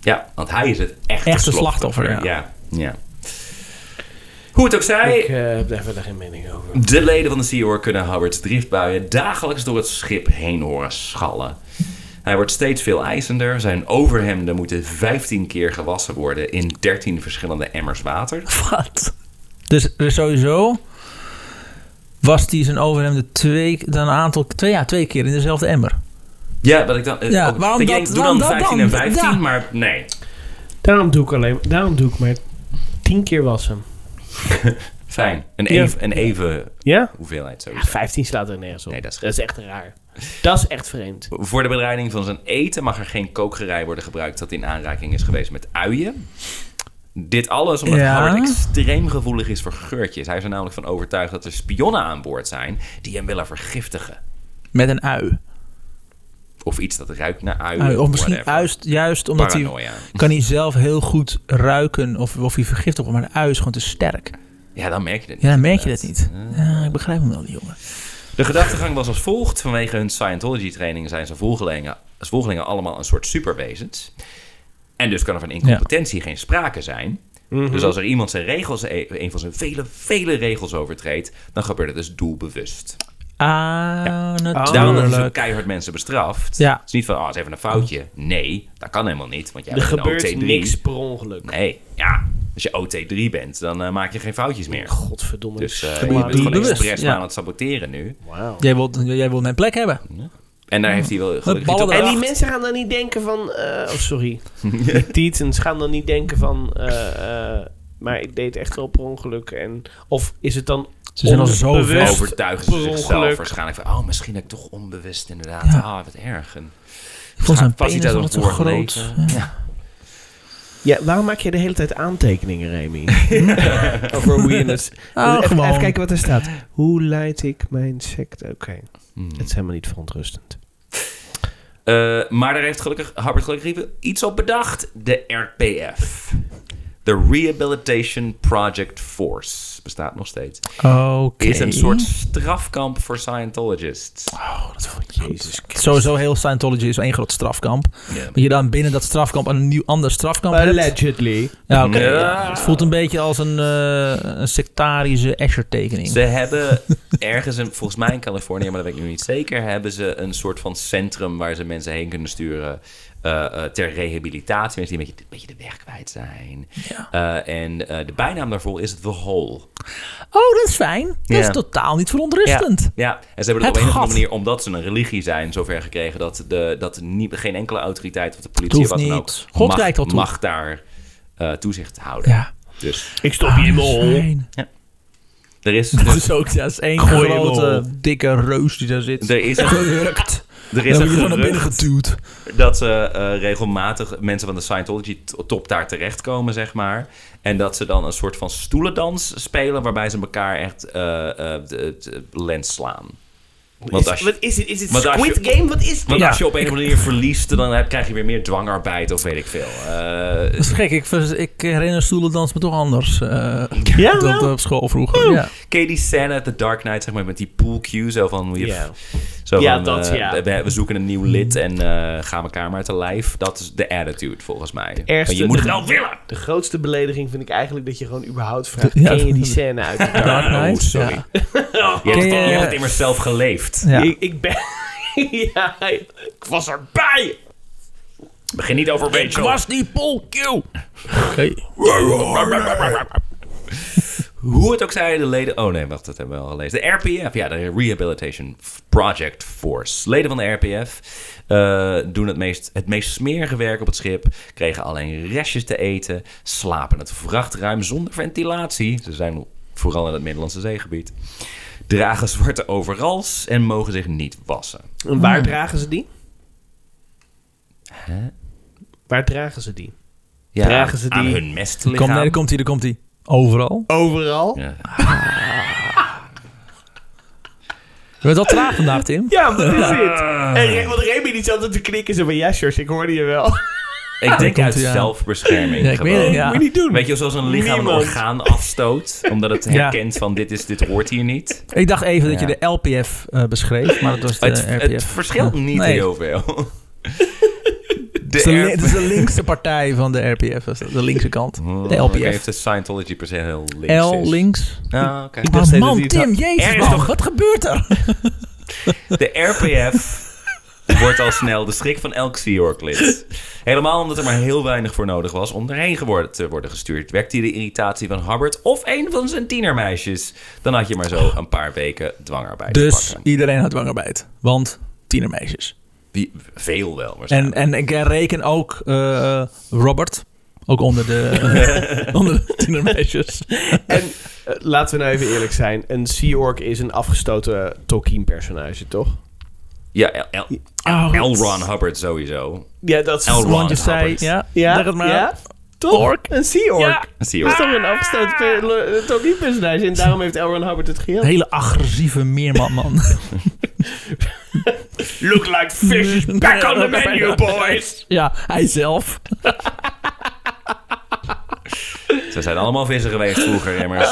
Speaker 4: Ja, want hij is het echte,
Speaker 2: Echte slachtoffer,
Speaker 4: Ja. ja. Hoe het ook zij,
Speaker 3: Ik eh, heb daar verder geen mening over.
Speaker 4: de leden van de Sea Org kunnen Hubbard's driftbuien dagelijks door het schip heen horen schallen. Hij wordt steeds veel eisender. Zijn overhemden moeten 15 keer gewassen worden in 13 verschillende emmers water.
Speaker 2: Wat? Dus er is sowieso was die zijn overhemden twee, dan een aantal, twee, ja, twee keer in dezelfde emmer.
Speaker 4: Ja, wat ik dan. eh,
Speaker 2: Ja,
Speaker 4: ook-
Speaker 2: waarom
Speaker 4: ik
Speaker 2: dat-
Speaker 4: denk, doe
Speaker 2: waarom
Speaker 4: dan
Speaker 2: dat
Speaker 4: 15
Speaker 2: dan?
Speaker 4: en 15,
Speaker 2: Ja.
Speaker 4: maar nee.
Speaker 3: Daarom doe ik alleen daarom doe ik maar tien keer wassen.
Speaker 4: Fijn. Een,
Speaker 3: Ja.
Speaker 4: even, een even
Speaker 3: Ja?
Speaker 4: hoeveelheid
Speaker 3: ja
Speaker 4: sowieso.
Speaker 3: 15 slaat er nergens op.
Speaker 4: Nee, dat is-
Speaker 3: echt raar. Dat is echt vreemd.
Speaker 4: Voor de bereiding van zijn eten mag er geen kookgerei worden gebruikt dat in aanraking is geweest met uien. Dit alles omdat
Speaker 2: Ja.
Speaker 4: Howard extreem gevoelig is voor geurtjes. Hij is er namelijk van overtuigd dat er spionnen aan boord zijn die hem willen vergiftigen.
Speaker 2: Met een ui.
Speaker 4: Of iets dat ruikt naar uien.
Speaker 2: ui of misschien
Speaker 4: whatever.
Speaker 2: juist, juist omdat hij...
Speaker 4: Paranoia.
Speaker 2: Kan hij zelf heel goed ruiken of, of hij vergiftigd wordt, maar de ui is gewoon te sterk.
Speaker 4: Ja, dan merk je dat niet. Eh,
Speaker 2: Ja, dan merk je dat
Speaker 4: inderdaad.
Speaker 2: niet. Ja, ik begrijp hem wel, die jongen.
Speaker 4: De gedachtegang was als volgt. Vanwege hun Scientology-training zijn zijn volgelingen, zijn volgelingen allemaal een soort superwezens. En dus kan er van incompetentie geen sprake zijn. Dus als er iemand zijn regels, een van zijn vele, vele regels overtreedt, dan gebeurt het dus doelbewust.
Speaker 2: Ah,
Speaker 4: Daarom dat ze
Speaker 2: natuurlijk.
Speaker 4: keihard mensen bestraft.
Speaker 2: Oh, Ja.
Speaker 4: Het is niet van, oh, het is even een foutje. Nee, dat kan helemaal niet, want jij
Speaker 3: Er
Speaker 4: bent een
Speaker 3: gebeurt
Speaker 4: OT3.
Speaker 3: niks per ongeluk.
Speaker 4: Nee, ja. Als je OT3 bent, dan eh, maak je geen foutjes meer.
Speaker 3: Godverdomme.
Speaker 4: Dus eh,
Speaker 3: ik
Speaker 4: je
Speaker 3: sla
Speaker 4: bent
Speaker 3: me
Speaker 4: gewoon
Speaker 3: dood.
Speaker 2: bewust,
Speaker 4: expres
Speaker 2: ja.
Speaker 4: maar aan het saboteren nu.
Speaker 3: Wauw.
Speaker 2: Jij wilt, jij wilt mijn plek hebben.
Speaker 4: En daar heeft hij wel gelukkig
Speaker 2: ballen
Speaker 4: niet op
Speaker 3: En die
Speaker 2: Acht.
Speaker 3: mensen gaan dan niet denken van... eh, oh, sorry. Die titans gaan dan niet denken van... eh, eh, maar ik deed echt wel per ongeluk. En, of is het dan
Speaker 2: Ze zijn al zo ver.
Speaker 3: onbewust
Speaker 4: overtuigen ze
Speaker 3: Dus per
Speaker 4: zichzelf
Speaker 3: ongeluk.
Speaker 4: waarschijnlijk van... oh, misschien heb ik toch onbewust inderdaad.
Speaker 2: Ja.
Speaker 4: Ah, wat erg. En
Speaker 2: Ik vond zijn
Speaker 4: pas niet
Speaker 2: penis
Speaker 4: uit
Speaker 2: altijd
Speaker 4: ons
Speaker 2: zo
Speaker 4: woord
Speaker 2: groot.
Speaker 4: leven. Ja.
Speaker 3: Ja, waarom maak je de hele tijd aantekeningen, Remy? Over weirdness.
Speaker 2: Oh,
Speaker 3: even,
Speaker 2: gewoon.
Speaker 3: even kijken wat er staat. Hoe leid ik mijn sect... Oké,
Speaker 4: Hmm.
Speaker 3: het is helemaal niet verontrustend.
Speaker 4: Eh, maar daar heeft gelukkig Harbert gelukkig even iets op bedacht. De RPF. De Rehabilitation Project Force. Bestaat nog steeds.
Speaker 2: Oké.
Speaker 4: Is een soort strafkamp voor Scientologists.
Speaker 2: Oh, dat vond ik Jezus Sowieso heel Scientology is één groot strafkamp.
Speaker 4: Ja.
Speaker 2: Dat je dan binnen dat strafkamp een nieuw ander strafkamp hebt.
Speaker 3: Allegedly.
Speaker 2: Ja, oké.
Speaker 4: Ja.
Speaker 2: Het voelt een beetje als een, eh, een sectarische Escher-tekening.
Speaker 4: Ze hebben ergens, een, volgens mij in Californië, maar dat weet ik nu niet zeker, hebben ze een soort van centrum waar ze mensen heen kunnen sturen eh, eh, ter rehabilitatie. Mensen die een beetje, een beetje de weg kwijt zijn. Eh, en eh, de bijnaam daarvoor is The Hole.
Speaker 2: Oh, dat is fijn. Dat is
Speaker 4: Ja.
Speaker 2: totaal niet verontrustend.
Speaker 4: Ja, en ze hebben het,
Speaker 2: Het
Speaker 4: op een of
Speaker 2: gat.
Speaker 4: andere manier, omdat ze een religie zijn, zover gekregen dat, de, dat niet, geen enkele autoriteit of de politie of
Speaker 2: hoeft
Speaker 4: wat dan ook
Speaker 2: niet. God
Speaker 4: mag,
Speaker 2: kijkt wel toe.
Speaker 4: mag daar eh, toezicht houden.
Speaker 2: Ja. Ah,
Speaker 4: Dus
Speaker 3: Ik stop je in mijn hol.
Speaker 2: Fijn.
Speaker 4: er is,
Speaker 2: Dat
Speaker 4: dus,
Speaker 2: is ook ja, dat is één
Speaker 3: Gooi hem
Speaker 2: grote,
Speaker 3: op.
Speaker 2: dikke reus die daar zit.
Speaker 4: er is een,
Speaker 2: Gerukt.
Speaker 4: er is
Speaker 2: Dan
Speaker 4: een
Speaker 2: word je zo naar binnen
Speaker 4: gerucht
Speaker 2: geduwd.
Speaker 4: dat ze eh, regelmatig mensen van de Scientology-top daar terechtkomen, zeg maar. En dat ze dan een soort van stoelendans spelen, waarbij ze elkaar echt eh, eh, de, de lens slaan. Want als je,
Speaker 3: Wat is dit? Is dit
Speaker 4: Want als
Speaker 3: Squid
Speaker 4: je-
Speaker 3: Game? Wat is dit?
Speaker 4: want
Speaker 2: Ja.
Speaker 4: als je op een of andere manier verliest, dan heb- krijg je weer meer dwangarbeid of weet ik veel. Eh,
Speaker 2: Dat is gek. Ik, vers- ik herinner stoelendans me toch anders. eh,
Speaker 3: Ja,
Speaker 2: dan
Speaker 3: wel.
Speaker 2: op school vroeger. Ja.
Speaker 4: ken je die scène uit The Dark Knight, zeg maar, met die pool cue, zo van... hoe je-
Speaker 3: Ja.
Speaker 4: Zo
Speaker 3: Ja,
Speaker 4: van,
Speaker 3: dat,
Speaker 4: eh,
Speaker 3: ja.
Speaker 4: we, we zoeken een nieuw lid en eh, gaan elkaar maar uit de lijf. Dat is de attitude, volgens mij.
Speaker 3: ergste-
Speaker 4: Want je moet het
Speaker 3: de-
Speaker 4: wel willen!
Speaker 3: De grootste belediging vind ik eigenlijk dat je gewoon überhaupt vraagt...
Speaker 2: Ja.
Speaker 3: Ken je die scène uit? de
Speaker 2: Dark
Speaker 3: Dark
Speaker 2: Knight.
Speaker 4: Oh, sorry.
Speaker 2: Ja.
Speaker 4: Je hebt, het,
Speaker 2: Ken je-
Speaker 4: je hebt het immers zelf geleefd.
Speaker 2: Ja.
Speaker 3: Ik, ik ben... ja, ik was erbij!
Speaker 4: Begin niet over Rachel.
Speaker 2: die Paul Q.
Speaker 4: Hoe het ook zij, de leden... Oh nee, wacht, dat hebben we al gelezen. De RPF, ja, de Rehabilitation Project Force. Leden van de RPF eh, doen het meest, het meest smerige werk op het schip. Kregen alleen restjes te eten. Slapen in het vrachtruim zonder ventilatie. Ze zijn vooral in het Middellandse zeegebied. Dragen zwarte overals en mogen zich niet wassen.
Speaker 3: En
Speaker 2: Hmm.
Speaker 3: waar dragen ze die? Waar dragen ze die?
Speaker 4: Ja,
Speaker 3: Dragen ze
Speaker 4: aan
Speaker 3: die-
Speaker 4: hun
Speaker 2: Kom, nee,
Speaker 4: mestlichaam.
Speaker 2: daar komt hij, daar komt hij. Overal.
Speaker 3: Overal?
Speaker 4: Ja.
Speaker 2: Je bent al traag vandaag, Tim.
Speaker 3: Ja, wat is dit? En Re- want Remy die zat te knikken zo van ja, Sjors, ik hoorde je wel.
Speaker 4: Ik denk
Speaker 2: komt
Speaker 4: uit
Speaker 2: hij aan.
Speaker 4: zelfbescherming.
Speaker 2: Ja, ik weet het,
Speaker 4: gewoon.
Speaker 2: ja.
Speaker 3: Moet je niet doen.
Speaker 4: Weet je, zoals een lichaam
Speaker 3: Niemand.
Speaker 4: een orgaan afstoot, omdat het
Speaker 2: Ja.
Speaker 4: herkent van dit, is, dit hoort hier niet.
Speaker 2: Ik dacht even
Speaker 4: Ja.
Speaker 2: dat je de LPF eh, beschreef, maar dat was de
Speaker 4: Het,
Speaker 2: RPF.
Speaker 4: het verschilt niet
Speaker 2: Nee.
Speaker 4: heel veel.
Speaker 2: Het is de, li- het is de linkse partij van de RPF, dat is de linkse kant. De
Speaker 4: LPF. heeft
Speaker 2: LPF.
Speaker 4: Oh, de Scientology per se heel links
Speaker 2: L
Speaker 4: is.
Speaker 2: links.
Speaker 4: Ah, oké.
Speaker 3: dacht
Speaker 2: Oh
Speaker 3: steeds
Speaker 2: man,
Speaker 3: dat hij
Speaker 2: Tim,
Speaker 3: het had.
Speaker 2: jezus
Speaker 4: Oh, Er is
Speaker 2: man,
Speaker 4: nog-
Speaker 2: wat gebeurt er?
Speaker 4: De RPF wordt al snel de schrik van elk Sea York-lid. Helemaal omdat er maar heel weinig voor nodig was om erheen geworden, te worden gestuurd. Wekte hij de irritatie van Hubbard of een van zijn tienermeisjes. Dan had je maar zo een paar weken dwangarbeid te
Speaker 2: Dus
Speaker 4: pakken.
Speaker 2: iedereen had dwangarbeid, want tienermeisjes.
Speaker 4: Die, veel wel
Speaker 2: En,
Speaker 4: waarschijnlijk.
Speaker 2: en ik reken ook eh, Robert, ook onder de, eh, onder de tienermeisjes.
Speaker 3: En eh, laten we nou even eerlijk zijn. Een Sea Orc is een afgestoten Tolkien-personage, toch?
Speaker 4: ja, L, L-
Speaker 2: Oh,
Speaker 4: L. Ron Hubbard sowieso.
Speaker 3: Ja, dat is...
Speaker 4: L. Ron
Speaker 2: je zei,
Speaker 4: Hubbard.
Speaker 2: ja,
Speaker 3: Ja,
Speaker 2: zeg het maar.
Speaker 3: ja. Toch? Een Sea Orc.
Speaker 2: Ja.
Speaker 4: Een Sea
Speaker 3: Dat is
Speaker 4: York.
Speaker 3: toch een afgestoten pe- lo- Tolkien-personage. En daarom heeft Elron Hubbard het
Speaker 2: Een
Speaker 3: geheel.
Speaker 2: hele agressieve meerman, man.
Speaker 3: Look like fish is back on the menu, boys!
Speaker 2: ja, hij zelf.
Speaker 4: Ze zijn allemaal vissen geweest vroeger, immers.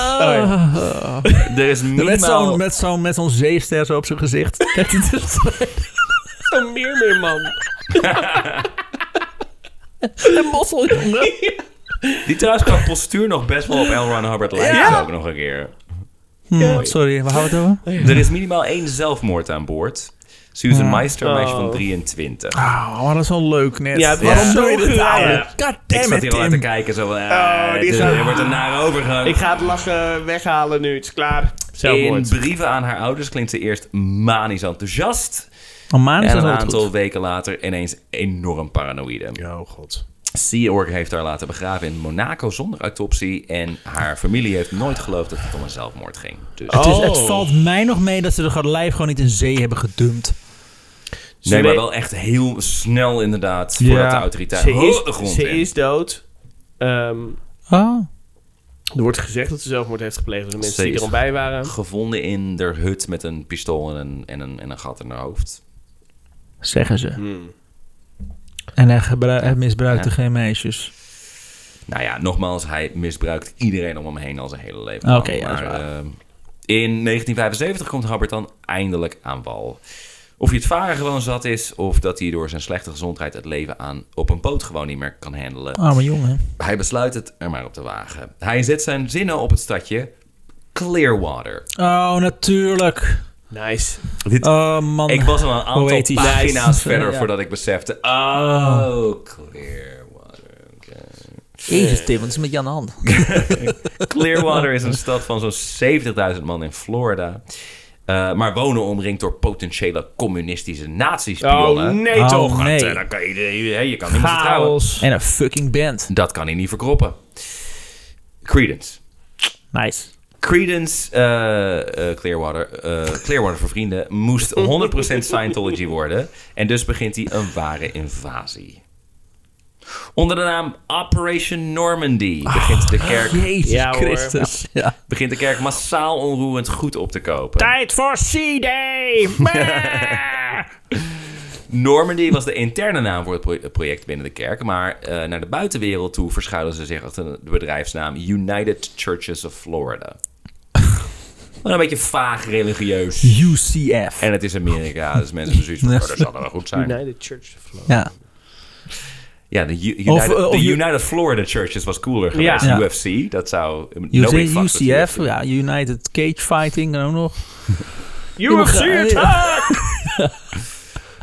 Speaker 4: Er is
Speaker 2: Met
Speaker 4: minimaal...
Speaker 2: zo'n Oh. met zo'n met zo'n zeester zo op zijn gezicht. Kijk, dit is-
Speaker 3: Een meermeerman.
Speaker 2: een mossel, jongen.
Speaker 4: Die trouwens qua postuur nog best wel op L. Ron Hubbard lijkt
Speaker 3: Ja.
Speaker 4: ook nog een keer.
Speaker 2: Hmm, sorry, waar houden we het over?
Speaker 4: Er is minimaal één zelfmoord aan boord. Susan Meister, een meisje van
Speaker 3: Oh.
Speaker 4: 23.
Speaker 2: Ah, maar dat is wel leuk net.
Speaker 3: Ja, het was
Speaker 2: Waarom
Speaker 3: zo
Speaker 2: doe je dit nou?
Speaker 3: geraden.
Speaker 2: God
Speaker 4: ik
Speaker 2: damn
Speaker 4: zat
Speaker 2: it,
Speaker 4: hier al te
Speaker 2: Tim.
Speaker 4: kijken. Zo, van, eh,
Speaker 3: Oh, die
Speaker 4: dit-
Speaker 3: gaat-
Speaker 4: er wordt een nare overgang.
Speaker 3: Ik ga het lachen weghalen nu. Het is klaar.
Speaker 4: In
Speaker 3: Zelfmoord.
Speaker 4: brieven aan haar ouders klinkt ze eerst manisch enthousiast.
Speaker 2: Oh, man, is dat
Speaker 4: En een
Speaker 2: altijd
Speaker 4: aantal
Speaker 2: goed.
Speaker 4: weken later ineens enorm paranoïde.
Speaker 3: Oh, god.
Speaker 4: Sea Org heeft haar laten begraven in Monaco zonder autopsie. En haar familie heeft nooit geloofd dat het om een zelfmoord ging. Dus
Speaker 2: Het, is,
Speaker 3: Oh.
Speaker 2: het valt mij nog mee dat ze de lijf gewoon niet in zee hebben gedumpt.
Speaker 4: nee, maar
Speaker 3: weet-
Speaker 4: wel echt heel snel inderdaad. Voordat
Speaker 2: Ja.
Speaker 4: de autoriteiten
Speaker 3: Ze
Speaker 4: de
Speaker 3: is,
Speaker 4: grond
Speaker 3: ze
Speaker 4: in.
Speaker 3: is dood. Ehm,
Speaker 2: Oh.
Speaker 3: er wordt gezegd dat ze zelfmoord heeft gepleegd door de mensen
Speaker 4: Ze
Speaker 3: die
Speaker 4: is-
Speaker 3: er al bij waren.
Speaker 4: gevonden in de hut met een pistool en een, en een, en een gat in haar hoofd.
Speaker 2: Zeggen ze. En hij, gebru- hij misbruikte
Speaker 4: Hmm. Ja.
Speaker 2: geen meisjes.
Speaker 4: Nou ja, nogmaals, hij misbruikt iedereen om hem heen al zijn hele leven.
Speaker 2: Oké, ja, dat is waar.
Speaker 4: ehm, in 1975 komt Hubbard dan eindelijk aan wal. Of hij het varen gewoon zat is, of dat hij door zijn slechte gezondheid het leven aan op een boot gewoon niet meer kan handelen.
Speaker 2: Arme jongen.
Speaker 4: Hij besluit het er maar op te wagen. Hij zet zijn zinnen op het stadje Clearwater.
Speaker 2: Oh, natuurlijk.
Speaker 3: Nice.
Speaker 2: Oh, man.
Speaker 4: Ik was al een aantal
Speaker 2: Poëtisch.
Speaker 4: pagina's
Speaker 2: Ja.
Speaker 4: verder voordat ik besefte. Oh, Clearwater. oké.
Speaker 2: Jezus, Tim, wat is er met Jan aan de hand?
Speaker 4: Clearwater is een stad van zo'n 70.000 man in Florida. Eh, maar wonen omringd door potentiële communistische
Speaker 3: Oh,
Speaker 4: nazi-spionnen.
Speaker 3: nee
Speaker 2: Oh,
Speaker 3: toch.
Speaker 2: nee.
Speaker 4: Eh, dan kan je, je, je kan niet meer vertrouwen.
Speaker 3: Chaos.
Speaker 2: En een fucking band.
Speaker 4: Dat kan hij niet verkroppen. Credence.
Speaker 2: Nice.
Speaker 4: Credence eh, eh, Clearwater, eh, Clearwater voor vrienden, moest 100% Scientology worden. En dus begint hij een ware invasie. Onder de naam Operation Normandy begint de kerk,
Speaker 2: Jezus
Speaker 3: Ja, hoor.
Speaker 2: Christus. Ja.
Speaker 4: begint de kerk massaal onroerend goed op te kopen.
Speaker 3: Tijd voor C-Day!
Speaker 4: Normandy was de interne naam voor het pro- het project binnen de kerk. Maar eh, naar de buitenwereld toe verschuilen ze zich achter de bedrijfsnaam United Churches of Florida. Wel een beetje vaag religieus.
Speaker 2: UCF.
Speaker 4: En het is Amerika, dus mensen hebben zoiets van,
Speaker 2: Ja.
Speaker 4: "Oh, dat zal wel goed zijn.
Speaker 3: United Church of Florida.
Speaker 2: Ja.
Speaker 4: Ja, de, U- United,
Speaker 2: Of, eh, of
Speaker 4: de
Speaker 2: U-
Speaker 4: United Florida Churches was cooler geweest.
Speaker 2: Ja.
Speaker 4: UFC, dat zou...
Speaker 2: UC,
Speaker 4: nobody fucks with
Speaker 2: UCF, ja, United Cage Fighting en ook nog.
Speaker 3: UFC attack!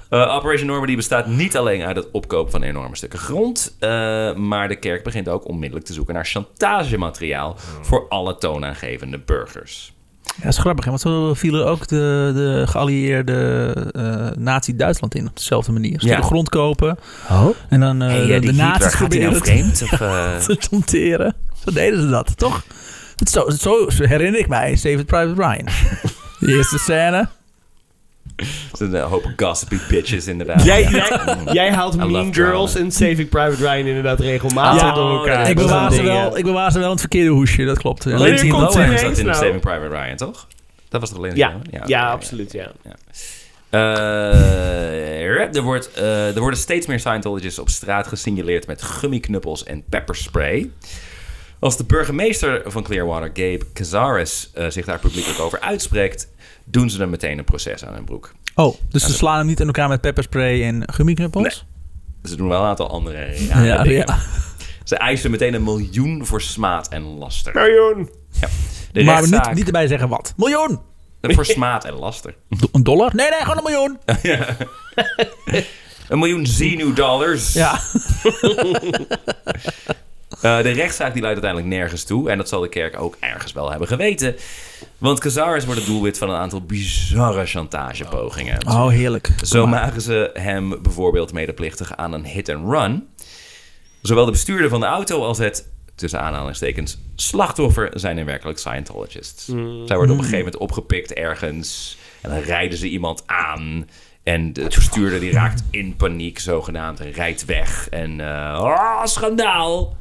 Speaker 4: Eh, Operation Normandy bestaat niet alleen uit het opkopen van enorme stukken grond, eh, maar de kerk begint ook onmiddellijk te zoeken naar chantagemateriaal
Speaker 2: Hmm.
Speaker 4: voor alle toonaangevende burgers.
Speaker 2: Ja, dat is grappig, hè, want zo vielen ook de, de geallieerde eh Nazi-Duitsland in op dezelfde manier. Ze
Speaker 4: Ja.
Speaker 2: ja. grond kopen en dan eh, de, de nazi's proberen te-
Speaker 4: nou vreemd? Of, eh,
Speaker 2: te tenteren. Zo deden ze dat, toch? Het Zo, zo herinner ik mij David Private Ryan. De eerste scène.
Speaker 4: een hoop gossipy bitches inderdaad.
Speaker 2: Eh,
Speaker 3: Jij, jij, jij haalt
Speaker 4: love
Speaker 3: Mean
Speaker 4: drama.
Speaker 3: Girls en Saving Private Ryan inderdaad regelmatig
Speaker 4: Ja,
Speaker 3: door elkaar.
Speaker 2: Ik
Speaker 4: dat
Speaker 2: bewaar,
Speaker 4: is
Speaker 2: ze wel, ik bewaar ze wel in het verkeerde hoesje, dat klopt. Ja.
Speaker 3: Alleen-
Speaker 4: Lindsay
Speaker 3: komt
Speaker 4: Lohan
Speaker 3: ineens
Speaker 4: zat in
Speaker 3: nou?
Speaker 4: Saving Private Ryan, toch? Dat was toch
Speaker 3: Ja,
Speaker 4: Lindsay Lohan?
Speaker 3: ja,
Speaker 4: oké,
Speaker 3: absoluut, ja.
Speaker 4: Eh, Eh, er, wordt, eh, er worden steeds meer Scientologists op straat gesignaleerd met gummiknuppels en pepperspray. Als de burgemeester van Clearwater, Gabe Cazares, eh, zich daar publiekelijk over uitspreekt, doen ze er meteen een proces aan hun broek.
Speaker 2: Oh, dus ze slaan hem niet in elkaar met pepperspray en gummiknuppels?
Speaker 4: Ze doen wel een aantal andere rare
Speaker 2: ja,
Speaker 4: dingen.
Speaker 2: ja.
Speaker 4: Ze eisen meteen een miljoen voor smaad en laster.
Speaker 3: Miljoen.
Speaker 4: De
Speaker 2: Maar
Speaker 4: rechtszaak
Speaker 2: niet, niet erbij zeggen wat. Miljoen!
Speaker 4: voor smaad en laster.
Speaker 2: Do- een dollar? Nee, nee, gewoon een miljoen.
Speaker 4: Een miljoen zenuwdollars.
Speaker 2: Ja.
Speaker 4: Eh, de rechtszaak die leidt uiteindelijk nergens toe. En dat zal de kerk ook ergens wel hebben geweten. Want Cazares wordt het doelwit van een aantal bizarre chantagepogingen.
Speaker 2: Oh, heerlijk.
Speaker 4: Zo maken ze hem bijvoorbeeld medeplichtig aan een hit-and-run. Zowel de bestuurder van de auto als het, tussen aanhalingstekens, slachtoffer zijn in werkelijk Scientologists. Zij worden op een gegeven moment opgepikt ergens en dan rijden ze iemand aan. En de bestuurder die raakt in paniek zogenaamd en rijdt weg. En eh ah, schandaal!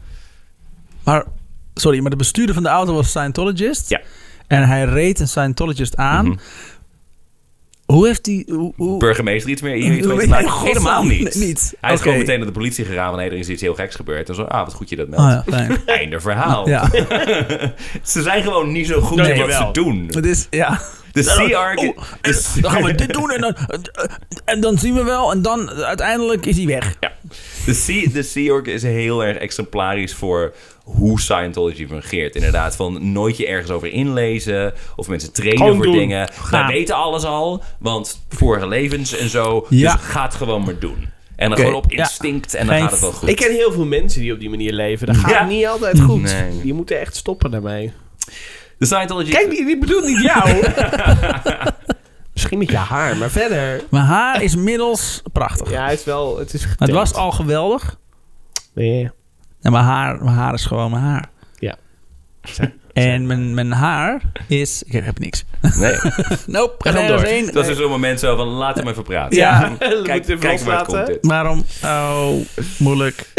Speaker 2: Maar, sorry, maar de bestuurder van de auto was Scientologist.
Speaker 4: Ja.
Speaker 2: En hij reed een Scientologist aan. Hoe heeft hij... Hoe, hoe-
Speaker 4: Burgemeester iets meer hier iets
Speaker 2: Hoe
Speaker 4: mee te
Speaker 2: weet
Speaker 4: maken?
Speaker 2: jij
Speaker 4: Helemaal
Speaker 2: godsnaam
Speaker 4: niet.
Speaker 2: niet?
Speaker 4: Hij is
Speaker 2: Oké.
Speaker 4: gewoon meteen naar de politie gegaan, want nee, er is iets heel geks gebeurd. En zo, ah, wat goed je dat meldt.
Speaker 2: Oh ja, fijn.
Speaker 4: Einde verhaal.
Speaker 2: Ja.
Speaker 4: Ze zijn gewoon niet zo goed in wat
Speaker 3: jawel.
Speaker 4: ze doen.
Speaker 2: Het is, ja.
Speaker 4: De CR...
Speaker 2: Oh, en dan gaan we dit doen en dan, en dan zien we wel. En dan eh, uiteindelijk is hij weg.
Speaker 4: Ja. De, C, de Sea Org is heel erg exemplarisch voor hoe Scientology fungeert. Inderdaad, van nooit je ergens over inlezen of mensen trainen
Speaker 3: Gewoon
Speaker 4: voor
Speaker 3: doen.
Speaker 4: dingen.
Speaker 2: Gaan.
Speaker 4: Wij weten alles al, want vorige levens en zo.
Speaker 2: Ja.
Speaker 4: Dus ga het gewoon maar doen. En dan
Speaker 2: Oké,
Speaker 4: gewoon op
Speaker 2: ja.
Speaker 4: instinct en dan
Speaker 2: Geen
Speaker 4: gaat het wel goed.
Speaker 3: Ik ken heel veel mensen die op die manier leven. Dat gaat
Speaker 4: Ja.
Speaker 3: niet altijd goed.
Speaker 4: Nee.
Speaker 3: Die moeten echt stoppen daarmee.
Speaker 4: de Scientology...
Speaker 3: Kijk, die, die bedoelt niet jou. Misschien met je haar, maar verder.
Speaker 2: Maar haar is middels prachtig.
Speaker 3: Ja, het is wel... Het, is
Speaker 2: het
Speaker 3: getemd.
Speaker 2: was al geweldig.
Speaker 3: Nee.
Speaker 2: En mijn haar, mijn haar is gewoon mijn haar.
Speaker 3: Ja.
Speaker 2: En mijn, mijn haar is... Ik heb, heb niks.
Speaker 4: Nee,
Speaker 2: Nope,
Speaker 4: ga
Speaker 2: ga
Speaker 4: dan
Speaker 2: nergens
Speaker 4: door.
Speaker 2: heen.
Speaker 4: Dat is dus zo'n moment zo van, laat hem even praten.
Speaker 2: Ja.
Speaker 4: Kijk,
Speaker 3: Moet even
Speaker 4: kijk waar het
Speaker 3: loslaten.
Speaker 4: komt dit.
Speaker 2: Waarom? Oh, moeilijk.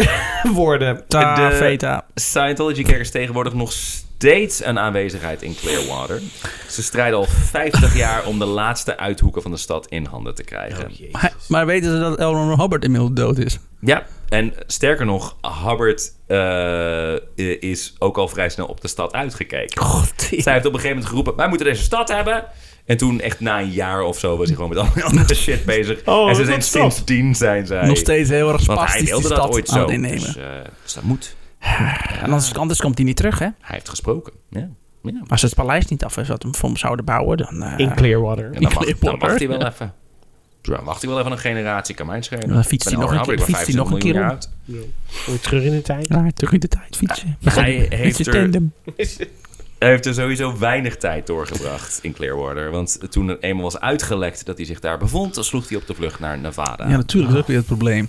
Speaker 3: Woorden.
Speaker 2: Ta,
Speaker 4: De-
Speaker 2: feta.
Speaker 4: Scientology-kerk is dus tegenwoordig nog steeds een aanwezigheid in Clearwater. Ze strijden al 50 jaar om de laatste uithoeken van de stad in handen te
Speaker 3: Oh,
Speaker 4: krijgen.
Speaker 2: Maar, maar weten ze dat Elron Hubbard inmiddels dood is?
Speaker 4: ja, en sterker nog, Hubbard eh, is ook al vrij snel op de stad uitgekeken.
Speaker 2: God,
Speaker 4: Zij heeft op een gegeven moment geroepen, wij moeten deze stad hebben. En toen echt na een jaar of zo was hij gewoon met allerlei andere shit bezig.
Speaker 3: Oh, wat
Speaker 4: en ze zijn
Speaker 3: een stad.
Speaker 4: sindsdien zijn zij...
Speaker 2: nog steeds heel erg
Speaker 4: Want hij
Speaker 2: spastisch die
Speaker 4: wilde dat
Speaker 2: stad
Speaker 4: ooit
Speaker 2: aan
Speaker 4: zo.
Speaker 2: het innemen.
Speaker 4: Dus, eh, dus dat moet.
Speaker 2: En anders, anders komt hij niet terug, hè?
Speaker 4: Hij heeft gesproken. Ja. ja.
Speaker 2: Als ze het paleis niet af is wat we voor hem zouden bouwen, dan... eh,
Speaker 3: In Clearwater.
Speaker 4: En dan,
Speaker 2: Ik
Speaker 4: wacht,
Speaker 2: leef
Speaker 4: dan
Speaker 2: op,
Speaker 4: wacht hij
Speaker 2: hoor.
Speaker 4: wel even. Dan wacht hij wel even een generatie, kan mij het schelen.
Speaker 2: Dan fietst hij nog een keer- fietst hij nog een keer om.
Speaker 3: Moet terug in de tijd.
Speaker 2: Ja, terug in de tijd fietsen.
Speaker 4: Hij heeft
Speaker 2: Met je
Speaker 4: er-
Speaker 2: tandem.
Speaker 4: Hij heeft er sowieso weinig tijd doorgebracht in Clearwater. Want toen er eenmaal was uitgelekt dat hij zich daar bevond, dan sloeg hij op de vlucht naar Nevada.
Speaker 2: Ja, natuurlijk. Dat is ook weer het probleem.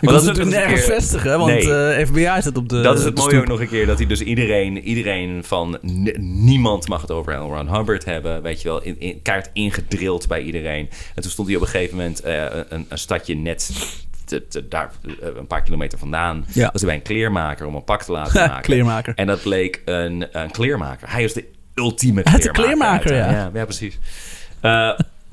Speaker 2: Ik
Speaker 4: dat
Speaker 2: wil
Speaker 4: is
Speaker 2: ze
Speaker 4: ook
Speaker 2: natuurlijk
Speaker 4: nog een
Speaker 2: nergens
Speaker 4: keer-
Speaker 2: vestigen, want
Speaker 4: Nee.
Speaker 2: eh, FBI zit op de
Speaker 4: dat is het
Speaker 2: de
Speaker 4: mooie
Speaker 2: stoep.
Speaker 4: ook nog een keer, dat hij dus iedereen, iedereen van n- niemand mag het over L. Ron Hubbard hebben, weet je wel, in, in- kaart ingedrild bij iedereen. En toen stond hij op een gegeven moment eh, een, een stadje net te- te- daar, eh, een paar kilometer vandaan,
Speaker 2: Ja.
Speaker 4: was hij bij een kleermaker om een pak te laten maken.
Speaker 2: Kleermaker.
Speaker 4: En dat bleek een, een kleermaker. Hij was de ultieme
Speaker 2: Hij is
Speaker 4: kleermaker.
Speaker 2: de kleermaker, ja.
Speaker 4: uiteindelijk. Ja, precies. Eh,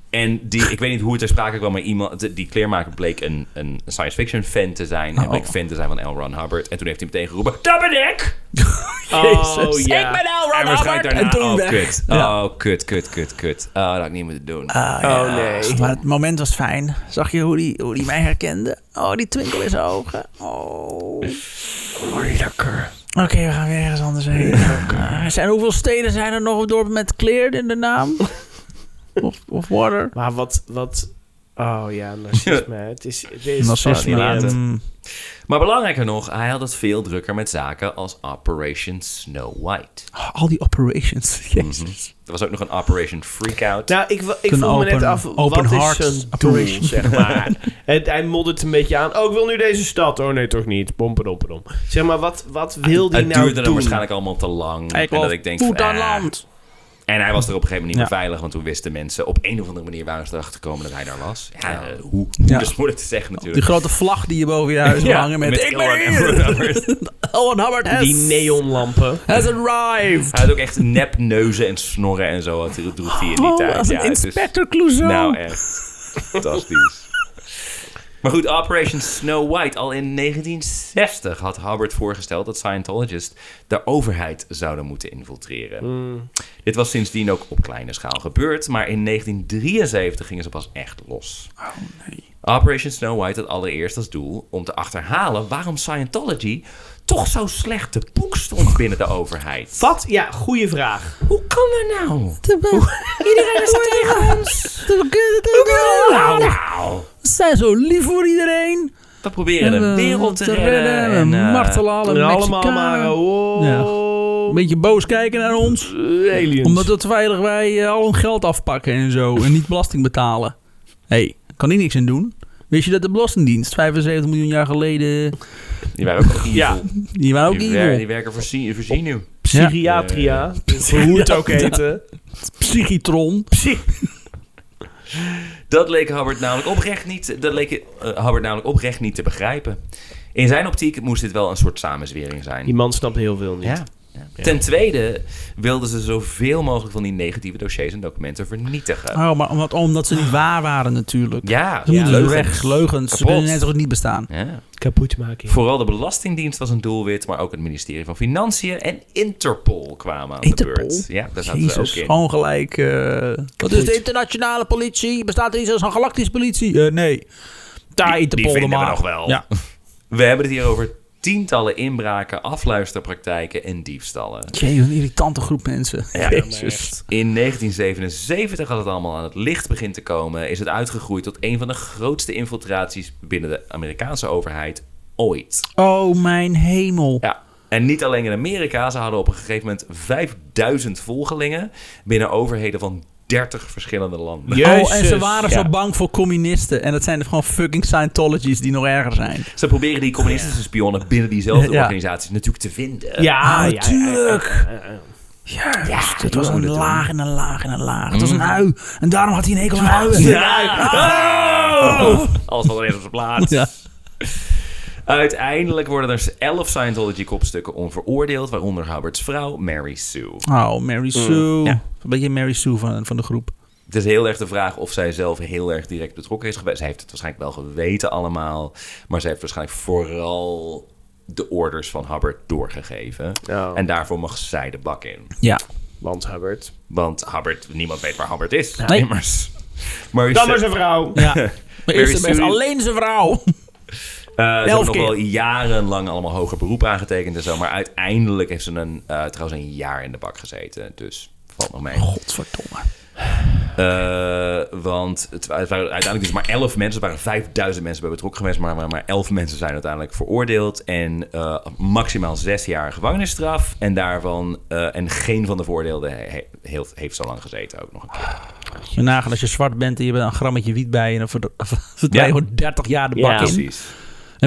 Speaker 4: en die, ik weet niet hoe het ter sprake kwam, maar iemand, de- die kleermaker bleek een, een science fiction fan te zijn. En
Speaker 2: Oh.
Speaker 4: bleek fan te zijn van L. Ron Hubbard. En toen heeft hij meteen geroepen, dat ben ik!
Speaker 2: Jezus.
Speaker 4: Oh, ja.
Speaker 2: Ik ben L. Ron
Speaker 4: en waarschijnlijk
Speaker 2: Hubbard.
Speaker 4: daarna,
Speaker 2: En toen
Speaker 4: oh,
Speaker 2: weg.
Speaker 4: Kut.
Speaker 2: Ja.
Speaker 4: Oh, kut, kut, kut, kut. Oh, dat had ik niet moeten doen.
Speaker 2: Ah, ja. Maar het moment was fijn. Zag je hoe die, hoe die mij herkende? Oh, die twinkel in zijn ogen. Oh.
Speaker 3: Lekker.
Speaker 2: Oké, we gaan weer ergens anders heen. Eh, zijn, hoeveel steden zijn er nog of dorpen met cleared in de naam? of, of water?
Speaker 3: Maar wat... wat oh ja, narcisme. Het is... Het is
Speaker 4: Narcisme.
Speaker 3: fascinerend.
Speaker 4: Ja.
Speaker 2: Mm.
Speaker 4: Maar belangrijker nog, hij had het veel drukker met zaken als Operation Snow White.
Speaker 2: Al die operations.
Speaker 4: Mhm.
Speaker 2: Jezus.
Speaker 4: Er was ook nog een Operation Freakout.
Speaker 3: Nou, ik, wa- ik
Speaker 2: Een
Speaker 3: vroeg me net
Speaker 2: open-
Speaker 3: af,
Speaker 2: open
Speaker 3: wat
Speaker 2: heart
Speaker 3: is zijn doel,
Speaker 2: operation.
Speaker 3: zeg maar? het, hij moddert een beetje aan, oh, ik wil nu deze stad. Oh nee, toch niet. Pom, pom, pom. Zeg maar, wat, wat wil die
Speaker 4: het
Speaker 3: nou
Speaker 4: duurde
Speaker 3: doen?
Speaker 4: dan waarschijnlijk allemaal te lang.
Speaker 2: Ik
Speaker 4: en
Speaker 2: wil
Speaker 4: dat ik denk,
Speaker 2: voet
Speaker 4: van,
Speaker 2: aan
Speaker 4: eh,
Speaker 2: land.
Speaker 4: En hij was er op een gegeven moment niet meer
Speaker 2: Ja.
Speaker 4: veilig, want toen wisten mensen op een of andere manier waren ze erachter gekomen dat hij daar was. Ja, eh, hoe?
Speaker 2: Ja.
Speaker 4: Dus moeilijk te zeggen
Speaker 2: Die
Speaker 4: natuurlijk.
Speaker 2: grote vlag die je boven je huis wil hangen met, ik ben
Speaker 4: Elrond
Speaker 2: hier.
Speaker 4: Hubbard.
Speaker 2: Owen Hubbard has,
Speaker 3: Die neonlampen.
Speaker 2: has arrived.
Speaker 4: Hij had ook echt nepneuzen en snorren en zo. had- droeg hij in die
Speaker 2: Oh,
Speaker 4: tijd.
Speaker 2: als een
Speaker 4: Ja, het is-
Speaker 2: inspector Clouseau.
Speaker 4: Nou, echt. Fantastisch. Maar goed, Operation Snow White. Al in 1960 had Hubbard voorgesteld dat Scientologists de overheid zouden moeten infiltreren. Dit was sindsdien ook op kleine schaal gebeurd, maar in 1973 gingen ze pas echt los. Operation Snow White had allereerst als doel om te achterhalen waarom Scientology toch zo slecht te boek stond binnen de overheid.
Speaker 3: Wat? Ja, goede vraag.
Speaker 4: Hoe kan dat nou?
Speaker 2: Iedereen is tegen ons.
Speaker 4: Nou, nou.
Speaker 2: Ze zijn zo lief voor iedereen.
Speaker 4: We proberen de
Speaker 2: Eh,
Speaker 4: wereld te redden.
Speaker 2: en
Speaker 4: eh,
Speaker 2: martelen alle
Speaker 3: En allemaal
Speaker 2: Mexicanen.
Speaker 3: maar... eh,
Speaker 2: Een
Speaker 3: Wow.
Speaker 2: beetje boos kijken naar ons.
Speaker 3: Eh, aliens.
Speaker 2: Omdat dat veilig wij eh, al hun geld afpakken en zo. En niet belasting betalen. Hé, hey, kan hier niks aan doen. Wist je dat de Belastingdienst 75 miljoen jaar geleden...
Speaker 4: Die waren ook evil.
Speaker 3: Ja,
Speaker 2: Die waren ook
Speaker 4: die, wer- die
Speaker 2: evil.
Speaker 4: werken voor, Sien- voor Sinew.
Speaker 3: Psychiatria. Hoe het ook heette.
Speaker 2: Psychitron.
Speaker 3: Psy-
Speaker 4: Dat leek Hubbard namelijk oprecht niet, dat leek, eh, Hubbard namelijk oprecht niet te begrijpen. In zijn optiek moest dit wel een soort samenzwering zijn.
Speaker 3: Die man snapt heel veel niet.
Speaker 4: Ja. Ja. Ten tweede wilden ze zoveel mogelijk van die negatieve dossiers en documenten vernietigen.
Speaker 2: Oh, maar omdat, omdat ze niet waar waren natuurlijk.
Speaker 4: Ja,
Speaker 2: Ze moeten
Speaker 4: leugens.
Speaker 2: weg. Leugens. Ze
Speaker 4: Kapot.
Speaker 2: kunnen net als niet bestaan.
Speaker 4: Ja.
Speaker 3: Kapot maken.
Speaker 4: Vooral de Belastingdienst was een doelwit, maar ook het ministerie van Financiën en Interpol kwamen aan
Speaker 2: Interpol?
Speaker 4: de beurt. Ja, daar zaten
Speaker 2: Jezus,
Speaker 4: ze ook in.
Speaker 2: gewoon gelijk. eh, wat is de internationale politie? Bestaat er iets als een galactische politie? Eh, nee. Daar
Speaker 4: Die- die
Speaker 2: Interpol
Speaker 4: vinden we
Speaker 2: maar.
Speaker 4: nog wel.
Speaker 2: Ja.
Speaker 4: We hebben het hier over tientallen inbraken, afluisterpraktijken en diefstallen.
Speaker 2: Jee, wat een irritante groep mensen.
Speaker 4: Ja,
Speaker 2: Jezus.
Speaker 4: In 1977, als het allemaal aan het licht begint te komen, is het uitgegroeid tot een van de grootste infiltraties binnen de Amerikaanse overheid ooit.
Speaker 2: Oh, mijn hemel.
Speaker 4: Ja. En niet alleen in Amerika, ze hadden op een gegeven moment 5000 volgelingen binnen overheden van 30 verschillende landen.
Speaker 2: Oh, en ze waren zo bang voor communisten. En dat zijn er gewoon fucking Scientologies die nog erger zijn.
Speaker 4: Ze proberen die communistische spionnen binnen diezelfde
Speaker 2: Ja.
Speaker 4: organisaties natuurlijk te vinden.
Speaker 3: Ja,
Speaker 2: Ah,
Speaker 3: ja, ja, ja, ja.
Speaker 2: natuurlijk. Juist, het was een laag en een laag en een laag. Het was een ui. En daarom had hij een hekel aan uien.
Speaker 4: Oh! Alles wat er is op zijn plaats.
Speaker 2: Ja.
Speaker 4: Uiteindelijk worden er 11 Scientology-kopstukken onveroordeeld, waaronder Hubbards vrouw Mary Sue.
Speaker 2: Oh, Mary Sue.
Speaker 4: Mm, Ja.
Speaker 2: Een beetje Mary Sue van, van de groep.
Speaker 4: Het is heel erg de vraag of zij zelf heel erg direct betrokken is geweest. Zij heeft het waarschijnlijk wel geweten allemaal, maar zij heeft waarschijnlijk vooral de orders van Hubbard doorgegeven.
Speaker 3: Oh.
Speaker 4: En daarvoor mag zij de bak in.
Speaker 2: Ja.
Speaker 3: Want Hubbard.
Speaker 4: Want Hubbard, niemand weet waar Hubbard is.
Speaker 2: Nee.
Speaker 4: Immers. Mary
Speaker 3: Dan
Speaker 4: Sue-
Speaker 3: maar zijn vrouw.
Speaker 2: ja. Maar
Speaker 4: Mary
Speaker 2: eerst en best
Speaker 4: Sue.
Speaker 2: alleen zijn vrouw.
Speaker 4: Eh, ze
Speaker 2: Elf
Speaker 4: hebben nog
Speaker 2: keer.
Speaker 4: wel jarenlang allemaal hoger beroep aangetekend en zo. Maar uiteindelijk heeft ze een, eh, trouwens een jaar in de bak gezeten. Dus valt nog mee.
Speaker 2: Godverdomme.
Speaker 4: Eh, want het, wa- het waren uiteindelijk dus maar 11 mensen. Er waren 5000 mensen bij betrokken geweest. Maar, maar, maar 11 mensen zijn uiteindelijk veroordeeld. En eh, maximaal 6 jaar gevangenisstraf. En daarvan. eh, en geen van de veroordeelden he- he- heeft- heeft zo lang gezeten ook nog een keer.
Speaker 2: Je nagaan als je zwart bent en je bent een grammetje wiet bij en dan verd- verdwijnt
Speaker 4: Ja.
Speaker 2: gewoon 30 jaar de bak
Speaker 3: Ja.
Speaker 2: in. En
Speaker 4: Precies.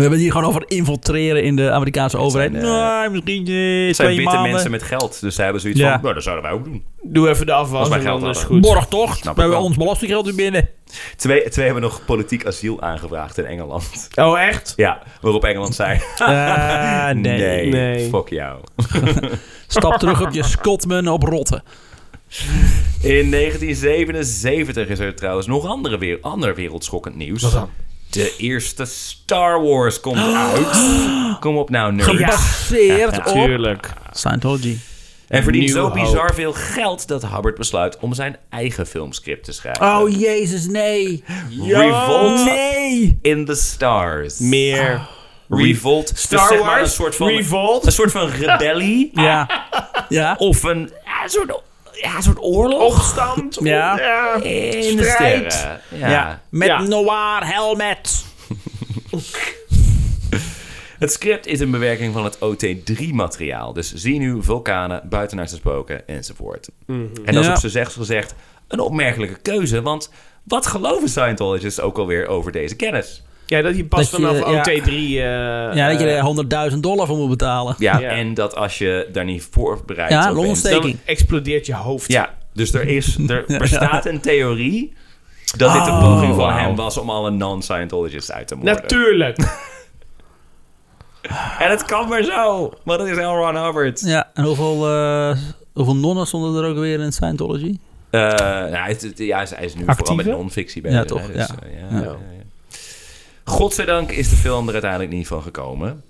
Speaker 2: we hebben het hier gewoon over infiltreren in de Amerikaanse overheid.
Speaker 4: zijn, eh,
Speaker 2: nee, misschien eh,
Speaker 4: Het zijn
Speaker 2: twee
Speaker 4: witte
Speaker 2: maanden.
Speaker 4: mensen met geld. Dus zij hebben zoiets
Speaker 2: Ja.
Speaker 4: van. Nou, dat zouden wij ook doen.
Speaker 3: Doe even de afwas
Speaker 4: Als wij
Speaker 3: en
Speaker 4: geld
Speaker 3: dan is
Speaker 4: hadden.
Speaker 3: goed.
Speaker 2: Borg toch?
Speaker 4: Snap
Speaker 2: We
Speaker 4: ik
Speaker 2: hebben
Speaker 4: wel.
Speaker 2: ons belastinggeld weer binnen.
Speaker 4: Twee, twee hebben nog politiek asiel aangevraagd in Engeland.
Speaker 3: Oh, echt?
Speaker 4: Ja, waarop Engeland zei:
Speaker 2: Ah, nee.
Speaker 3: Nee.
Speaker 4: fuck jou.
Speaker 2: Stap terug op je Scotman op rotten.
Speaker 4: In 1977 is er trouwens nog andere weer, ander wereldschokkend nieuws. De eerste Star Wars komt uit. Kom op nou, nerds.
Speaker 2: Gebaseerd op
Speaker 3: Tuurlijk.
Speaker 4: Ah.
Speaker 2: Scientology.
Speaker 4: En verdient zo
Speaker 3: New Hope.
Speaker 4: bizar veel geld dat Hubbard besluit om zijn eigen filmscript te schrijven.
Speaker 2: Oh, jezus, nee.
Speaker 4: Revolt
Speaker 2: Nee.
Speaker 4: in the Stars.
Speaker 3: Meer.
Speaker 4: Revolt.
Speaker 3: Star
Speaker 4: Dus zeg maar
Speaker 3: Wars,
Speaker 4: een soort van,
Speaker 3: Revolt.
Speaker 4: Een soort van rebellie.
Speaker 2: Ja. Ja.
Speaker 4: Of een, ja, een soort, ja, een soort oorlog.
Speaker 3: Opstand.
Speaker 2: Ja.
Speaker 4: In de
Speaker 3: Strijd.
Speaker 4: sterren.
Speaker 2: Ja. Met
Speaker 3: Ja.
Speaker 2: noir helmet.
Speaker 4: Het script is een bewerking van het OT3-materiaal. Dus zenuw, vulkanen, buitenaardse spoken enzovoort. En dat is
Speaker 2: Ja.
Speaker 4: op zijn zegt gezegd een opmerkelijke keuze. Want wat geloven Scientologists ook alweer over deze kennis?
Speaker 3: Ja, dat je pas
Speaker 2: Dat je,
Speaker 3: vanaf
Speaker 2: ja.
Speaker 3: OT3... eh,
Speaker 2: Ja, dat je
Speaker 3: eh,
Speaker 2: er 100.000 dollar voor moet betalen.
Speaker 4: Ja,
Speaker 3: Ja.
Speaker 4: en dat als je daar niet voorbereid
Speaker 2: Ja,
Speaker 4: op bent...
Speaker 2: longontsteking.
Speaker 4: dan-
Speaker 3: dan explodeert je hoofd.
Speaker 4: Ja, dus er, is, er bestaat een theorie dat dit
Speaker 2: Oh,
Speaker 4: een poging van hem was om alle non-Scientologists uit te moorden.
Speaker 3: Natuurlijk.
Speaker 4: en het kan maar zo, maar dat is L. Ron Hubbard.
Speaker 2: Ja, en hoeveel, eh, hoeveel nonnen stonden er ook weer in Scientology?
Speaker 4: Eh, nou, hij, is, ja, hij is- hij is nu vooral
Speaker 3: Actieve?
Speaker 4: met non-fictie bezig.
Speaker 2: Ja,
Speaker 4: hè,
Speaker 2: toch,
Speaker 4: dus,
Speaker 2: ja.
Speaker 4: eh,
Speaker 2: Ja.
Speaker 4: ja, ja, ja. Godzijdank is de film er uiteindelijk niet van gekomen.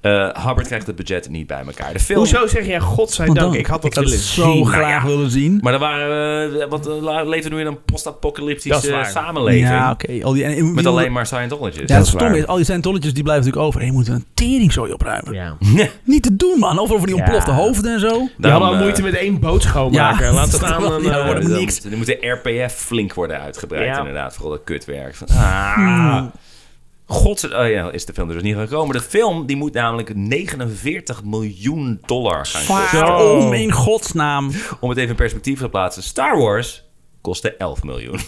Speaker 4: Eh Hubbard krijgt het budget niet bij elkaar. De film...
Speaker 3: Hoezo zeg jij godzijdank? Ik had dat
Speaker 2: het
Speaker 3: willen
Speaker 2: zo
Speaker 3: zien.
Speaker 2: graag
Speaker 4: Nou ja.
Speaker 2: willen zien.
Speaker 4: Maar dan waren eh, we, want we leven nu in een
Speaker 3: Dat is
Speaker 4: post-apocalyptische
Speaker 3: waar.
Speaker 4: samenleving.
Speaker 2: Ja, oké. Al die, en- en-
Speaker 4: Met
Speaker 2: die-
Speaker 4: alleen maar Scientologists.
Speaker 2: Ja,
Speaker 3: Dat
Speaker 2: het
Speaker 3: is
Speaker 2: stomme
Speaker 3: waar.
Speaker 2: is, al die Scientologists die blijven natuurlijk over. En je moet een teringzooi opruimen.
Speaker 3: Ja.
Speaker 2: Niet te doen, man. Overal van die
Speaker 3: Ja.
Speaker 2: ontplofte hoofden en zo.
Speaker 3: Die hadden al
Speaker 4: eh,
Speaker 3: moeite met één boot schoonmaken.
Speaker 2: Ja.
Speaker 3: Laat het aan. een,
Speaker 2: Ja,
Speaker 3: eh,
Speaker 2: worden
Speaker 4: dan
Speaker 2: niks.
Speaker 4: moet- Dan moet de RPF flink worden uitgebreid,
Speaker 3: Ja.
Speaker 4: inderdaad. Vooral dat kutwerk. Van, ah,
Speaker 3: Hmm.
Speaker 4: gods, oh ja, is de film er dus niet gaan komen. De film die moet namelijk 49 miljoen dollar gaan kosten.
Speaker 2: Waar,
Speaker 3: Zo.
Speaker 2: oh mijn godsnaam.
Speaker 4: Om het even in perspectief te plaatsen. Star Wars kostte 11 miljoen.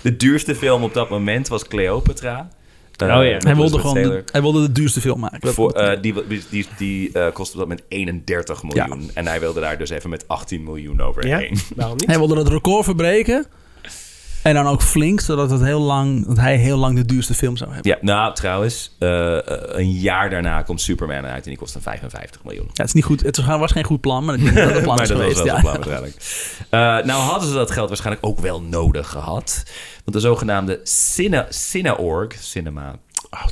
Speaker 4: De duurste film op dat moment was Cleopatra. Eh,
Speaker 3: ja.
Speaker 4: met
Speaker 2: Oh, Hij wilde,
Speaker 4: Elizabeth
Speaker 2: gewoon
Speaker 4: Taylor.
Speaker 2: de, hij wilde de duurste film maken. Dat-
Speaker 4: Voor, eh, die die, die, die eh, kostte op dat moment 31 miljoen. En hij wilde daar dus even met 18 miljoen
Speaker 3: Ja?
Speaker 4: overheen.
Speaker 3: Waarom niet?
Speaker 2: hij wilde het record verbreken. En dan ook flink, zodat het heel lang, dat hij heel lang de duurste film zou hebben.
Speaker 4: Ja, nou trouwens, eh, eh, een jaar daarna komt Superman uit en die kost een 55 miljoen.
Speaker 2: Ja, het is niet goed. Het was geen goed plan, maar ik denk dat het een plan
Speaker 4: Maar
Speaker 2: is
Speaker 4: dat was
Speaker 2: geweest.
Speaker 4: wel
Speaker 2: Ja.
Speaker 4: zijn plan waarschijnlijk. Eh, nou hadden ze dat geld waarschijnlijk ook wel nodig gehad. Want de zogenaamde Cine, Cineorg, Cinema,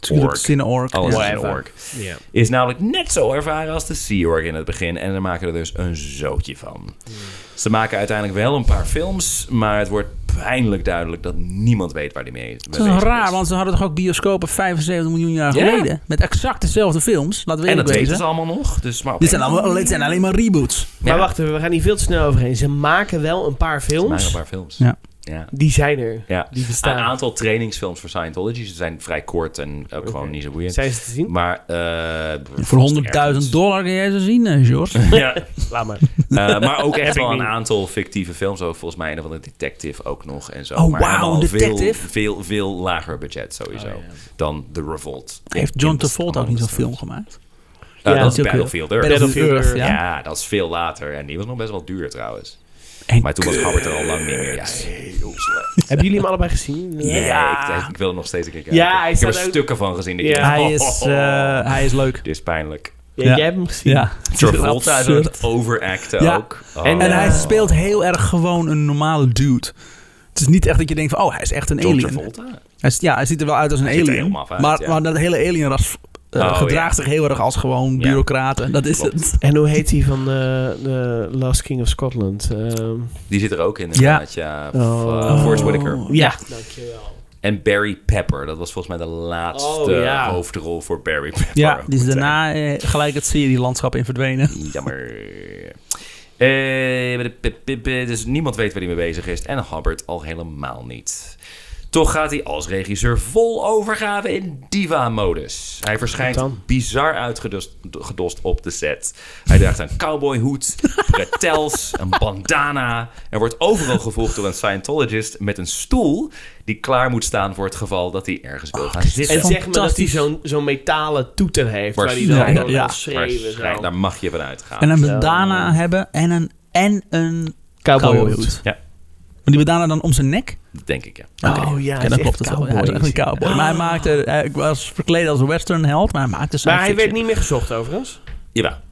Speaker 2: Tuurlijk,
Speaker 4: Org.
Speaker 2: Cineorg.
Speaker 4: alles
Speaker 2: Ja.
Speaker 4: is een org,
Speaker 3: Ja.
Speaker 4: is namelijk net zo ervaren als de Sea-Org in het begin. En daar maken er dus een zootje van.
Speaker 3: Hmm.
Speaker 4: Ze maken uiteindelijk wel een paar films, maar het wordt pijnlijk duidelijk dat niemand weet waar die mee mee
Speaker 2: Dat
Speaker 4: bezig
Speaker 2: is
Speaker 4: is.
Speaker 2: wel raar, want ze hadden toch ook bioscopen 75 miljoen jaar
Speaker 4: Ja.
Speaker 2: geleden. Met exact dezelfde films, laten we
Speaker 4: En dat
Speaker 2: eerlijk
Speaker 4: weten ze
Speaker 2: wezen.
Speaker 4: allemaal nog. Dus, maar op
Speaker 2: Dit
Speaker 4: een
Speaker 2: zijn, allemaal, dit zijn alleen maar reboots.
Speaker 3: Maar
Speaker 4: Ja.
Speaker 3: wacht even, we gaan hier veel te snel overheen. Ze maken wel een paar
Speaker 4: Ze maken
Speaker 3: films.
Speaker 4: een paar films.
Speaker 2: Ja.
Speaker 4: ja.
Speaker 3: Die zijn er.
Speaker 4: Ja.
Speaker 3: Die bestaan.
Speaker 4: Een aantal trainingsfilms voor Scientology. Ze zijn vrij kort en ook gewoon niet zo boeiend.
Speaker 3: Zijn ze te zien?
Speaker 4: Maar eh,
Speaker 2: Voor
Speaker 4: vast
Speaker 2: 100.000
Speaker 4: ergens.
Speaker 2: dollar kun jij ze zien, eh, George.
Speaker 4: Ja,
Speaker 3: Laat maar.
Speaker 4: eh, maar ook echt
Speaker 3: Heb ik
Speaker 4: wel een
Speaker 3: niet.
Speaker 4: aantal fictieve films. Ook volgens mij een van de detective ook nog en zo.
Speaker 2: Oh,
Speaker 4: maar
Speaker 2: wauw,
Speaker 4: allemaal
Speaker 2: Detective?
Speaker 4: Veel, veel, veel lager budget sowieso dan The Revolt.
Speaker 2: Heeft
Speaker 4: In-
Speaker 2: John
Speaker 4: in-
Speaker 2: Travolta ook niet zo'n
Speaker 4: among the
Speaker 2: film
Speaker 4: stars.
Speaker 2: gemaakt?
Speaker 4: Eh,
Speaker 3: Ja,
Speaker 4: dat
Speaker 2: dat
Speaker 4: is
Speaker 2: is ook heel-
Speaker 4: Battlefield Earth.
Speaker 2: Battlefield Earth,
Speaker 4: ja.
Speaker 2: ja.
Speaker 4: dat is veel later. En die was nog best wel duur trouwens.
Speaker 2: En
Speaker 4: Maar toen was Hubbard er al lang niet meer. Ja, heel slecht.
Speaker 3: Hebben jullie hem allebei gezien?
Speaker 4: Ja,
Speaker 2: Ja.
Speaker 4: Ik, ik wil er nog steeds een keer kijken.
Speaker 3: Ja, hij
Speaker 4: ik heb
Speaker 3: staat
Speaker 4: er
Speaker 3: ook-
Speaker 4: stukken van gezien. dat
Speaker 3: Ja.
Speaker 4: ik dacht,
Speaker 2: hij, is, eh, hij is leuk.
Speaker 4: oh. Dit is pijnlijk.
Speaker 3: Ja,
Speaker 2: Ja.
Speaker 3: Jij hebt hem gezien.
Speaker 2: Ja.
Speaker 4: Travolta is aan
Speaker 2: Absurd.
Speaker 4: het overacten
Speaker 2: Ja.
Speaker 4: ook. Oh.
Speaker 3: En,
Speaker 2: En
Speaker 3: Ja.
Speaker 2: hij speelt heel erg gewoon een normale dude. Het is niet echt dat je denkt van, oh, hij is echt een
Speaker 4: John
Speaker 2: alien.
Speaker 4: Travolta?
Speaker 2: Hij, is- ja, hij ziet er wel uit als een
Speaker 4: Hij ziet er
Speaker 2: alien.
Speaker 4: helemaal uit,
Speaker 2: maar,
Speaker 4: ja.
Speaker 2: maar dat hele alienras eh,
Speaker 4: Oh,
Speaker 2: gedraagt
Speaker 4: ja.
Speaker 2: zich heel erg als gewoon
Speaker 4: Ja.
Speaker 2: bureaucraten. Dat is
Speaker 4: Klopt.
Speaker 2: het.
Speaker 3: En hoe heet die van de, de Last King of Scotland? Ehm,
Speaker 4: Die zit er ook in inderdaad, ja. F-
Speaker 3: Oh.
Speaker 4: eh, Forrest Whitaker.
Speaker 2: Oh,
Speaker 3: ja. Dankjewel.
Speaker 4: En Barry Pepper. Dat was volgens mij de laatste
Speaker 3: Oh, ja.
Speaker 4: hoofdrol voor Barry Pepper.
Speaker 2: Ja, die is
Speaker 4: Meteen.
Speaker 2: daarna eh, gelijk het serielandschap in verdwenen.
Speaker 4: Ah, Jammer. Eh, pip, pip, pip, dus niemand weet waar hij mee bezig is. En Hubbard al helemaal niet. Toch gaat hij als regisseur vol overgave in diva-modus. Hij verschijnt
Speaker 3: Dan.
Speaker 4: bizar uitgedost gedost op de set. Hij draagt een cowboyhoed, bretels, een bandana. Er wordt overal gevolgd door een Scientologist met een stoel... die klaar moet staan voor het geval dat hij ergens wil gaan zitten.
Speaker 3: En zeg maar dat hij
Speaker 2: Fantastisch.
Speaker 3: zo'n zo'n metalen toeter heeft. Waar hij dan
Speaker 4: Waarschijnlijk.
Speaker 3: gewoon
Speaker 2: Ja.
Speaker 3: aan schreeuwen. zo.
Speaker 4: Waarschijnlijk, Daar mag je van uitgaan.
Speaker 2: En een
Speaker 3: Zo.
Speaker 2: bandana hebben en een, en een cowboyhoed.
Speaker 4: Ja.
Speaker 2: Maar die bandana dan om zijn nek?
Speaker 4: Dat denk ik, ja.
Speaker 3: Oh ja,
Speaker 2: Oké,
Speaker 3: hij is
Speaker 2: dan
Speaker 3: echt
Speaker 2: klopt het wel. Ja, hij is
Speaker 3: cowboy.
Speaker 2: echt een cowboy. Maar hij, maakte, hij was verkleed als een western held, maar hij maakte zijn
Speaker 3: Maar hij werd niet meer gezocht overigens.
Speaker 4: Jawel.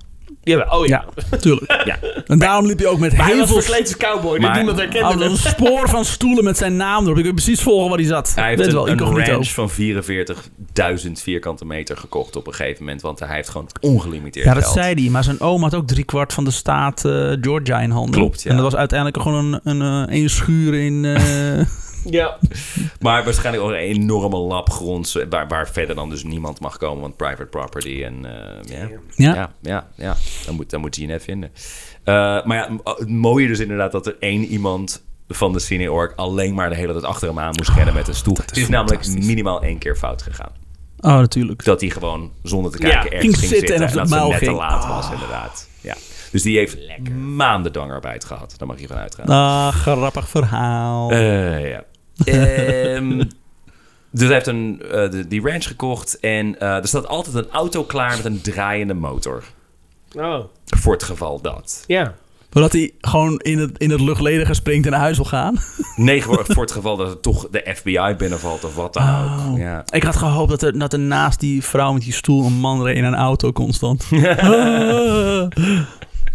Speaker 3: Jawel, oh ja.
Speaker 2: Ja, tuurlijk.
Speaker 4: Ja.
Speaker 2: En daarom liep hij ook met
Speaker 3: Maar hij
Speaker 2: heel
Speaker 3: was
Speaker 2: veel
Speaker 3: verkleed als cowboy, dus
Speaker 4: Maar-
Speaker 3: niemand herkende
Speaker 2: Oh, dat
Speaker 3: hem.
Speaker 2: was een spoor van stoelen met zijn naam erop. Ik weet precies volgen waar hij zat.
Speaker 4: Hij
Speaker 2: Weet
Speaker 4: heeft
Speaker 2: wel,
Speaker 4: een, een
Speaker 2: incognito.
Speaker 4: ranch van 44.000 vierkante meter gekocht op een gegeven moment. Want hij heeft gewoon ongelimiteerd
Speaker 2: Ja, dat
Speaker 4: geld.
Speaker 2: zei hij. Maar zijn oom had ook driekwart van de staat eh, Georgia in handen.
Speaker 4: Klopt, ja.
Speaker 2: En dat was uiteindelijk gewoon een, een, eh, één schuur in... eh,
Speaker 3: Ja.
Speaker 4: Maar waarschijnlijk ook een enorme lap gronds eh, waar, waar verder dan dus niemand mag komen. Want private property en eh, ja.
Speaker 2: Ja.
Speaker 4: Ja, ja, ja, Dan, moet, dan moet je je net vinden. Eh, maar ja, m- het mooie dus inderdaad dat er één iemand van de Cineorg alleen maar de hele tijd achter hem aan moest rennen met een stoel. Het is namelijk minimaal één keer fout gegaan.
Speaker 2: Oh, natuurlijk.
Speaker 4: Dat hij gewoon zonder te kijken
Speaker 3: Ja,
Speaker 4: ergens
Speaker 2: ging
Speaker 4: ging
Speaker 2: zitten
Speaker 4: zitten.
Speaker 2: en op
Speaker 4: en
Speaker 2: het
Speaker 4: dat ze
Speaker 2: muil
Speaker 4: net te
Speaker 2: ging. Oh.
Speaker 4: laat was, inderdaad. Ja. Dus die heeft maanden dangarbeid gehad. Daar mag je van uitgaan.
Speaker 2: Ah, grappig verhaal.
Speaker 4: Eh, ja. Ehm, dus hij heeft een, eh, de- die ranch gekocht. En eh, er staat altijd een auto klaar met een draaiende motor.
Speaker 3: Oh,
Speaker 4: Voor het geval dat.
Speaker 3: ja.
Speaker 2: Voordat hij gewoon in het, in het luchtledige springt en naar huis wil gaan.
Speaker 4: Nee, voor, voor het geval dat het toch de FBI binnenvalt of wat dan
Speaker 2: Oh.
Speaker 4: ook. Ja.
Speaker 2: Ik had gehoopt dat er, dat er naast die vrouw met die stoel een man reed in een auto constant. Ah.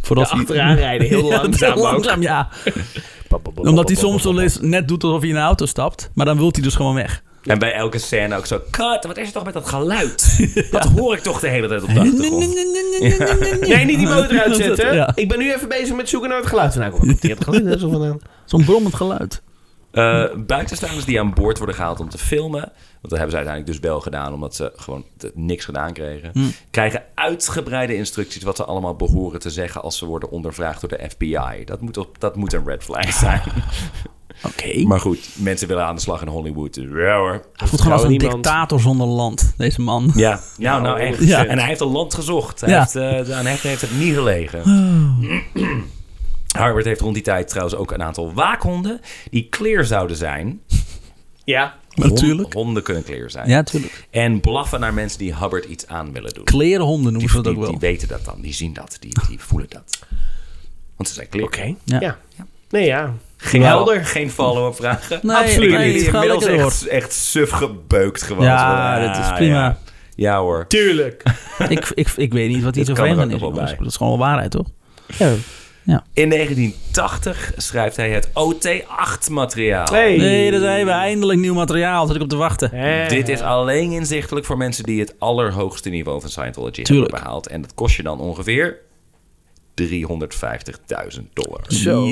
Speaker 2: Voordat
Speaker 3: Achteraan rijden, heel
Speaker 2: Ja,
Speaker 3: langzaam ook.
Speaker 2: langzaam, ja. Omdat hij soms wel eens net doet alsof hij in een auto stapt. Maar dan wilt hij dus gewoon weg.
Speaker 4: En bij elke scène ook zo... Kat, wat is er toch met dat geluid? Dat hoor ik toch de hele tijd op de achtergrond.
Speaker 3: Nee, niet die motor eruit zetten.
Speaker 2: Ja.
Speaker 3: Ik ben nu even bezig met zoeken naar het geluid. Nou, kom, ik heb het geluid er zo vandaan.
Speaker 2: Zo'n brommend geluid.
Speaker 4: Eh, buitenstaanders die aan boord worden gehaald om te filmen. Want dat hebben ze uiteindelijk dus wel gedaan, omdat ze gewoon t- niks gedaan kregen.
Speaker 2: Hm.
Speaker 4: Krijgen uitgebreide instructies wat ze allemaal behoren te zeggen als ze worden ondervraagd door de FBI. Dat moet, op, dat moet een red flag zijn.
Speaker 2: Oké.
Speaker 4: maar goed, mensen willen aan de slag in Hollywood. Dus ja hoor.
Speaker 2: Hij voelt gewoon als een
Speaker 3: niemand.
Speaker 2: dictator zonder land, deze man.
Speaker 4: Ja, nou, nou echt.
Speaker 2: Ja.
Speaker 4: En hij heeft een land gezocht. Hij
Speaker 2: Ja. Oh.
Speaker 4: heeft, eh, aan Hector heeft het niet gelegen. Harbert heeft rond die tijd trouwens ook een aantal waakhonden die clear zouden zijn.
Speaker 3: Ja.
Speaker 4: Hond-
Speaker 2: Natuurlijk.
Speaker 4: Honden kunnen clear zijn.
Speaker 2: Ja, natuurlijk.
Speaker 4: En blaffen naar mensen die Hubbard iets aan willen doen.
Speaker 2: Klerenhonden
Speaker 4: Die,
Speaker 2: noemen ze dat
Speaker 4: die,
Speaker 2: ook wel.
Speaker 4: die weten dat dan, die zien dat, die, die voelen dat. Want ze zijn clear.
Speaker 3: Oké.
Speaker 2: Ja.
Speaker 3: Ja. Nee, ja.
Speaker 4: Geen,
Speaker 3: Helder.
Speaker 4: helder. geen follow-up vragen.
Speaker 2: Nee,
Speaker 4: Absoluut
Speaker 2: nee,
Speaker 4: niet.
Speaker 2: het gaat
Speaker 4: Inmiddels
Speaker 2: lekker
Speaker 4: echt, echt suf gebeukt gewoon.
Speaker 2: Ja,
Speaker 4: Zo,
Speaker 2: dat is
Speaker 4: ah,
Speaker 2: prima.
Speaker 4: Ja, Ja, hoor.
Speaker 3: Tuurlijk.
Speaker 2: ik, ik, ik weet niet wat hier
Speaker 4: Dit
Speaker 2: zo
Speaker 4: kan er
Speaker 2: vreemd aan is.
Speaker 4: ook nog wel
Speaker 2: jongens.
Speaker 4: bij.
Speaker 2: Dat is gewoon waarheid, toch?
Speaker 3: Ja.
Speaker 4: In 1980 schrijft hij het OT8-materiaal.
Speaker 3: Hey.
Speaker 2: Nee, daar zijn we. Eindelijk nieuw materiaal. Zat ik op te wachten.
Speaker 3: Eh.
Speaker 4: Dit is alleen inzichtelijk voor mensen die het allerhoogste niveau van Scientology
Speaker 2: Tuurlijk.
Speaker 4: hebben behaald. En dat kost je dan ongeveer 350.000 dollar.
Speaker 3: Zo.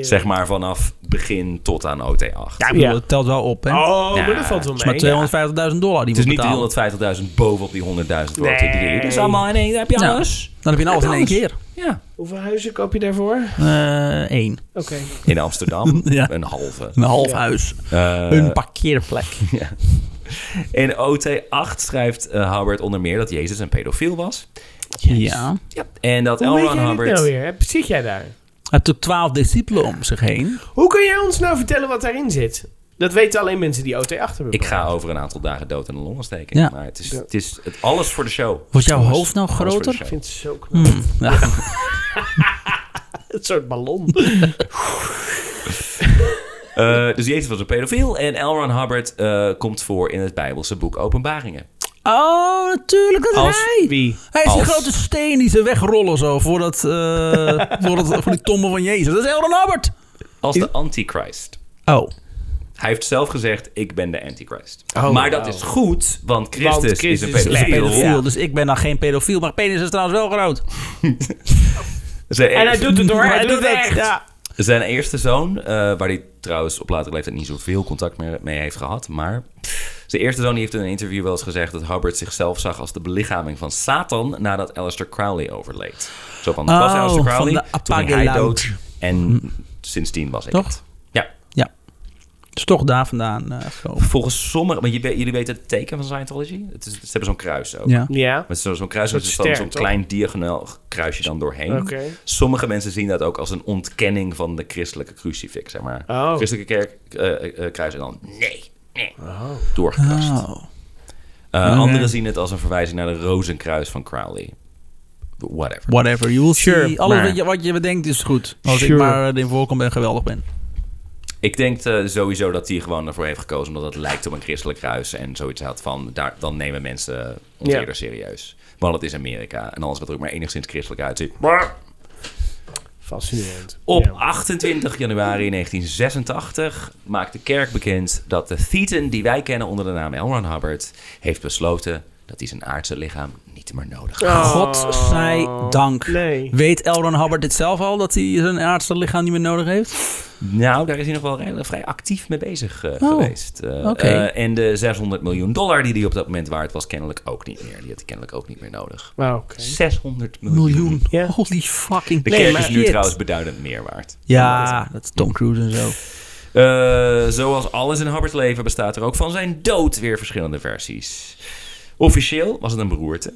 Speaker 4: Zeg maar vanaf begin tot aan OT8.
Speaker 2: eh, Ja, ik bedoel,
Speaker 3: Ja.
Speaker 2: het telt wel op, hè? Het
Speaker 3: Oh, maar dat valt wel
Speaker 2: is
Speaker 3: mee.
Speaker 2: maar 250.000 dollar die
Speaker 4: Het
Speaker 2: we
Speaker 4: is
Speaker 2: betalen.
Speaker 4: niet 350.000 bovenop die 100.000 voor
Speaker 3: Nee.
Speaker 4: OT3. Dus allemaal in één, daar heb je
Speaker 2: Ja.
Speaker 4: alles.
Speaker 2: Dan heb je nou alles in één keer.
Speaker 4: Ja.
Speaker 3: Hoeveel huizen koop je daarvoor? Oké.
Speaker 2: Eh Eén.
Speaker 4: In Amsterdam,
Speaker 2: Ja.
Speaker 4: een halve.
Speaker 2: Een half huis.
Speaker 4: Eh,
Speaker 2: een parkeerplek.
Speaker 4: in OT8 schrijft eh, Howard onder meer dat Jezus een pedofiel was.
Speaker 2: Ja. Hij
Speaker 4: Ja. En dat
Speaker 3: Hoe
Speaker 4: Elron
Speaker 3: weet jij dit
Speaker 4: Hubbard...
Speaker 3: nou weer? Heb- Zit jij daar?
Speaker 2: heeft natuurlijk twaalf discipelen om zich heen.
Speaker 3: Hoe kun jij ons nou vertellen wat daarin zit? Dat weten alleen mensen die OT achter hebben.
Speaker 4: Ik ga over een aantal dagen dood aan een longontsteking.
Speaker 2: Ja.
Speaker 4: Maar het is, het is het, alles voor de show.
Speaker 2: Wordt jouw
Speaker 4: Alles-
Speaker 2: hoofd nou
Speaker 4: alles voor de
Speaker 2: groter?
Speaker 4: show.
Speaker 3: Ik vind het zo knap.
Speaker 2: Ja.
Speaker 3: Een soort ballon.
Speaker 4: Eh, dus Jezus was een pedofiel. En Elron Hubbard eh, komt voor in het Bijbelse boek Openbaringen.
Speaker 2: Oh, natuurlijk, dat is
Speaker 4: Als
Speaker 2: hij.
Speaker 4: wie?
Speaker 2: Hij is die
Speaker 4: Als-
Speaker 2: grote steen die ze wegrollen zo voor, dat, eh, voor, dat, voor die tombe van Jezus. Dat is Elron Albert.
Speaker 4: Als de antichrist.
Speaker 2: Oh.
Speaker 4: Hij heeft zelf gezegd, ik ben de antichrist.
Speaker 3: Oh,
Speaker 4: maar dat
Speaker 3: wauw.
Speaker 4: is goed, want Christus,
Speaker 3: Want Christus
Speaker 4: is een
Speaker 3: is een
Speaker 4: pedofiel.
Speaker 2: Pedofiel,
Speaker 4: Ja.
Speaker 2: dus ik ben dan geen pedofiel, maar penis is trouwens wel groot.
Speaker 4: Zijn,
Speaker 3: en hij
Speaker 4: eerste,
Speaker 3: doet het hoor.
Speaker 2: Maar
Speaker 3: Hij doet het echt.
Speaker 2: Ja.
Speaker 4: zijn eerste zoon, eh, waar hij trouwens op latere leeftijd niet zoveel contact meer mee heeft gehad. Maar zijn eerste zoon die heeft in een interview wel eens gezegd dat Hubbard zichzelf zag als de belichaming van Satan nadat Aleister Crowley overleed. Zo van, dat was
Speaker 2: Oh,
Speaker 4: Aleister Crowley,
Speaker 2: van de
Speaker 4: toen ging hij
Speaker 2: Apagelaut.
Speaker 4: dood en sindsdien was ik
Speaker 2: Toch?
Speaker 4: het. Ja.
Speaker 2: Ja. Dus toch daar vandaan eh gekomen.
Speaker 4: Volgens sommigen, want je weet- jullie weten het teken van Scientology? Het is, ze hebben zo'n kruis ook.
Speaker 2: Ja.
Speaker 3: Ja.
Speaker 4: Met zo- zo'n kruis,
Speaker 3: Een
Speaker 4: met
Speaker 3: soort
Speaker 4: zo'n
Speaker 3: ster,
Speaker 4: zo'n
Speaker 3: toch?
Speaker 4: klein diagonaal kruisje dan doorheen.
Speaker 3: Oké.
Speaker 4: Sommige mensen zien dat ook als een ontkenning van de christelijke crucifix, zeg maar.
Speaker 3: Oh.
Speaker 4: Christelijke kerk, eh, eh, kruis en dan nee, nee, doorgekrast.
Speaker 2: Oh.
Speaker 4: Eh,
Speaker 2: Oké.
Speaker 4: Anderen zien het als een verwijzing naar de rozenkruis van Crowley. Whatever.
Speaker 2: Whatever, you will
Speaker 3: Sure,
Speaker 2: see. Alles
Speaker 4: maar-
Speaker 2: wat, je, wat je bedenkt is goed. Als
Speaker 3: Sure.
Speaker 2: ik maar eh, in voorkom en geweldig ben.
Speaker 4: Ik denk eh, sowieso dat hij gewoon ervoor heeft gekozen omdat het lijkt op een christelijk kruis en zoiets had van, daar, dan nemen mensen ons
Speaker 3: Ja.
Speaker 4: eerder serieus. Want het is Amerika en alles wat er ook maar enigszins christelijk uitziet,
Speaker 3: Fascinerend.
Speaker 4: Op
Speaker 3: Ja.
Speaker 4: 28 januari 1986 maakt de kerk bekend dat de Thetan die wij kennen onder de naam L. Ron Hubbard heeft besloten dat hij zijn aardse lichaam niet meer nodig heeft.
Speaker 2: God zij dank.
Speaker 3: Nee.
Speaker 2: Weet Elron Hubbard dit zelf al, dat hij zijn aardse lichaam niet meer nodig heeft?
Speaker 4: Nou, daar is hij nog wel redelijk- vrij actief mee bezig eh,
Speaker 2: Oh,
Speaker 4: geweest. Eh,
Speaker 2: oké.
Speaker 4: eh, en de 600 miljoen dollar die hij op dat moment waard was, kennelijk ook niet meer. Die had hij kennelijk ook niet meer nodig.
Speaker 3: Maar Ah, oké.
Speaker 4: 600 miljoen.
Speaker 2: Miljoen.
Speaker 3: Ja.
Speaker 2: Holy fucking
Speaker 4: De kerk
Speaker 2: nee,
Speaker 4: is
Speaker 2: maar
Speaker 4: nu
Speaker 2: shit.
Speaker 4: trouwens beduidend meer waard.
Speaker 2: Ja, dat is Tom Cruise en zo.
Speaker 4: Eh, zoals alles in Hubbard's leven bestaat er ook van zijn dood weer verschillende versies. Officieel was het een beroerte.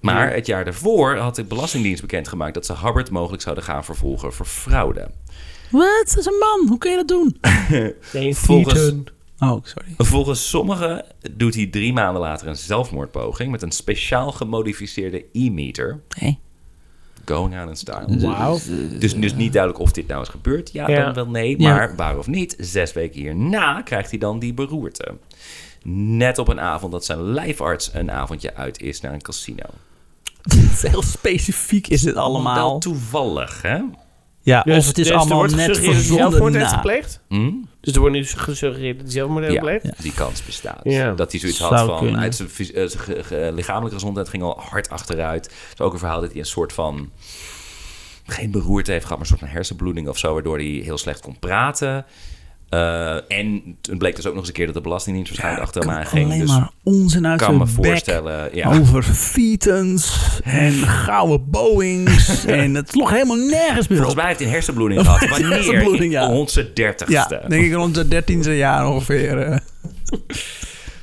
Speaker 4: Maar het jaar daarvoor had de Belastingdienst bekendgemaakt dat ze Hubbard mogelijk zouden gaan vervolgen voor fraude.
Speaker 2: Wat? Dat is een man. Hoe kun je dat doen?
Speaker 3: Nee,
Speaker 4: Volgens-
Speaker 3: Tieten.
Speaker 2: Oh, sorry.
Speaker 4: Volgens sommigen doet hij drie maanden later een zelfmoordpoging met een speciaal gemodificeerde e-meter.
Speaker 2: Nee.
Speaker 4: Going out in style.
Speaker 3: Wauw.
Speaker 4: Dus, dus niet duidelijk of dit nou is gebeurd. Ja,
Speaker 3: Ja.
Speaker 4: dan wel nee.
Speaker 2: Ja.
Speaker 4: Maar waar of niet, zes weken hierna krijgt hij dan die beroerte. Net op een avond dat zijn lijfarts een avondje uit is naar een casino.
Speaker 2: Het is Heel specifiek is dit allemaal.
Speaker 4: Wel toevallig, hè?
Speaker 2: Ja,
Speaker 3: Dus-
Speaker 2: of het is
Speaker 3: dus er
Speaker 2: allemaal
Speaker 3: wordt
Speaker 2: net
Speaker 3: gesuggereerd dat hij
Speaker 2: verzonnen
Speaker 3: zelfmoord heeft
Speaker 2: na.
Speaker 3: gepleegd?
Speaker 4: Hm?
Speaker 3: Dus er wordt nu gesuggereerd dat hij zelfmoord heeft
Speaker 4: Ja.
Speaker 3: gepleegd?
Speaker 2: Ja.
Speaker 4: Die kans bestaat.
Speaker 3: eh, Ja.
Speaker 4: Dat hij zoiets
Speaker 2: Zou
Speaker 4: had van...
Speaker 2: kunnen.
Speaker 4: Uit zijn, fys- eh, zijn ge- ge- lichamelijke gezondheid ging al hard achteruit. Het is ook een verhaal dat hij een soort van... Geen beroerte heeft gehad, maar een soort van hersenbloeding of zo... waardoor hij heel slecht kon praten. Eh, en toen bleek dus ook nog eens een keer... dat de Belastingdienst waarschijnlijk achter hem aan ging.
Speaker 2: Alleen
Speaker 4: Dus
Speaker 2: maar onzin uit
Speaker 4: kan me
Speaker 2: zijn bek
Speaker 4: voorstellen... Ja.
Speaker 2: over fietens en gouden boeings. en het sloeg helemaal nergens meer
Speaker 4: Volgens
Speaker 2: op.
Speaker 4: mij heeft hij een hersenbloeding gehad.
Speaker 2: Volgens mij
Speaker 4: Wanneer?
Speaker 2: heeft hij hersenbloeding, ja.
Speaker 4: In onze
Speaker 2: Ja,
Speaker 4: dertigste.
Speaker 2: denk ik rond de dertiende jaar ongeveer. eh.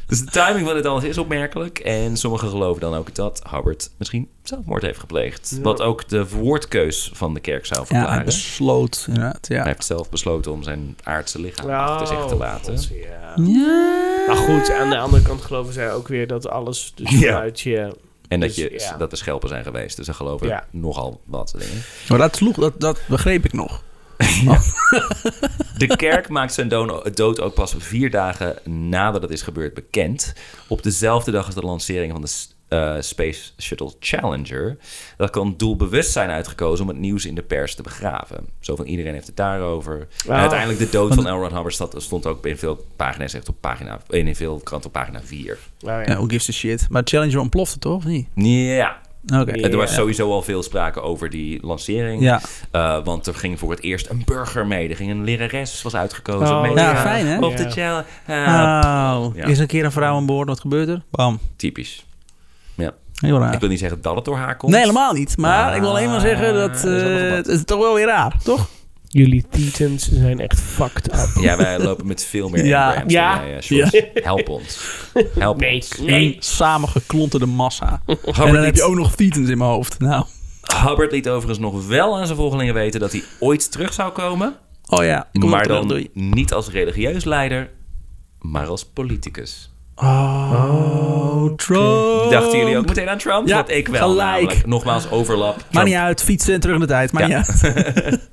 Speaker 4: Dus de timing van dit alles is opmerkelijk. En sommigen geloven dan ook dat Howard misschien zelfmoord heeft gepleegd. Wat ook de woordkeus van de kerk zou
Speaker 2: Ja, hij
Speaker 4: verklaren.
Speaker 2: besloot inderdaad. Ja.
Speaker 4: Hij heeft zelf besloten om zijn aardse lichaam
Speaker 3: Nou,
Speaker 4: achter zich te laten.
Speaker 3: god, ja.
Speaker 2: Ja.
Speaker 3: Maar goed, aan de andere kant geloven zij ook weer dat alles dus
Speaker 4: Ja.
Speaker 3: vanuit je...
Speaker 4: En dat,
Speaker 3: Dus,
Speaker 4: je,
Speaker 3: ja.
Speaker 4: dat er schelpen zijn geweest. Dus ze geloven
Speaker 3: Ja.
Speaker 4: nogal wat dingen.
Speaker 2: Maar dat sloeg, dat, dat begreep ik nog.
Speaker 4: De kerk maakt zijn doon- dood ook pas vier dagen nadat het is gebeurd bekend. Op dezelfde dag als de lancering van de s- eh, Space Shuttle Challenger. Dat kan doelbewust zijn uitgekozen om het nieuws in de pers te begraven. Zo van iedereen heeft het daarover. En
Speaker 3: Ah.
Speaker 4: uiteindelijk de dood van L. Ron Hubbard stond- stond ook in veel pagina's echt op pagina, in veel kranten op pagina 4.
Speaker 3: Nou
Speaker 2: Ja,
Speaker 3: ja.
Speaker 2: who gives a shit. Maar Challenger ontplofte toch, of niet?
Speaker 4: Ja,
Speaker 2: Oké.
Speaker 3: Ja.
Speaker 4: er was sowieso al veel sprake over die lancering.
Speaker 2: Ja.
Speaker 4: Eh, want er ging voor het eerst een burger mee. Er ging een lerares, was uitgekozen.
Speaker 3: Oh,
Speaker 4: mee.
Speaker 3: ja,
Speaker 4: Ja,
Speaker 2: fijn, hè?
Speaker 4: Op de Eh,
Speaker 3: Ja.
Speaker 4: challenge.
Speaker 2: Oh,
Speaker 4: Ja.
Speaker 2: is een keer een vrouw aan boord. Wat gebeurt er? Bam.
Speaker 4: Typisch. Ja.
Speaker 2: Heel raar.
Speaker 4: Ik wil niet zeggen dat het door haar komt.
Speaker 2: Ah. Nee, helemaal niet. Maar ik wil alleen maar zeggen
Speaker 4: Ah,
Speaker 2: dat
Speaker 4: er is ook nog
Speaker 2: eh,
Speaker 4: wat.
Speaker 2: het is toch wel weer raar, toch?
Speaker 3: Jullie titans zijn echt fucked up.
Speaker 4: Ja, wij lopen met veel meer
Speaker 2: Ja.
Speaker 4: Abrams dan
Speaker 3: Ja.
Speaker 4: wij, eh, Shorts.
Speaker 2: Ja.
Speaker 4: Help ons. Help
Speaker 3: Nee.
Speaker 4: ons.
Speaker 2: Eén samengeklonterde massa. en
Speaker 4: Hubbard
Speaker 2: dan heb je
Speaker 4: liet,
Speaker 2: ook nog fietens in mijn hoofd. Nou.
Speaker 4: Hubbard liet overigens nog wel aan zijn volgelingen weten dat hij ooit terug zou komen.
Speaker 2: Oh ja. ik kom
Speaker 4: maar
Speaker 2: wel terug,
Speaker 4: dan
Speaker 2: doei.
Speaker 4: niet als religieus leider, maar als politicus.
Speaker 2: Oh, Trump.
Speaker 4: Dachten jullie ook meteen aan Trump?
Speaker 2: Ja,
Speaker 4: Want ik wel.
Speaker 2: gelijk.
Speaker 4: namelijk. Nogmaals, overlap.
Speaker 2: Maakt
Speaker 4: Trump.
Speaker 2: niet uit. Fietsen en terug in de tijd. Maakt
Speaker 4: Ja.
Speaker 2: niet uit.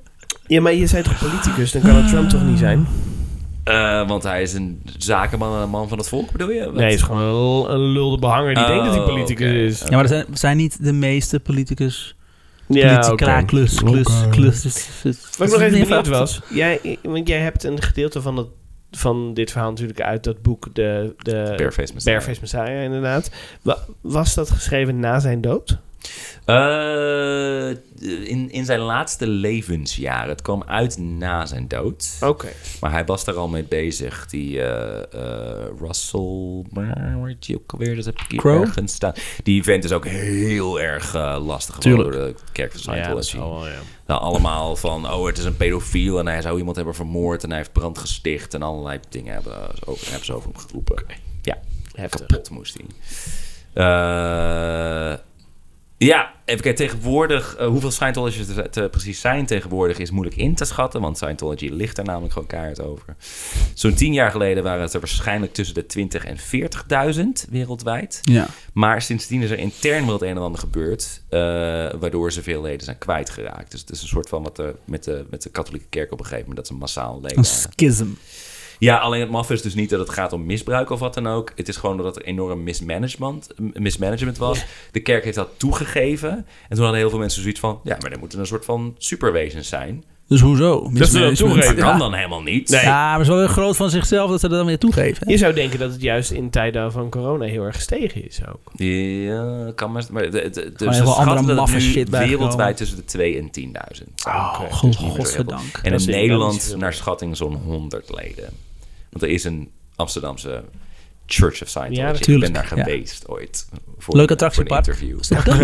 Speaker 3: Ja, maar je bent toch politicus? Dan kan het Trump toch niet zijn?
Speaker 4: Eh, want hij is een zakenman en een man van het volk, bedoel je? Wat?
Speaker 3: Nee, hij is gewoon een, l- een lulde behanger die
Speaker 4: Oh,
Speaker 3: denkt dat hij politicus
Speaker 4: oké.
Speaker 3: is.
Speaker 2: Ja, maar dat zijn, zijn niet de meeste politicus.
Speaker 3: Ja, oké.
Speaker 2: Politica, klus, klus, klus. dus- dus-
Speaker 3: Wat ik nog
Speaker 2: dus-
Speaker 3: even benieuwd was. Jij, want jij hebt een gedeelte van, dat, van dit verhaal natuurlijk uit dat boek, de, de
Speaker 4: Bareface Messiah.
Speaker 3: Bareface Messiah, inderdaad. Wa- was dat geschreven na zijn dood?
Speaker 4: Eh, in, in zijn laatste levensjaar. Het kwam uit na zijn dood.
Speaker 3: Oké.
Speaker 4: Maar hij was daar al mee bezig. Die eh, eh, Russell... Weet je ook alweer? Dat heb ik hier
Speaker 2: Crowe?
Speaker 4: ergens staan. Die vent is ook heel erg eh, lastig geworden
Speaker 2: Tuurlijk.
Speaker 4: door de kerk van
Speaker 3: Ja, dat
Speaker 4: Scientology.
Speaker 3: zal wel, ja.
Speaker 4: nou, allemaal van, oh, het is een pedofiel en hij zou iemand hebben vermoord en hij heeft brand gesticht en allerlei dingen hebben, ze over- hebben ze over hem geroepen. Ja,
Speaker 3: Heftig.
Speaker 4: kapot moest hij. Eh, ja, even kijken, tegenwoordig, eh, hoeveel Scientologists er te- precies zijn tegenwoordig is moeilijk in te schatten, want Scientology ligt daar namelijk gewoon keihard over. Zo'n tien jaar geleden waren het er waarschijnlijk tussen de 20 en 40.000 wereldwijd.
Speaker 2: Ja.
Speaker 4: Maar sindsdien is er intern wel het een en ander gebeurd, eh, waardoor ze veel leden zijn kwijtgeraakt. Dus het is een soort van wat er met de, met de katholieke kerk op een gegeven moment, dat ze massaal leden
Speaker 2: Een
Speaker 4: waren.
Speaker 2: schism.
Speaker 4: Ja, alleen het maf is dus niet dat het gaat om misbruik of wat dan ook. Het is gewoon dat er enorm mismanagement, mismanagement was. De kerk heeft dat toegegeven. En toen hadden heel veel mensen zoiets van... ja, maar er moeten een soort van superwezens zijn.
Speaker 2: Dus hoezo?
Speaker 3: ze dat
Speaker 2: Mismanagement.
Speaker 3: toegeven.
Speaker 4: Dat
Speaker 2: Ja.
Speaker 4: kan dan helemaal niet.
Speaker 2: Ja, maar zo groot van zichzelf dat ze dat dan weer toegeven. hè?
Speaker 3: Je zou denken dat het juist in tijden van corona heel erg gestegen is ook.
Speaker 4: Ja, kan maar... maar de, de, de,
Speaker 2: heel
Speaker 4: ze
Speaker 2: veel
Speaker 4: schatten
Speaker 2: andere
Speaker 4: dat
Speaker 2: maffe
Speaker 4: nu
Speaker 2: shit bij
Speaker 4: wereldwijd
Speaker 2: gewoon.
Speaker 4: tussen de 2 en 10.000.
Speaker 2: Oh,
Speaker 4: Dus niet meer zo heel veel.
Speaker 2: godzijdank.
Speaker 4: En
Speaker 3: Dat
Speaker 4: in
Speaker 3: is inderdaad niet
Speaker 4: Nederland
Speaker 3: zoveel.
Speaker 4: naar schatting zo'n 100 leden. Want er is een Amsterdamse Church of Scientology.
Speaker 3: Ja,
Speaker 4: Ik ben
Speaker 2: natuurlijk,
Speaker 4: daar
Speaker 2: ja.
Speaker 4: geweest ooit. Voor
Speaker 2: Leuk
Speaker 4: een-
Speaker 2: attractiepark.
Speaker 4: Voor een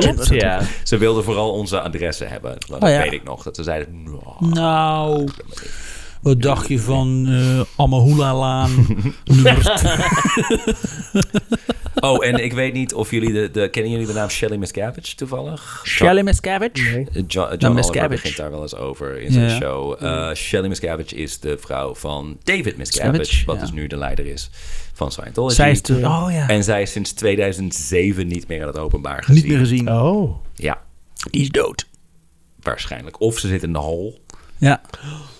Speaker 4: interview.
Speaker 3: Ja.
Speaker 4: Ze wilden vooral onze adressen hebben. Dat
Speaker 2: Oh ja.
Speaker 4: weet ik nog. Dat ze zeiden... "Nou,
Speaker 2: Nou, wat dacht je van eh Amahula-laan? nummer
Speaker 4: Oh, en ik weet niet of jullie de... de kennen jullie de naam Shelley Miscavige toevallig?
Speaker 2: Shelley Miscavige?
Speaker 4: John, John
Speaker 2: Nou,
Speaker 4: Oliver
Speaker 2: Miscavige.
Speaker 4: begint daar wel eens over in zijn
Speaker 2: Ja.
Speaker 4: show. Eh, Shelley Miscavige is de vrouw van David Miscavige.
Speaker 2: Miscavige,
Speaker 4: wat
Speaker 2: ja.
Speaker 4: dus nu de leider is van Scientology.
Speaker 2: Zij is de... Oh ja,
Speaker 4: En zij is sinds 2007 niet meer aan het openbaar gezien.
Speaker 2: niet meer gezien.
Speaker 3: Oh.
Speaker 4: Ja,
Speaker 2: Die is dood.
Speaker 4: waarschijnlijk. Of ze zit in de hol.
Speaker 2: Ja,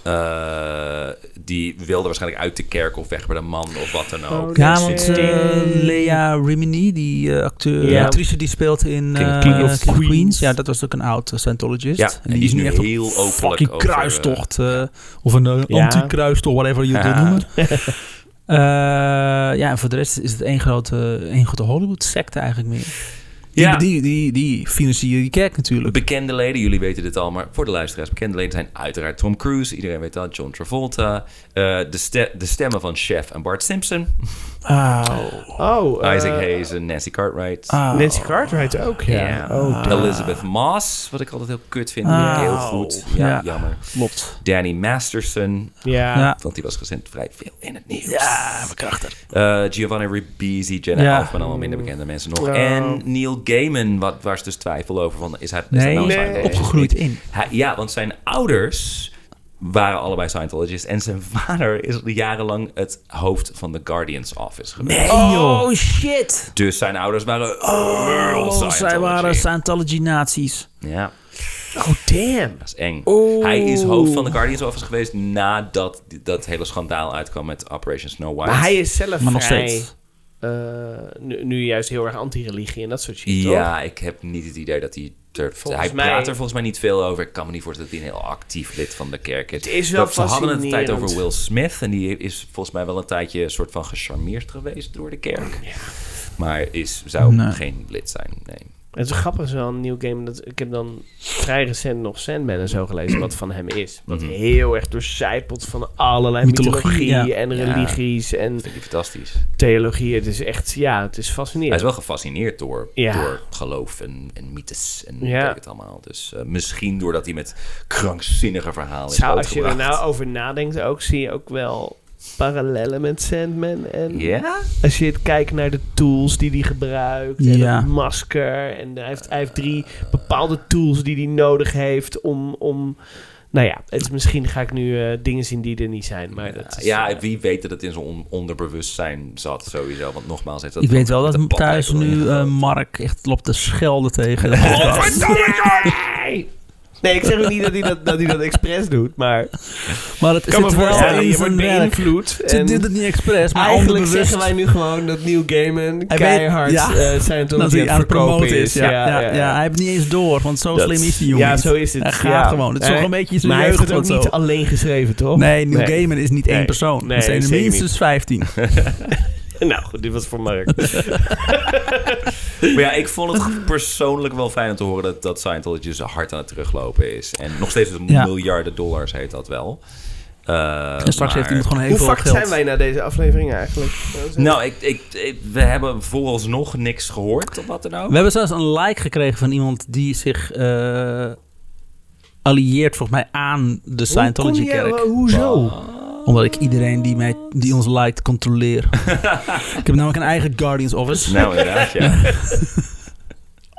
Speaker 4: Eh, die wilde waarschijnlijk uit de kerk of weg bij de man of wat dan ook.
Speaker 3: Oh,
Speaker 2: Ja,
Speaker 3: Yes,
Speaker 2: want
Speaker 3: yes.
Speaker 2: eh, Lea Rimini, die eh, acteur,
Speaker 3: Ja.
Speaker 2: actrice die speelt in
Speaker 4: King-
Speaker 2: eh,
Speaker 4: King of
Speaker 2: Queens.
Speaker 3: Queens.
Speaker 2: Ja, dat was ook een oud eh, Scientologist.
Speaker 4: Ja, en die is nu
Speaker 2: echt op
Speaker 4: heel openlijk
Speaker 2: fucking
Speaker 4: over, eh,
Speaker 2: kruistocht. eh, of een eh,
Speaker 3: Ja.
Speaker 2: anti-kruistocht, whatever je het wil
Speaker 4: Ja.
Speaker 2: noemen. Eh, ja, en voor de rest is het één grote, één grote Hollywood-secte eigenlijk meer. Die,
Speaker 4: Ja.
Speaker 2: die, die, die financieren die kerk natuurlijk.
Speaker 4: Bekende leden, jullie weten dit al, maar voor de luisteraars, bekende leden zijn uiteraard Tom Cruise, iedereen weet dat, John Travolta, eh, de, ste- de stemmen van Chef en Bart Simpson,
Speaker 2: Auw,
Speaker 3: Oh, eh,
Speaker 4: Isaac Hayes en Nancy Cartwright.
Speaker 2: auw.
Speaker 3: Nancy Cartwright ook, ja.
Speaker 4: Oh. Ja.
Speaker 3: Oh, d-
Speaker 4: Elizabeth Moss, wat ik altijd heel kut vind,
Speaker 2: Ah.
Speaker 4: heel goed. Ja,
Speaker 2: Ja.
Speaker 4: jammer.
Speaker 2: Klopt.
Speaker 4: Danny Masterson,
Speaker 3: ja.
Speaker 2: Ja.
Speaker 4: want die was recent vrij veel in het nieuws.
Speaker 2: bekrachtig.
Speaker 4: Eh, Giovanni Ribisi, Jenna
Speaker 2: Ja.
Speaker 4: Elfman, allemaal minder bekende mensen nog.
Speaker 3: Ja.
Speaker 4: En Neil Gaiman, wat, waar is dus twijfel over. Van, is hij, is hij
Speaker 2: Nee,
Speaker 4: nou een
Speaker 3: Nee.
Speaker 4: Scientologist?
Speaker 2: opgegroeid in.
Speaker 4: Hij- ja, want zijn ouders waren allebei Scientologist. En zijn vader is jarenlang het hoofd van de Guardians Office geweest.
Speaker 2: Oh, shit.
Speaker 4: Dus zijn ouders waren... Oh,
Speaker 2: zij waren Scientology-nazi's.
Speaker 4: Ja,
Speaker 3: Oh, damn.
Speaker 4: dat is eng. Hij is hoofd van de Guardians Office geweest nadat die- dat hele schandaal uitkwam met Operation Snow White.
Speaker 3: Maar hij is zelf
Speaker 2: Maar nog
Speaker 3: vrij,
Speaker 2: steeds.
Speaker 3: eh, nu, nu juist heel erg anti-religie en dat soort shit, toch?
Speaker 4: Ja, ik heb niet het idee dat hij... Er,
Speaker 3: Volgens
Speaker 4: hij praat
Speaker 3: mij-
Speaker 4: er volgens mij niet veel over. Ik kan me niet voorstellen dat hij een heel actief lid van de kerk is.
Speaker 3: Het is wel
Speaker 4: Ze hadden het een tijd
Speaker 3: fascinerend.
Speaker 4: over Will Smith. En die is volgens mij wel een tijdje een soort van gecharmeerd geweest door de kerk. Maar is, zou
Speaker 2: Nee.
Speaker 4: geen lid zijn, nee.
Speaker 3: Het is grappig, is wel een nieuw game. Dat, ik heb dan vrij recent nog Sandman en zo gelezen, wat van hem is. Wat
Speaker 4: Mhm.
Speaker 3: heel erg doorcijpelt van allerlei mythologie,
Speaker 2: Mythologie,
Speaker 3: en
Speaker 4: Ja.
Speaker 3: religies en
Speaker 4: Dat vind ik fantastisch.
Speaker 3: theologie. Het is echt, ja, het is
Speaker 4: Hij
Speaker 3: fascinerend.
Speaker 4: is wel gefascineerd door,
Speaker 3: Ja.
Speaker 4: door geloof en, en mythes en
Speaker 3: Ja.
Speaker 4: weet ik het allemaal. Dus eh, misschien doordat hij met krankzinnige verhalen is
Speaker 3: Zou, als je er
Speaker 4: grootgebracht.
Speaker 3: nou over nadenkt ook, zie je ook wel parallellen met Sandman. En
Speaker 4: Ja?
Speaker 3: als je het kijkt naar de tools die hij gebruikt en
Speaker 2: Ja.
Speaker 3: het masker. En hij heeft, hij heeft drie bepaalde tools die hij nodig heeft om... om nou ja, het is, misschien ga ik nu eh, dingen zien die er niet zijn. Maar dat is,
Speaker 4: ja,
Speaker 3: eh,
Speaker 4: wie weet dat het in zijn on- onderbewustzijn zat sowieso. Want nogmaals, heeft dat
Speaker 2: Ik weet wel
Speaker 4: met een
Speaker 2: dat
Speaker 4: badlijker
Speaker 2: thuis nu
Speaker 4: erin
Speaker 2: eh,
Speaker 4: gegooid.
Speaker 2: Mark echt loopt te schelden tegen. de podcast.
Speaker 3: Nee! Nee, ik zeg ook niet dat hij dat, dat, hij dat expres doet, maar... Ik
Speaker 2: maar het
Speaker 3: kan
Speaker 2: zit
Speaker 3: me
Speaker 2: wel
Speaker 3: voorstellen,
Speaker 2: in
Speaker 3: je wordt
Speaker 2: zijn werk.
Speaker 3: beïnvloed.
Speaker 2: Ze
Speaker 3: En
Speaker 2: dit het niet expres, maar
Speaker 3: eigenlijk
Speaker 2: eigenlijk
Speaker 3: zeggen wij nu gewoon dat Neil Gaiman
Speaker 2: Nou, Hij weet-
Speaker 3: keihard
Speaker 2: ja,
Speaker 3: eh, Scientology
Speaker 2: dat hij aan het
Speaker 3: verkopen
Speaker 2: promoten is. Ja, ja, ja, hij heeft niet eens door, want zo
Speaker 4: Dat-
Speaker 2: slim is die jongen
Speaker 3: Ja,
Speaker 2: niet.
Speaker 3: zo is het.
Speaker 2: Hij gaat
Speaker 3: ja.
Speaker 2: gewoon. Het is
Speaker 3: Hij-
Speaker 2: toch een beetje zijn
Speaker 3: Maar hij heeft
Speaker 2: jeugd
Speaker 3: het ook
Speaker 2: of zo.
Speaker 3: niet alleen geschreven, toch?
Speaker 2: Nee, New
Speaker 3: Nee.
Speaker 2: Gaiman is niet
Speaker 3: Nee.
Speaker 2: één persoon.
Speaker 3: Nee,
Speaker 2: er zijn er
Speaker 3: zeker
Speaker 2: minstens 15.
Speaker 3: Nou goed, dit was voor Mark.
Speaker 2: ehm,
Speaker 4: Maar ja, ik vond het persoonlijk wel fijn om te horen dat, dat Scientology zo hard aan het teruglopen is. En nog steeds dus
Speaker 2: Ja.
Speaker 4: miljarden dollars heet dat wel. Eh,
Speaker 2: En straks heeft
Speaker 4: maar-
Speaker 2: iemand gewoon heel
Speaker 3: Hoe
Speaker 2: veel
Speaker 3: fucked
Speaker 2: geld.
Speaker 3: zijn wij na deze aflevering eigenlijk?
Speaker 4: Nou, ik, ik, ik- we hebben vooralsnog niks gehoord of wat dan ook.
Speaker 2: We hebben zelfs een like gekregen van iemand die zich eh, allieert volgens mij aan de
Speaker 3: Hoe kom jij-
Speaker 2: Scientology-kerk.
Speaker 3: Hoezo?
Speaker 2: Omdat ik iedereen die, mij, die ons liked controleer. ik heb namelijk een eigen Guardians Office.
Speaker 4: Nou, inderdaad, ja.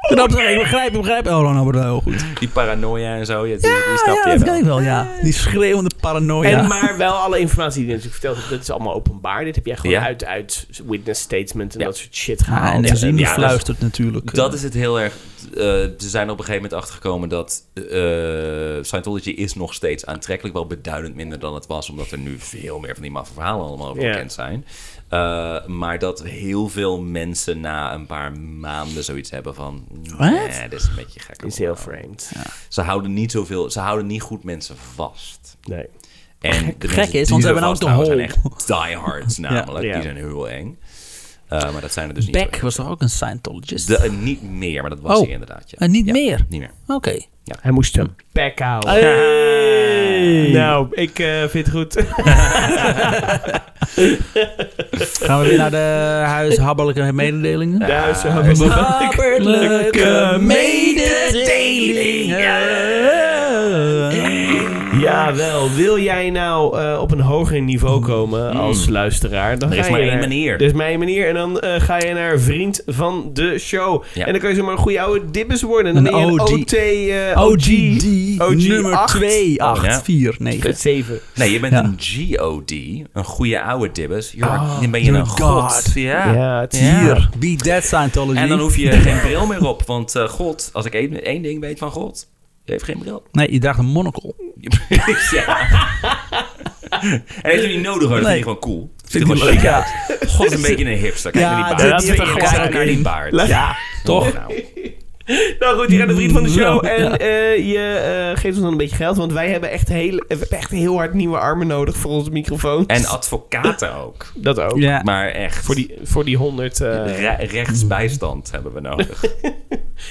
Speaker 2: Knap, zeg, ik begrijp, ik begrijp. Oh, Ronald wordt heel goed. Ah,
Speaker 4: Die paranoia en zo, ja, die, die snap
Speaker 2: ja, dat
Speaker 4: je wel.
Speaker 2: kan ik wel, ja. Die schreeuwende paranoia. Ah,
Speaker 3: En maar wel alle informatie die je natuurlijk verteld hebt, dat is allemaal openbaar. Dit heb jij gewoon
Speaker 4: Ja.
Speaker 3: uit, uit witness statements en
Speaker 4: Ja.
Speaker 3: dat soort shit
Speaker 2: Ja,
Speaker 3: gehaald.
Speaker 2: en de gezien
Speaker 4: ja, dat is-
Speaker 2: fluistert natuurlijk.
Speaker 4: Dat is het heel erg. eh, ze zijn op een gegeven moment achtergekomen dat eh, Scientology is nog steeds aantrekkelijk. Wel beduidend minder dan het was, omdat er nu veel meer van die maffe verhalen allemaal over
Speaker 3: Ja.
Speaker 4: bekend zijn. Eh, maar dat heel veel mensen na een paar maanden zoiets hebben van...
Speaker 2: Wat?
Speaker 4: Nee, dit is een beetje gek.
Speaker 3: is heel vreemd.
Speaker 4: Ze houden niet zoveel... Ze houden niet goed mensen vast.
Speaker 3: Nee.
Speaker 4: En de
Speaker 2: gek
Speaker 4: mensen
Speaker 2: is,
Speaker 4: die
Speaker 2: want
Speaker 4: er
Speaker 2: ze hebben ook de
Speaker 4: vasthouden zijn
Speaker 2: hol.
Speaker 4: echt diehards namelijk.
Speaker 3: Ja.
Speaker 4: Die zijn heel eng. Eh, maar dat zijn er dus niet zo
Speaker 2: Beck
Speaker 4: heel
Speaker 2: was toch ook een Scientologist?
Speaker 4: de, eh, niet meer, maar dat was
Speaker 2: Oh,
Speaker 4: hij inderdaad. Ja.
Speaker 2: en niet
Speaker 4: Ja,
Speaker 2: meer?
Speaker 4: Niet meer.
Speaker 2: Oké.
Speaker 3: Hij moest hem bek houden. Nou, ik eh, vind het goed.
Speaker 2: Gaan we weer naar de huishabbelijke mededelingen?
Speaker 3: Ja, zo.
Speaker 4: eh,
Speaker 2: Huishabbelijke mededelingen.
Speaker 3: Jawel, wil jij nou eh, op een hoger niveau komen als luisteraar? Dan
Speaker 4: Mm. Er
Speaker 3: ga
Speaker 4: is
Speaker 3: je
Speaker 4: maar één
Speaker 3: naar-
Speaker 4: manier.
Speaker 3: Er is maar één manier. En dan eh, ga je naar vriend van de show.
Speaker 4: Ja.
Speaker 3: En dan kan je zomaar een goede oude dibbes worden. En dan
Speaker 2: Een
Speaker 3: ben je een
Speaker 2: OG.
Speaker 3: OT, eh,
Speaker 2: OGD
Speaker 3: OG
Speaker 2: nummer
Speaker 3: acht.
Speaker 2: 2849.
Speaker 3: 7.
Speaker 4: Nee, je bent
Speaker 2: Ja. Oh,
Speaker 4: een GOD, een goede oude dibbes. You're- dan ben je
Speaker 2: you're
Speaker 4: een god.
Speaker 2: God.
Speaker 4: Ah. Ja.
Speaker 3: Ja, het is
Speaker 2: Hier, be that Scientology.
Speaker 4: En dan hoef je geen bril meer op, want eh, God, als ik één, één ding weet van God, die heeft geen bril.
Speaker 2: Nee, je draagt een monocle.
Speaker 4: ja. En heeft hij niet nodig, hoor.
Speaker 2: Nee.
Speaker 4: Dat vind je gewoon cool. Ziet er gewoon chic uit. God, is een beetje een hipster. Kijk
Speaker 2: Ja,
Speaker 4: naar die
Speaker 2: dit-
Speaker 4: baard.
Speaker 3: dit-
Speaker 4: Kijk
Speaker 3: dit-
Speaker 4: naar elkaar die baard.
Speaker 2: Ja, toch?
Speaker 4: Nou,
Speaker 3: Nou goed, je bent een vriend van de show.
Speaker 2: Ja.
Speaker 3: En eh, je eh, geeft ons dan een beetje geld. Want wij hebben echt heel, we hebben echt heel hard nieuwe armen nodig voor onze microfoons.
Speaker 4: En advocaten ook.
Speaker 3: dat ook.
Speaker 2: Ja.
Speaker 4: Maar echt.
Speaker 3: Voor die, voor die 100. eh,
Speaker 4: Re- rechtsbijstand hebben we nodig.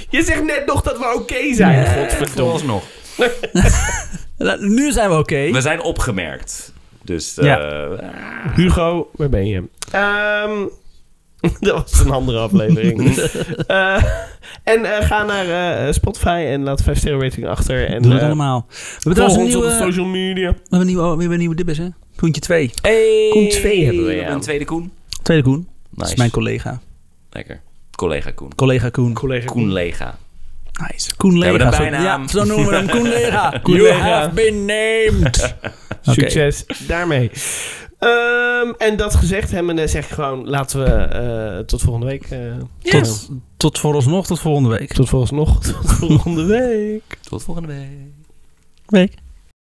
Speaker 3: Je zegt net nog dat we oké zijn.
Speaker 2: Ja.
Speaker 3: Godverdomme.
Speaker 4: nog.
Speaker 2: Nou, nu zijn we oké.
Speaker 4: We zijn opgemerkt. Dus eh,
Speaker 3: Hugo, waar ben je? Ehm, dat was een andere aflevering. Eh, en eh, ga naar eh, Spotify en laat 5 sterren rating achter. En
Speaker 2: Doe dat
Speaker 3: eh,
Speaker 2: allemaal. We hebben
Speaker 3: volg
Speaker 2: trouwens een
Speaker 3: ons op
Speaker 2: nieuwe,
Speaker 3: de social media.
Speaker 2: we hebben een nieuwe, oh, we hebben een nieuwe dibbes, hè? Koentje 2.
Speaker 4: hey,
Speaker 3: Koen twee hebben we, ja.
Speaker 4: Een tweede Koen.
Speaker 2: Tweede Koen. Dat
Speaker 4: Nice.
Speaker 2: is mijn collega.
Speaker 4: Lekker. Collega Koen.
Speaker 2: Collega Koen.
Speaker 3: Collega
Speaker 4: Koenlega.
Speaker 2: Nice. Koen
Speaker 4: hebben
Speaker 2: Lega.
Speaker 4: een
Speaker 2: zo-
Speaker 4: bijnaam.
Speaker 2: Ja, zo noemen we hem. Koen Lega.
Speaker 3: Koen
Speaker 2: You
Speaker 3: Lega.
Speaker 2: have been named. Oké.
Speaker 3: Succes daarmee. Ehm, en dat gezegd hebbende zeg ik gewoon, laten we eh, tot volgende week. eh,
Speaker 2: Tot, tot vooralsnog, tot volgende week.
Speaker 3: tot volgende nog. Tot volgende week.
Speaker 4: Tot volgende week.
Speaker 2: Week.